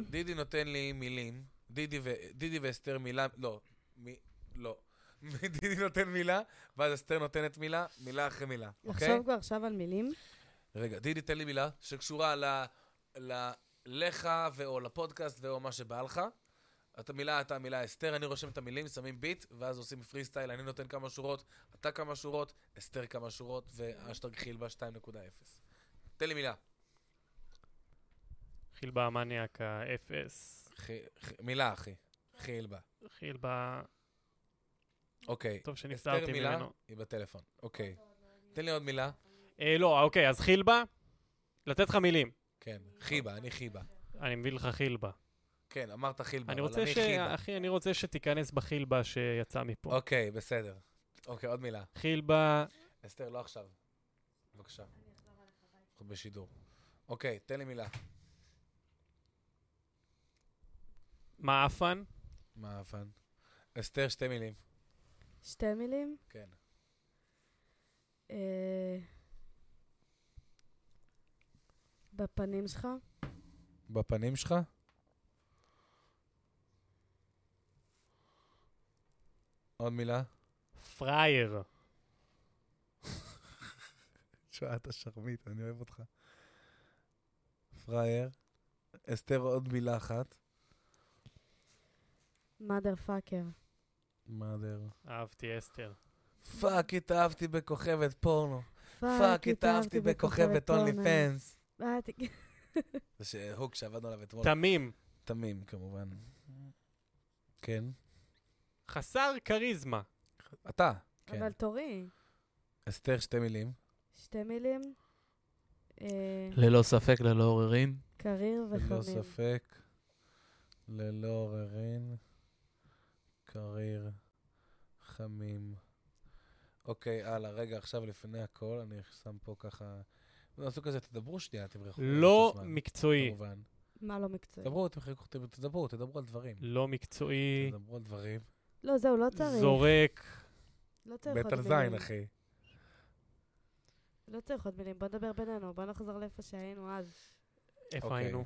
Speaker 2: דידי נותן לי מילים, דידי, ו... דידי ואסתר מילה, לא, מ... לא. דידי נותן מילה, ואז אסתר נותנת מילה, מילה אחרי מילה, אוקיי?
Speaker 3: לחשוב כבר עכשיו על מילים?
Speaker 2: רגע, דידי, תן לי מילה שקשורה ל... ל... לך ו... או לפודקאסט ו... או מה שבא לך, אתה מילה, אתה מילה, אסתר, אני רושם את המילים, שמים ביט, ואז עושים פרי סטייל, אני נותן כמה שורות, אתה כמה שורות, אסתר כמה שורות, ואשטג חילבה 2.0. תן לי מילה.
Speaker 4: חילבה המניאקה, אפס.
Speaker 2: חי- ח- מילה, אחי. חילבה.
Speaker 4: חילבה...
Speaker 2: אוקיי.
Speaker 4: טוב שנפטרתי
Speaker 2: אסתר מילה,
Speaker 4: ממנו.
Speaker 2: היא בטלפון. אוקיי. תן לי עוד מילה.
Speaker 4: אה, לא, אוקיי, אז חילבה? לתת לך מילים.
Speaker 2: כן. חיבה, אני חיבה.
Speaker 4: אני מביא לך חילבה.
Speaker 2: כן, אמרת חילבה,
Speaker 4: אני
Speaker 2: אבל
Speaker 4: רוצה
Speaker 2: אני
Speaker 4: ש...
Speaker 2: חיבה.
Speaker 4: אחי, אני רוצה שתיכנס בחילבה שיצא מפה.
Speaker 2: אוקיי, בסדר. אוקיי, עוד מילה.
Speaker 4: חילבה...
Speaker 2: אסתר, לא עכשיו. בבקשה. אנחנו בשידור. אוקיי, תן לי מילה.
Speaker 4: מעפן?
Speaker 2: מה הפן? אסתר, שתי מילים.
Speaker 3: שתי מילים.
Speaker 2: כן.
Speaker 3: אה, בפנים שלך.
Speaker 2: בפנים שלך? עוד מילה?
Speaker 4: פראייר.
Speaker 2: שעת השרמית, אני אוהב אותך. פראייר. אסתר, עוד מילה אחת.
Speaker 3: mother fucker.
Speaker 2: מאדר.
Speaker 4: אהבתי, אסתר.
Speaker 2: פאק, התאהבתי בכוכבת פורנו. פאק, התאהבתי בכוכבת אונלי פנס.
Speaker 3: אה, ת-
Speaker 2: זה שהוק שעבדנו עליו אתמול.
Speaker 4: תמים.
Speaker 2: תמים, כמובן. כן.
Speaker 4: חסר כריזמה.
Speaker 2: אוקיי, אתה. כן.
Speaker 3: אבל תורי.
Speaker 2: אסתר, שתי מילים.
Speaker 3: שתי מילים. אה,
Speaker 5: ללא לא ספק, ללא עוררין.
Speaker 3: קריר
Speaker 2: ללא
Speaker 3: וחמים.
Speaker 2: ספק, ללא עוררין, קריר, חמים. אוקיי, הלאה, רגע, עכשיו לפני הכל, אני שם פה ככה... נעשו כזה, תדברו שנייה, תברחו.
Speaker 4: לא מקצועי.
Speaker 2: אוקיי, כמובן.
Speaker 3: מה לא מקצועי?
Speaker 2: תדברו, תברחו, תדברו, תדברו על דברים.
Speaker 4: לא מקצועי.
Speaker 2: תדברו על דברים.
Speaker 3: לא, זהו, לא צריך.
Speaker 4: זורק.
Speaker 3: לא צריך
Speaker 2: בית
Speaker 3: עוד
Speaker 2: על זין,
Speaker 3: מילים.
Speaker 2: אחי.
Speaker 3: לא צריך עוד מילים. בוא נדבר בינינו. בוא נחזור לאיפה שהיינו אז.
Speaker 4: איפה
Speaker 2: אוקיי.
Speaker 4: היינו?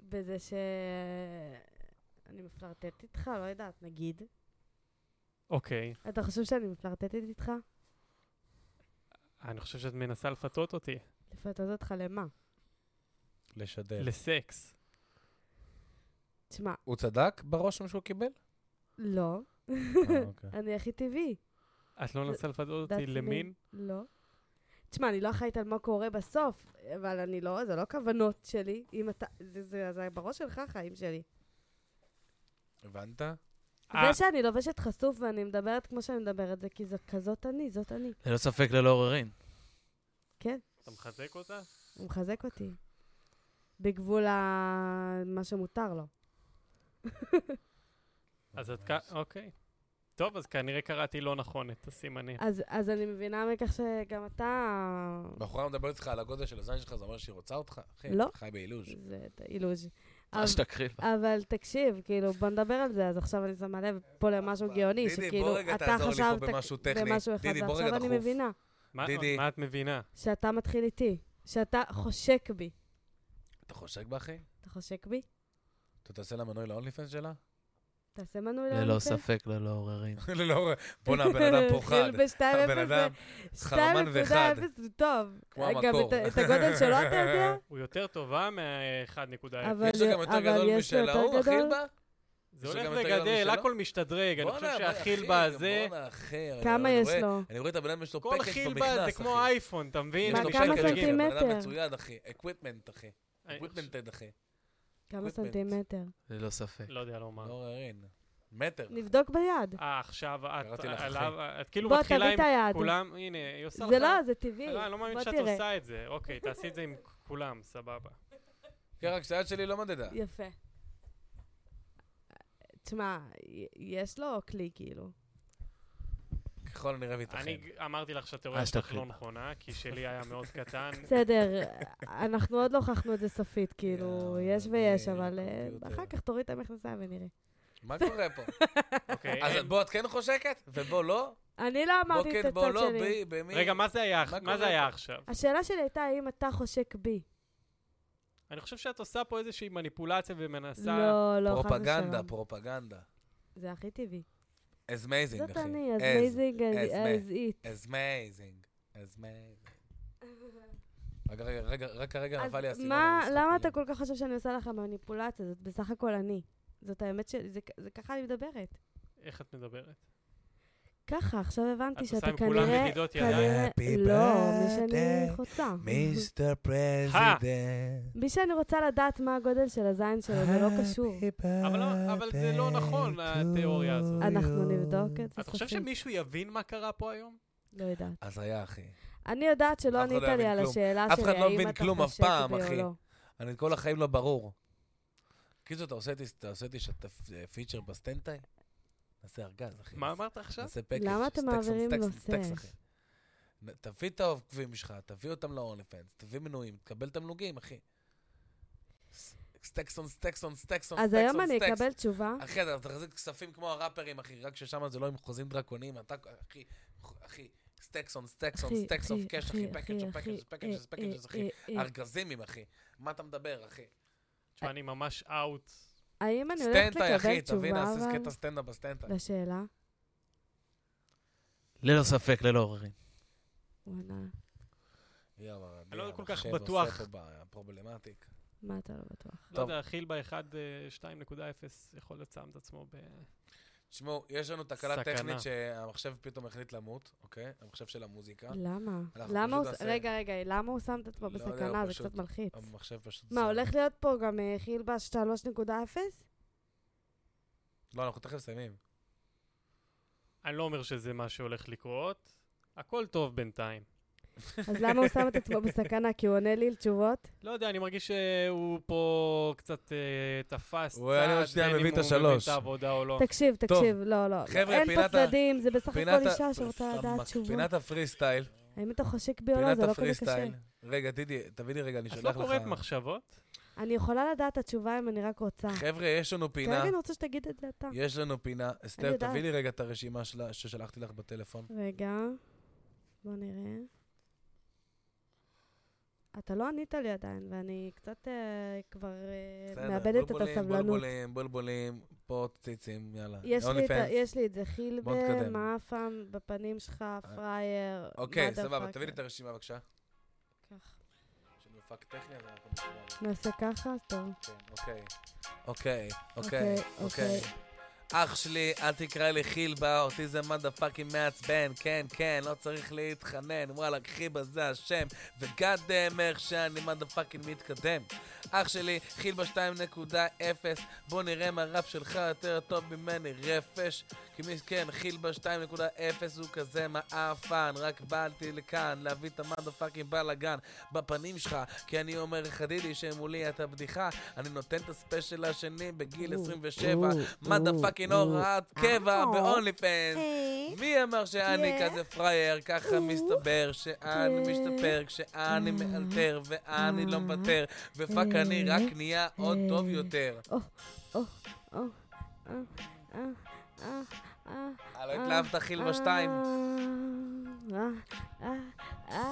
Speaker 3: בזה ש... אני מפלרטטת איתך, לא יודעת, נגיד.
Speaker 4: אוקיי.
Speaker 3: אתה חושב שאני מפלרטטת איתך?
Speaker 4: אני חושב שאת מנסה לפתות אותי.
Speaker 2: כן.
Speaker 3: לפלרטט אותך למה?
Speaker 2: לשדר.
Speaker 4: לסקס.
Speaker 3: תשמע,
Speaker 2: הוא צדק ברושם שהוא קיבל?
Speaker 3: לא.
Speaker 2: אה, אוקיי.
Speaker 3: אני הכי טבעי.
Speaker 4: את לא מנסה לפתות
Speaker 3: That's
Speaker 4: אותי
Speaker 3: me.
Speaker 4: למין?
Speaker 3: לא. תשמע, אני לא אחראית על מה קורה בסוף, אבל אני לא, זה לא כוונות שלי. אם אתה... זה, זה, זה בראש שלך, החיים שלי.
Speaker 2: הבנת?
Speaker 4: אה,
Speaker 3: זה שאני לובשת חשוף ואני מדברת כמו שאני מדברת, זה כי זו כזאת אני, זאת אני.
Speaker 5: ללא ספק, ללא עוררין.
Speaker 3: כן,
Speaker 4: אתה מחזק
Speaker 2: אה,
Speaker 4: אותה?
Speaker 3: הוא מחזק אותי. בגבול ה... מה שמותר לו.
Speaker 4: אז
Speaker 2: אה,
Speaker 4: את כ... אוקיי. טוב, אז כנראה קראתי לא נכון את הסימנים.
Speaker 3: אז, אז אני מבינה מכך שגם אתה...
Speaker 2: בחורה מדברת איתך על הגודל של הזין שלך, זה אומר שהיא רוצה אותך? אחי,
Speaker 3: לא.
Speaker 2: חי באילוז'.
Speaker 3: זה אילוז'. אבל-
Speaker 5: ממש תקריא.
Speaker 3: אבל תקשיב, כאילו, בוא נדבר על זה, אז עכשיו אני שמה לב פה למשהו גאוני,
Speaker 2: דידי, בוא
Speaker 3: שכאילו,
Speaker 2: רגע
Speaker 3: אתה
Speaker 2: תעזור לי פה
Speaker 3: חשבת
Speaker 2: במשהו טכני.
Speaker 3: במשהו אחד,
Speaker 2: דידי, בוא רגע
Speaker 3: ועכשיו אני
Speaker 2: דחוף.
Speaker 3: מבינה
Speaker 4: מה
Speaker 2: דידי.
Speaker 4: מה את מבינה?
Speaker 3: שאתה מתחיל איתי, שאתה חושק בי.
Speaker 2: אתה חושק בה, אחי?
Speaker 3: אתה חושק בי?
Speaker 2: אתה תעשה לה מנוי לאונלי פנס שלה?
Speaker 3: תעשה מנוי
Speaker 5: ללא
Speaker 3: לאונליפנס.
Speaker 5: ספק, ללא עוררין.
Speaker 2: לא, בואנה, הבן אדם פוחד.
Speaker 3: התחיל ב-2.0,
Speaker 2: הבן אדם חרמן וחד.
Speaker 3: 2.0 זה טוב. אה,
Speaker 2: כמו
Speaker 3: גם
Speaker 2: המקור.
Speaker 3: את ה- את הגודל שלו אתה יודע?
Speaker 4: הוא יותר טובה מה-1.0.
Speaker 3: אבל
Speaker 2: יש לו גם יותר
Speaker 3: אבל
Speaker 2: גדול
Speaker 3: יש לו
Speaker 2: משל
Speaker 3: יותר
Speaker 2: ההוא,
Speaker 3: גדול.
Speaker 2: החילבה? יש
Speaker 4: זה
Speaker 2: לו
Speaker 4: הולך
Speaker 2: גם את הגדול
Speaker 4: וגדל,
Speaker 2: משלו?
Speaker 4: הכל משתדרג. אני חושב
Speaker 2: בואנה, אחי,
Speaker 4: שהחילבה הזה,
Speaker 2: בואנה, אחי. אני-
Speaker 3: כמה
Speaker 2: אני
Speaker 3: יש
Speaker 2: אה, רואה-
Speaker 3: לו?
Speaker 2: אני רואה את הבן אדם, יש לו
Speaker 4: כל
Speaker 2: פקט
Speaker 4: חילבה זה
Speaker 2: במכנס,
Speaker 4: כמו
Speaker 2: אחי.
Speaker 4: אייפון, אתה מבין?
Speaker 2: יש
Speaker 3: מה,
Speaker 2: לו
Speaker 4: אני
Speaker 3: כמה
Speaker 2: פקט במכנס,
Speaker 4: משתדרג.
Speaker 3: סנטימטר?
Speaker 2: הבן אדם מצויד, אחי. אקוויפמנט, אחי.
Speaker 4: אני חושב-
Speaker 2: אקוויפמנט, אחי.
Speaker 3: כמה
Speaker 2: באמת.
Speaker 3: סנטימטר?
Speaker 5: ללא ספק.
Speaker 4: לא יודע לומר.
Speaker 2: לא עוררין. מטר.
Speaker 3: נבדוק ביד.
Speaker 4: אה, עכשיו את
Speaker 2: קראתי לך,
Speaker 4: עליו, את כאילו
Speaker 3: בוא,
Speaker 4: מתחילה
Speaker 3: תביא
Speaker 4: עם
Speaker 3: את היד.
Speaker 4: כולם, הנה, היא עושה לך...
Speaker 3: זה לא, זה טבעי.
Speaker 4: לא, אני לא מאמין
Speaker 3: בוא
Speaker 4: שאת
Speaker 3: תראה.
Speaker 4: עושה את זה. אוקיי, תעשי את זה עם כולם, סבבה.
Speaker 2: כן, רק שהיד שלי לא מדדה.
Speaker 3: יפה. תשמע, י- יש לו כלי, כאילו.
Speaker 2: ככל הנראה
Speaker 4: אני
Speaker 2: ויתכן.
Speaker 4: ג- אמרתי לך שהתיאוריה
Speaker 5: אה,
Speaker 4: שלך
Speaker 5: שתחליט.
Speaker 4: לא נכונה, כי שלי היה מאוד קטן.
Speaker 3: בסדר, אנחנו עוד לא הוכחנו את זה סופית, כאילו,
Speaker 2: יאללה,
Speaker 3: יש ויש,
Speaker 2: אני
Speaker 3: אבל אה,
Speaker 2: לקומפיוטר.
Speaker 3: אחר כך תוריד את המכנסיים ונראה.
Speaker 2: מה קורה פה?
Speaker 4: אוקיי,
Speaker 2: אז
Speaker 4: אין-
Speaker 2: בוא, את כן חושקת? ובוא, לא?
Speaker 3: אני לא
Speaker 2: בוא,
Speaker 3: אמרתי את
Speaker 2: כן,
Speaker 3: הצד
Speaker 2: בוא, לא,
Speaker 3: שלי.
Speaker 2: בי, במי?
Speaker 4: רגע, מה זה היה
Speaker 2: מה
Speaker 4: מה זה
Speaker 2: קורה
Speaker 4: היה
Speaker 2: פה?
Speaker 4: עכשיו?
Speaker 3: השאלה שלי הייתה, האם אתה חושק בי?
Speaker 4: אני חושב שאת עושה פה איזושהי מניפולציה ומנסה...
Speaker 3: לא, לא, חס
Speaker 2: פרופגנדה,
Speaker 3: ושלום.
Speaker 2: פרופגנדה.
Speaker 3: זה הכי טבעי.
Speaker 2: It's amazing, אחי.
Speaker 3: זאת אני, אז
Speaker 2: As-
Speaker 3: amazing as-
Speaker 2: as ma-
Speaker 3: as it.
Speaker 2: It's amazing. It's amazing. רגע, רגע, רגע, רק כרגע
Speaker 3: אז
Speaker 2: נפל לי הסימן.
Speaker 3: מה,
Speaker 2: במשחק
Speaker 3: למה
Speaker 2: מילים.
Speaker 3: אתה כל כך חושב שאני עושה לך מניפולציה? זאת בסך הכל אני. זאת האמת שלי, זה, כ- זה ככה אני מדברת.
Speaker 4: איך את מדברת?
Speaker 3: ככה, עכשיו הבנתי
Speaker 4: את
Speaker 3: שאתה
Speaker 4: עושה עם
Speaker 3: כנראה...
Speaker 4: כולם
Speaker 2: כן.
Speaker 4: מדידות ידיים.
Speaker 3: כנראה-
Speaker 2: Happy
Speaker 3: לא, מי שאני
Speaker 2: birthday,
Speaker 3: חוצה.
Speaker 2: מיסטר פרזידנט.
Speaker 3: מי שאני רוצה לדעת מה הגודל של הזין שלו, זה לא קשור.
Speaker 4: אבל לא- אבל זה לא נכון, התיאוריה הזאת.
Speaker 3: אנחנו נבדוק את זה.
Speaker 4: את חושב
Speaker 3: סופית.
Speaker 4: שמישהו יבין מה קרה פה היום?
Speaker 3: לא יודעת.
Speaker 2: אז היה, אחי.
Speaker 3: אני יודעת שלא
Speaker 2: אף אחד
Speaker 3: ענית
Speaker 2: לא
Speaker 3: לי
Speaker 2: יבין
Speaker 3: על
Speaker 2: כלום.
Speaker 3: השאלה
Speaker 2: אף
Speaker 3: שלי,
Speaker 2: אחד לא
Speaker 3: האם
Speaker 2: מבין
Speaker 3: אתה
Speaker 2: כלום אף
Speaker 3: חושב
Speaker 2: פעם,
Speaker 3: בי או
Speaker 2: אחי.
Speaker 3: לא.
Speaker 2: אני כל החיים לא ברור. קיצור, אתה עושה איתי- אתה עושה איתי שתף- אה, פיצ'ר בסטנטאי? נעשה ארגז, אחי.
Speaker 4: מה אמרת עכשיו?
Speaker 2: נעשה פקאג'.
Speaker 3: למה אתם
Speaker 2: סטקס,
Speaker 3: מעבירים
Speaker 2: סטקס,
Speaker 3: נושא?
Speaker 2: סטקס, אחי. נ- תביא את העוקבים שלך, תביא אותם ל-onlyfans, תביא מנויים, תקבל תמלוגים, אחי. ס- סטקס און סטקס און סטקס און
Speaker 3: אז
Speaker 2: סטקס
Speaker 3: היום
Speaker 2: און
Speaker 3: אני
Speaker 2: סטקס.
Speaker 3: אקבל תשובה.
Speaker 2: אחי, אתה תחזיק כספים כמו הראפרים, אחי, רק ששם זה לא עם חוזים דרקוניים, אתה, אחי, אחי, סטקס און סטקס און
Speaker 3: אחי,
Speaker 2: סטקס אוף
Speaker 3: אחי,
Speaker 2: קאש, אחי,
Speaker 3: אחי,
Speaker 2: פקאג'
Speaker 3: אחי,
Speaker 2: פקאג'
Speaker 3: אה,
Speaker 2: פקאג' פקאג'
Speaker 3: אה,
Speaker 2: אחי,
Speaker 3: אה, אה.
Speaker 2: ארגזים, אחי. מה אתה מדבר, אחי?
Speaker 4: תשמע, אני ממש אאוט.
Speaker 3: האם אני הולכת
Speaker 2: סטנטאי,
Speaker 3: לקבל
Speaker 2: אחי, תביא,
Speaker 3: תשובה,
Speaker 2: נעשה
Speaker 3: אבל,
Speaker 2: קטע סטנדאפ בסטנדאפ.
Speaker 3: לשאלה?
Speaker 5: ללא ספק, ללא עוררין.
Speaker 3: וואלה,
Speaker 2: יאללה,
Speaker 4: אני לא
Speaker 2: אדיר,
Speaker 4: כל כך
Speaker 2: המחשב
Speaker 4: בטוח.
Speaker 2: עושה פה בעיה, פרובלמטיק.
Speaker 3: מה אתה לא בטוח?
Speaker 4: לא
Speaker 2: טוב.
Speaker 4: יודע, חיל באחד, אה, 2.0 יכול להיות שם את עצמו ב...
Speaker 2: תשמעו, יש לנו תקלה
Speaker 4: סכנה.
Speaker 2: טכנית שהמחשב פתאום החליט למות, אוקיי? המחשב של המוזיקה.
Speaker 3: למה?
Speaker 2: כן? אנחנו
Speaker 3: למה הוא...
Speaker 2: פשוט נעשה-
Speaker 3: רגע, רגע, למה הוא שם את עצמו
Speaker 2: לא יודע, הוא
Speaker 3: בסכנה? זה
Speaker 2: פשוט-
Speaker 3: קצת מלחיץ.
Speaker 2: המחשב פשוט...
Speaker 3: מה,
Speaker 2: זר.
Speaker 3: הולך להיות פה גם אה, חילבש 3.0?
Speaker 2: לא, אנחנו תכף מסיימים.
Speaker 4: אני לא אומר שזה מה שהולך לקרות. הכל טוב בינתיים.
Speaker 3: אז למה הוא שם את עצמו בסכנה? כי הוא עונה לי על תשובות?
Speaker 4: לא יודע, אני מרגיש שהוא פה קצת אה, תפס צעד,
Speaker 2: הוא היה לי עוד שנייה
Speaker 4: בין אם
Speaker 2: מביא את
Speaker 4: הוא מבין
Speaker 2: השלוש.
Speaker 4: את העבודה או לא.
Speaker 3: תקשיב, תקשיב, לא, לא.
Speaker 2: חבר'ה,
Speaker 3: אין פה
Speaker 2: פינת ה-
Speaker 3: צדדים, זה בסך הכל
Speaker 2: פינת ה-
Speaker 3: אישה שרוצה לדעת תשובות.
Speaker 2: פינת הפרי סטייל.
Speaker 3: האם אתה חושק בי או לא?
Speaker 2: פינת
Speaker 3: זה לא
Speaker 2: הפרי
Speaker 3: כזה קשה.
Speaker 2: סטייל. רגע, טידי, תביא לי רגע, אני
Speaker 4: את לא
Speaker 2: שולח
Speaker 4: קוראת
Speaker 2: לך.
Speaker 4: מחשבות?
Speaker 3: אני יכולה לדעת את התשובה אם אני רק רוצה.
Speaker 2: חבר'ה, יש לנו פינה.
Speaker 3: כרגע אני רוצה שתגיד את זה אתה.
Speaker 2: יש לנו פינה. אסתר,
Speaker 3: יודעת.
Speaker 2: תביא לי רגע את הרשימה שלה- ששלחתי לך בטלפון.
Speaker 3: רגע, בוא נראה. אתה לא ענית לי עדיין, ואני קצת אה, כבר אה,
Speaker 2: בסדר,
Speaker 3: מאבדת את
Speaker 2: בולבולים,
Speaker 3: הסבלנות.
Speaker 2: בולבולים, בולבולים, פה ציצים, יאללה. לא
Speaker 3: יש לי, את, ה-
Speaker 2: OnlyFans.
Speaker 3: יש לי את זה,
Speaker 2: בוא
Speaker 3: חילבה,
Speaker 2: נתקדם. אה.
Speaker 3: מה הפעם בפנים שלך, פראייר,
Speaker 2: אוקיי,
Speaker 3: motherfucker.
Speaker 2: סבבה, תביא לי את הרשימה בבקשה.
Speaker 3: כך.
Speaker 2: יש לנו פאק טכני, אז אנחנו נשמע.
Speaker 3: נעשה ככה, אז טוב.
Speaker 2: כן, אוקיי. אוקיי, אוקיי,
Speaker 3: אוקיי, אוקיי.
Speaker 2: אוקיי. אח שלי, אל תקרא לי חילבה, אותי זה מדה פאקינג מעצבן, כן, כן, לא צריך להתחנן, וואלכ, חיבה זה השם, וגאדם איך שאני מדה פאקינג מתקדם. אח שלי, חילבה 2.0, בוא נראה מה ראפ שלך יותר טוב ממני, רפש. כי מי כן, חילבה 2.0 הוא כזה מעפן, רק באתי לכאן, להביא את המדה פאקינג בלאגן בפנים שלך, כי אני אומר לך, דידי, שמולי אתה בדיחה, אני נותן את הספיישל השני בגיל 27, מדה פאקינג הוראת קבע
Speaker 3: אה. אוקיי.
Speaker 2: באונלי פנס. מי אמר שאני
Speaker 3: כן.
Speaker 2: כזה פראייר? ככה
Speaker 3: או.
Speaker 2: מסתבר שאני
Speaker 3: כן.
Speaker 2: משתפר כשאני
Speaker 3: אה.
Speaker 2: מאלתר ואני לא
Speaker 3: אה.
Speaker 2: מוותר, ופאק
Speaker 3: אה.
Speaker 2: אני רק נהיה עוד
Speaker 3: אה.
Speaker 2: טוב יותר.
Speaker 3: אה, אה, אה, אה.
Speaker 2: אה, לא התלהבת חילבה 2?
Speaker 3: אה, אה, אה.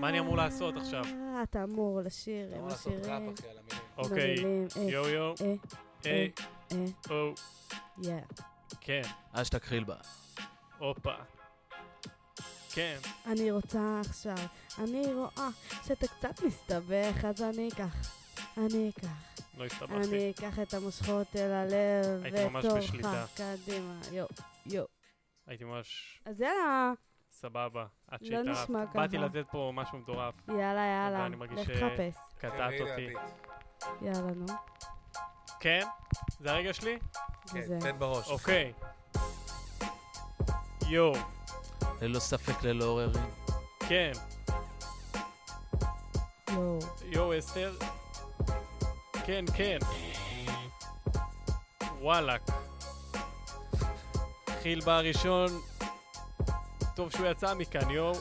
Speaker 4: מה אני אמור לעשות עכשיו?
Speaker 3: אתה אמור לשיר,
Speaker 2: אתה
Speaker 3: הם
Speaker 2: אמור לעשות ראפ,
Speaker 3: השירים.
Speaker 2: אחי, על המילים.
Speaker 4: אוקיי,
Speaker 3: במילים, אה,
Speaker 4: יו יו,
Speaker 3: אה,
Speaker 4: אה,
Speaker 3: אה,
Speaker 4: או,
Speaker 3: יא.
Speaker 4: כן,
Speaker 5: אשתק חילבה.
Speaker 4: הופה. כן,
Speaker 3: אני רוצה עכשיו, אני רואה שאתה קצת מסתבך, אז אני אקח, אני אקח,
Speaker 4: לא הסתבכתי.
Speaker 3: אני אקח את המושכות אל הלב,
Speaker 4: הייתי ממש בשליטה.
Speaker 3: קדימה, יו, יו.
Speaker 4: הייתי ממש
Speaker 3: אז יאללה,
Speaker 4: סבבה, עד
Speaker 3: לא
Speaker 4: שהתערבת.
Speaker 3: נשמע ככה.
Speaker 4: באתי לתת פה משהו מטורף,
Speaker 3: יאללה, יאללה,
Speaker 4: אוקיי, אני מרגיש
Speaker 3: לך
Speaker 4: ש-
Speaker 3: תחפש.
Speaker 4: קטעת
Speaker 2: כן, הנה
Speaker 4: אותי.
Speaker 2: הביט.
Speaker 3: יאללה, נו.
Speaker 4: כן? זה הרגע שלי?
Speaker 2: כן,
Speaker 3: וזהו.
Speaker 2: תן בראש.
Speaker 4: אוקיי. יואו,
Speaker 5: ללא ספק, ללא עוררין.
Speaker 4: כן.
Speaker 3: יואו.
Speaker 4: יואו, אסתר. כן, כן. וואלאק. חיל בר ראשון. טוב שהוא יצא מכאן, יואו.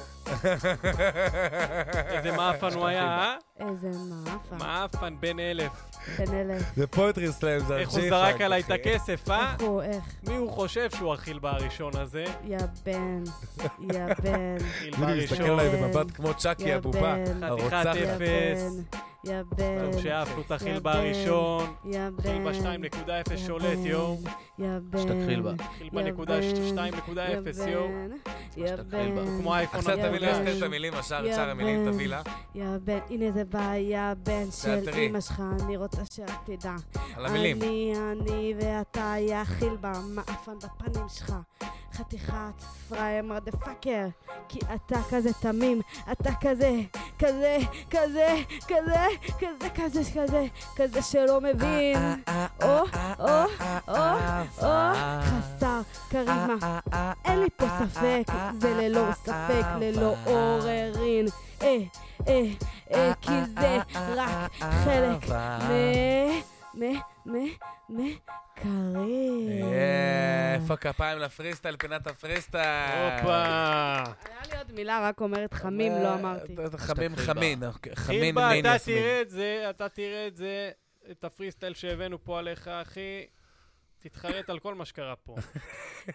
Speaker 4: איזה מאפן הוא היה, אה?
Speaker 3: איזה מאפה.
Speaker 4: מאפן בן אלף.
Speaker 3: בן אלף.
Speaker 2: זה פויטרי סלאם, זה
Speaker 4: איך הוא זרק עליי את הכסף, אה?
Speaker 3: איך הוא, איך?
Speaker 4: מי הוא חושב שהוא החיל בר הראשון הזה?
Speaker 3: יא בן. יא בן.
Speaker 4: חיל בר ראשון.
Speaker 3: עליי במבט
Speaker 2: כמו צ'אקי
Speaker 3: יא בן.
Speaker 4: חתיכת
Speaker 2: הרוצחת.
Speaker 3: יא
Speaker 4: אפס.
Speaker 3: בן. יא בן.
Speaker 4: טוב שהעפנו את החיל
Speaker 3: יא
Speaker 4: בר
Speaker 3: בן.
Speaker 4: הראשון.
Speaker 3: יא בן.
Speaker 4: חיל בר
Speaker 3: יא
Speaker 4: 2.0 שולט,
Speaker 3: בן.
Speaker 4: יואו.
Speaker 3: יא בן.
Speaker 5: שתתחיל בה.
Speaker 4: חיל
Speaker 3: יא
Speaker 4: בר נקודה ש-
Speaker 3: בן.
Speaker 4: 2.0,
Speaker 3: יא
Speaker 4: יואו.
Speaker 3: בן. יא
Speaker 5: שתקריל בה.
Speaker 3: בן.
Speaker 4: כמו האייפון.
Speaker 2: עכשיו
Speaker 4: המחודש.
Speaker 2: תביא לאסתר את המילים, השאר שאר המילים תביא לה.
Speaker 3: יא בן, הנה זה בעיה, בן של
Speaker 2: תאתרי.
Speaker 3: אמא שלך, אני רוצה שאת תדע.
Speaker 2: על המילים.
Speaker 3: אני, אני ואתה יאכיל במאפן בפנים שלך. חתיכת פראייר מרדפאקר, כי אתה כזה תמים, אתה כזה, כזה, כזה, כזה, כזה, כזה, כזה, כזה שלא מבין. אה, או, או, או, או, חסר כריזמה. אין לי פה ספק, זה ללא ספק, ללא עוררין. אה, אה, אה, כי זה רק חלק
Speaker 2: אה.
Speaker 3: מ... מ... מ... מ... קריר.
Speaker 2: אה, איפה כפיים לפריסטייל, פינת הפריסטייל.
Speaker 4: הופה.
Speaker 3: היה לי עוד מילה, רק אומרת חמים, לא אמרתי.
Speaker 2: אה, חמים,
Speaker 5: שתתחיל
Speaker 2: חמין. אוקיי, חמין,
Speaker 4: חילבה,
Speaker 2: מין,
Speaker 4: אתה
Speaker 2: יסמין.
Speaker 4: תראה את זה, אתה תראה את זה, את הפריסטייל שהבאנו פה עליך, אחי. תתחרט על כל מה שקרה פה.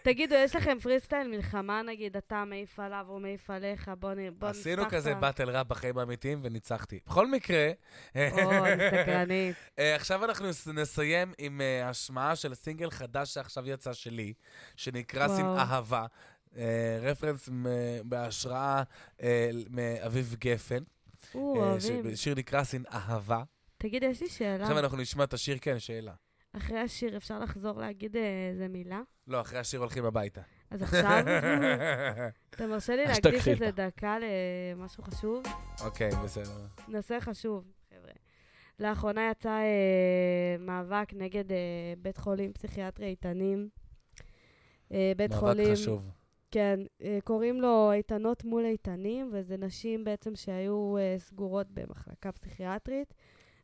Speaker 3: תגידו, יש לכם פריסטייל מלחמה נגיד, אתה מעיף עליו או מעיף עליך? בוא נ- בוא נפתח
Speaker 2: עשינו
Speaker 3: את
Speaker 2: כזה
Speaker 3: ה-
Speaker 2: באטל ראפ בחיים האמיתיים וניצחתי. בכל מקרה,
Speaker 3: אוי, סקרנית.
Speaker 2: אה, עכשיו אנחנו נס- נסיים עם אה, השמעה של סינגל חדש שעכשיו יצא שלי, שנקרא
Speaker 3: וואו.
Speaker 2: סין אהבה. אה, רפרנס מ- בהשראה אה, מאביב גפן.
Speaker 3: או,
Speaker 2: אה,
Speaker 3: אוהבים.
Speaker 2: ש- שיר נקרא סין אהבה.
Speaker 3: תגיד, יש לי שאלה.
Speaker 2: עכשיו אנחנו נשמע את השיר, כן, שאלה.
Speaker 3: אחרי השיר אפשר לחזור להגיד אה, איזה מילה?
Speaker 2: לא, אחרי השיר הולכים הביתה.
Speaker 3: אז עכשיו, אתה מרשה לי להקדיש
Speaker 5: תקשיב
Speaker 3: איזה דקה למשהו חשוב?
Speaker 2: אוקיי, בסדר.
Speaker 3: נושא חשוב, חבר'ה. לאחרונה יצא אה, מאבק נגד אה, בית חולים פסיכיאטרי איתנים. אה, בית חולים...
Speaker 2: מאבק חשוב.
Speaker 3: כן, אה, קוראים לו איתנות מול איתנים, וזה נשים בעצם שהיו אה, סגורות במחלקה פסיכיאטרית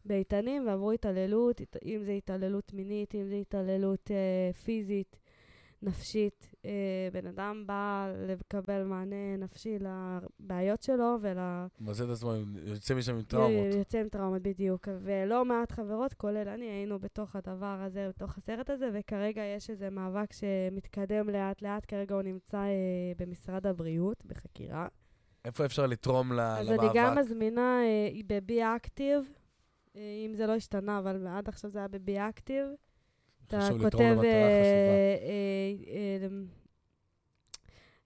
Speaker 3: באיתנים, ועברו התעללות, הת- אם זה התעללות מינית, אם זה התעללות אה, פיזית, נפשית. אה, בן אדם בא לקבל מענה נפשי לבעיות שלו ול...
Speaker 2: מוצא את עצמו, עם- יוצא משם עם טראומות.
Speaker 3: יוצא עם טראומות, בדיוק. ולא מעט חברות, כולל אני, היינו בתוך הדבר הזה, בתוך הסרט הזה, וכרגע יש איזה מאבק שמתקדם לאט-לאט, כרגע הוא נמצא אה, במשרד הבריאות, בחקירה.
Speaker 2: איפה אפשר לתרום ל- למאבק?
Speaker 3: אז אני גם מזמינה, אה, היא בבי אקטיב, אה, אם זה לא השתנה, אבל עד עכשיו זה היה בבי אקטיב. אתה
Speaker 2: חשוב לתרום
Speaker 3: כותב...
Speaker 2: למטרה
Speaker 3: אה,
Speaker 2: חשובה.
Speaker 3: אה, אה,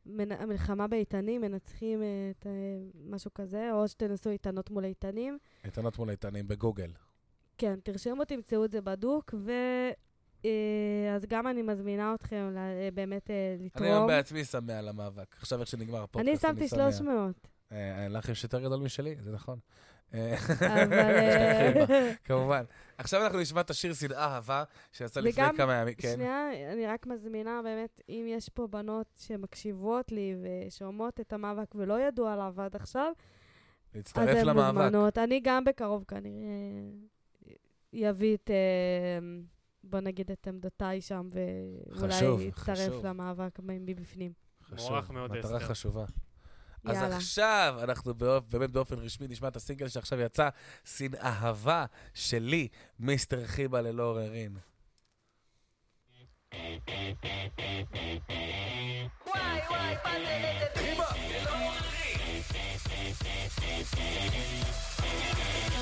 Speaker 3: מנ- המלחמה באיתנים, מנצחים אה, את ה- משהו כזה, או שתנסו איתנות מול איתנים.
Speaker 2: איתנות מול איתנים בגוגל.
Speaker 3: כן, תרשמו, תמצאו את זה בדוק, ו... אה, אז גם אני מזמינה אתכם ל- אה, באמת אה,
Speaker 2: אני היום
Speaker 3: לתרום.
Speaker 2: בעצמי שמח על המאבק. עכשיו, איך שנגמר הפודקאסט,
Speaker 3: אני
Speaker 2: אני שמח.
Speaker 3: שמתי 300,
Speaker 2: אה, לך יש יותר גדול משלי, זה נכון. אה,
Speaker 3: אבל... אה,
Speaker 2: כמובן. עכשיו אנחנו נשמע את השיר שנאה אהבה, שיצא לפני
Speaker 3: וגם-
Speaker 2: כמה ימים. כן.
Speaker 3: שנייה, אני רק מזמינה באמת, אם יש פה בנות שמקשיבות לי ושומעות את המאבק ולא ידעו עליו עד עכשיו, אז
Speaker 2: להצטרף
Speaker 3: הן
Speaker 2: למאבק.
Speaker 3: מוזמנות. אני גם בקרוב כנראה אביא את, אה, בוא נגיד, את עמדותיי שם,
Speaker 2: חשוב,
Speaker 3: ואולי אצטרף
Speaker 2: חשוב.
Speaker 3: למאבק מבפנים.
Speaker 2: חשוב,
Speaker 4: מוערך מאוד,
Speaker 2: מטרה
Speaker 4: אסתר.
Speaker 2: חשובה. אז
Speaker 3: יאללה.
Speaker 2: עכשיו אנחנו באופ- באמת באופן רשמי נשמע את הסינגל שעכשיו יצא, סין אהבה שלי, מיסטר חיבה ללא עוררין.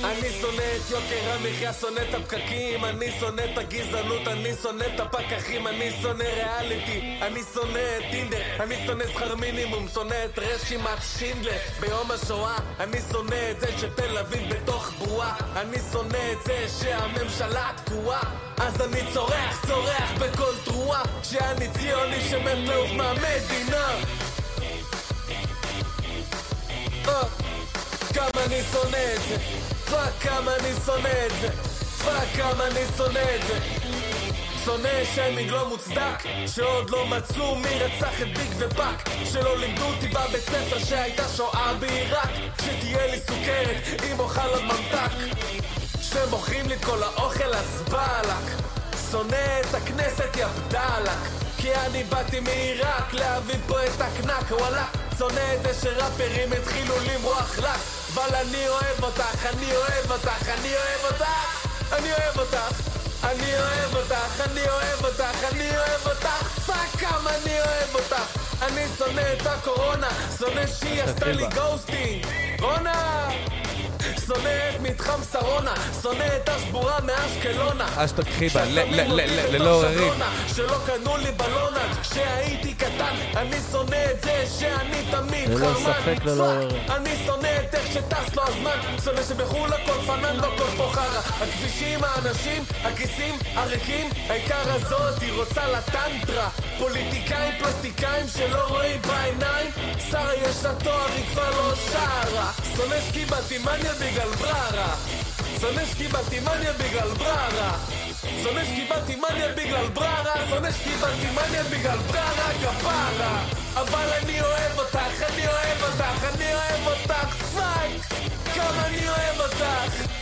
Speaker 6: אני שונא את יוקר המחיה, שונא את הפקקים, אני שונא את הגזענות, אני שונא את הפקחים, אני שונא ריאליטי, אני שונא את טינדר, אני שונא שכר מינימום, שונא את רשימת שינדלר ביום השואה, אני שונא את זה שתל אביב בתוך בועה, אני שונא את זה שהממשלה תקועה, אז אני צורח, צורח בכל תרועה, שאני ציוני שמת לעוף מהמדינה. אה. כמה אני שונא את זה, פאק כמה אני שונא את זה, פאק כמה אני שונא את זה. שונא שיימינג לא מוצדק, שעוד לא מצאו מי רצח את ביג ופאק, שלא לימדו אותי בבית ספר שהייתה שואה בעיראק, שתהיה לי סוכרת אם אוכל עוד ממתק. שמוכרים לי את כל האוכל אז באלק שונא את הכנסת יא בדאלק כי אני באתי מעיראק להביא פה את הקנק וואלה שונא את זה שראפרים התחילו למרוח לק אבל אני אוהב אותך, אני אוהב אותך, אני אוהב אותך אני אוהב אותך אני אוהב אותך, אני אוהב אותך, אני אוהב אותך פאק כמה אני אוהב אותך אני שונא את הקורונה, שונא שהיא עשתה לי גוסטינג רונה! שונא את מתחם שרונה, שונא את השבורה מאשקלונה.
Speaker 2: אשתק חיבה, ל-
Speaker 6: ששמים
Speaker 2: ל- ל-
Speaker 6: אותי
Speaker 2: ל-
Speaker 6: בתור
Speaker 2: ללא עוררין.
Speaker 6: שבלונה, שלא קנו לי בלונה כשהייתי קטן אני שונא את זה שאני תמיד
Speaker 1: ללא
Speaker 6: חרמן
Speaker 1: ספק, ללא
Speaker 6: פאק.
Speaker 1: עוררין.
Speaker 6: אני שונא את איך שטס לו הזמן שונא שבחול הכל פנן לא כל פה חרא הכבישים, האנשים, הכיסים, הריקים העיקר הזאת היא רוצה לטנטרה פוליטיקאים, פלסטיקאים שלא רואים בעיניים שרה יש לה תואר היא כבר לא שרה שונא שקיבלתי מניה בגלל בררה שונא שקיבלתי מניה בגלל בררה שונא שקיבלתי מניה בגלל בררה שונא שקיבלתי מניה בגלל בררה כפרה אבל אני אוהב אותך, אני אוהב אותך, אני אוהב אותך פאק כמה אני אוהב אותך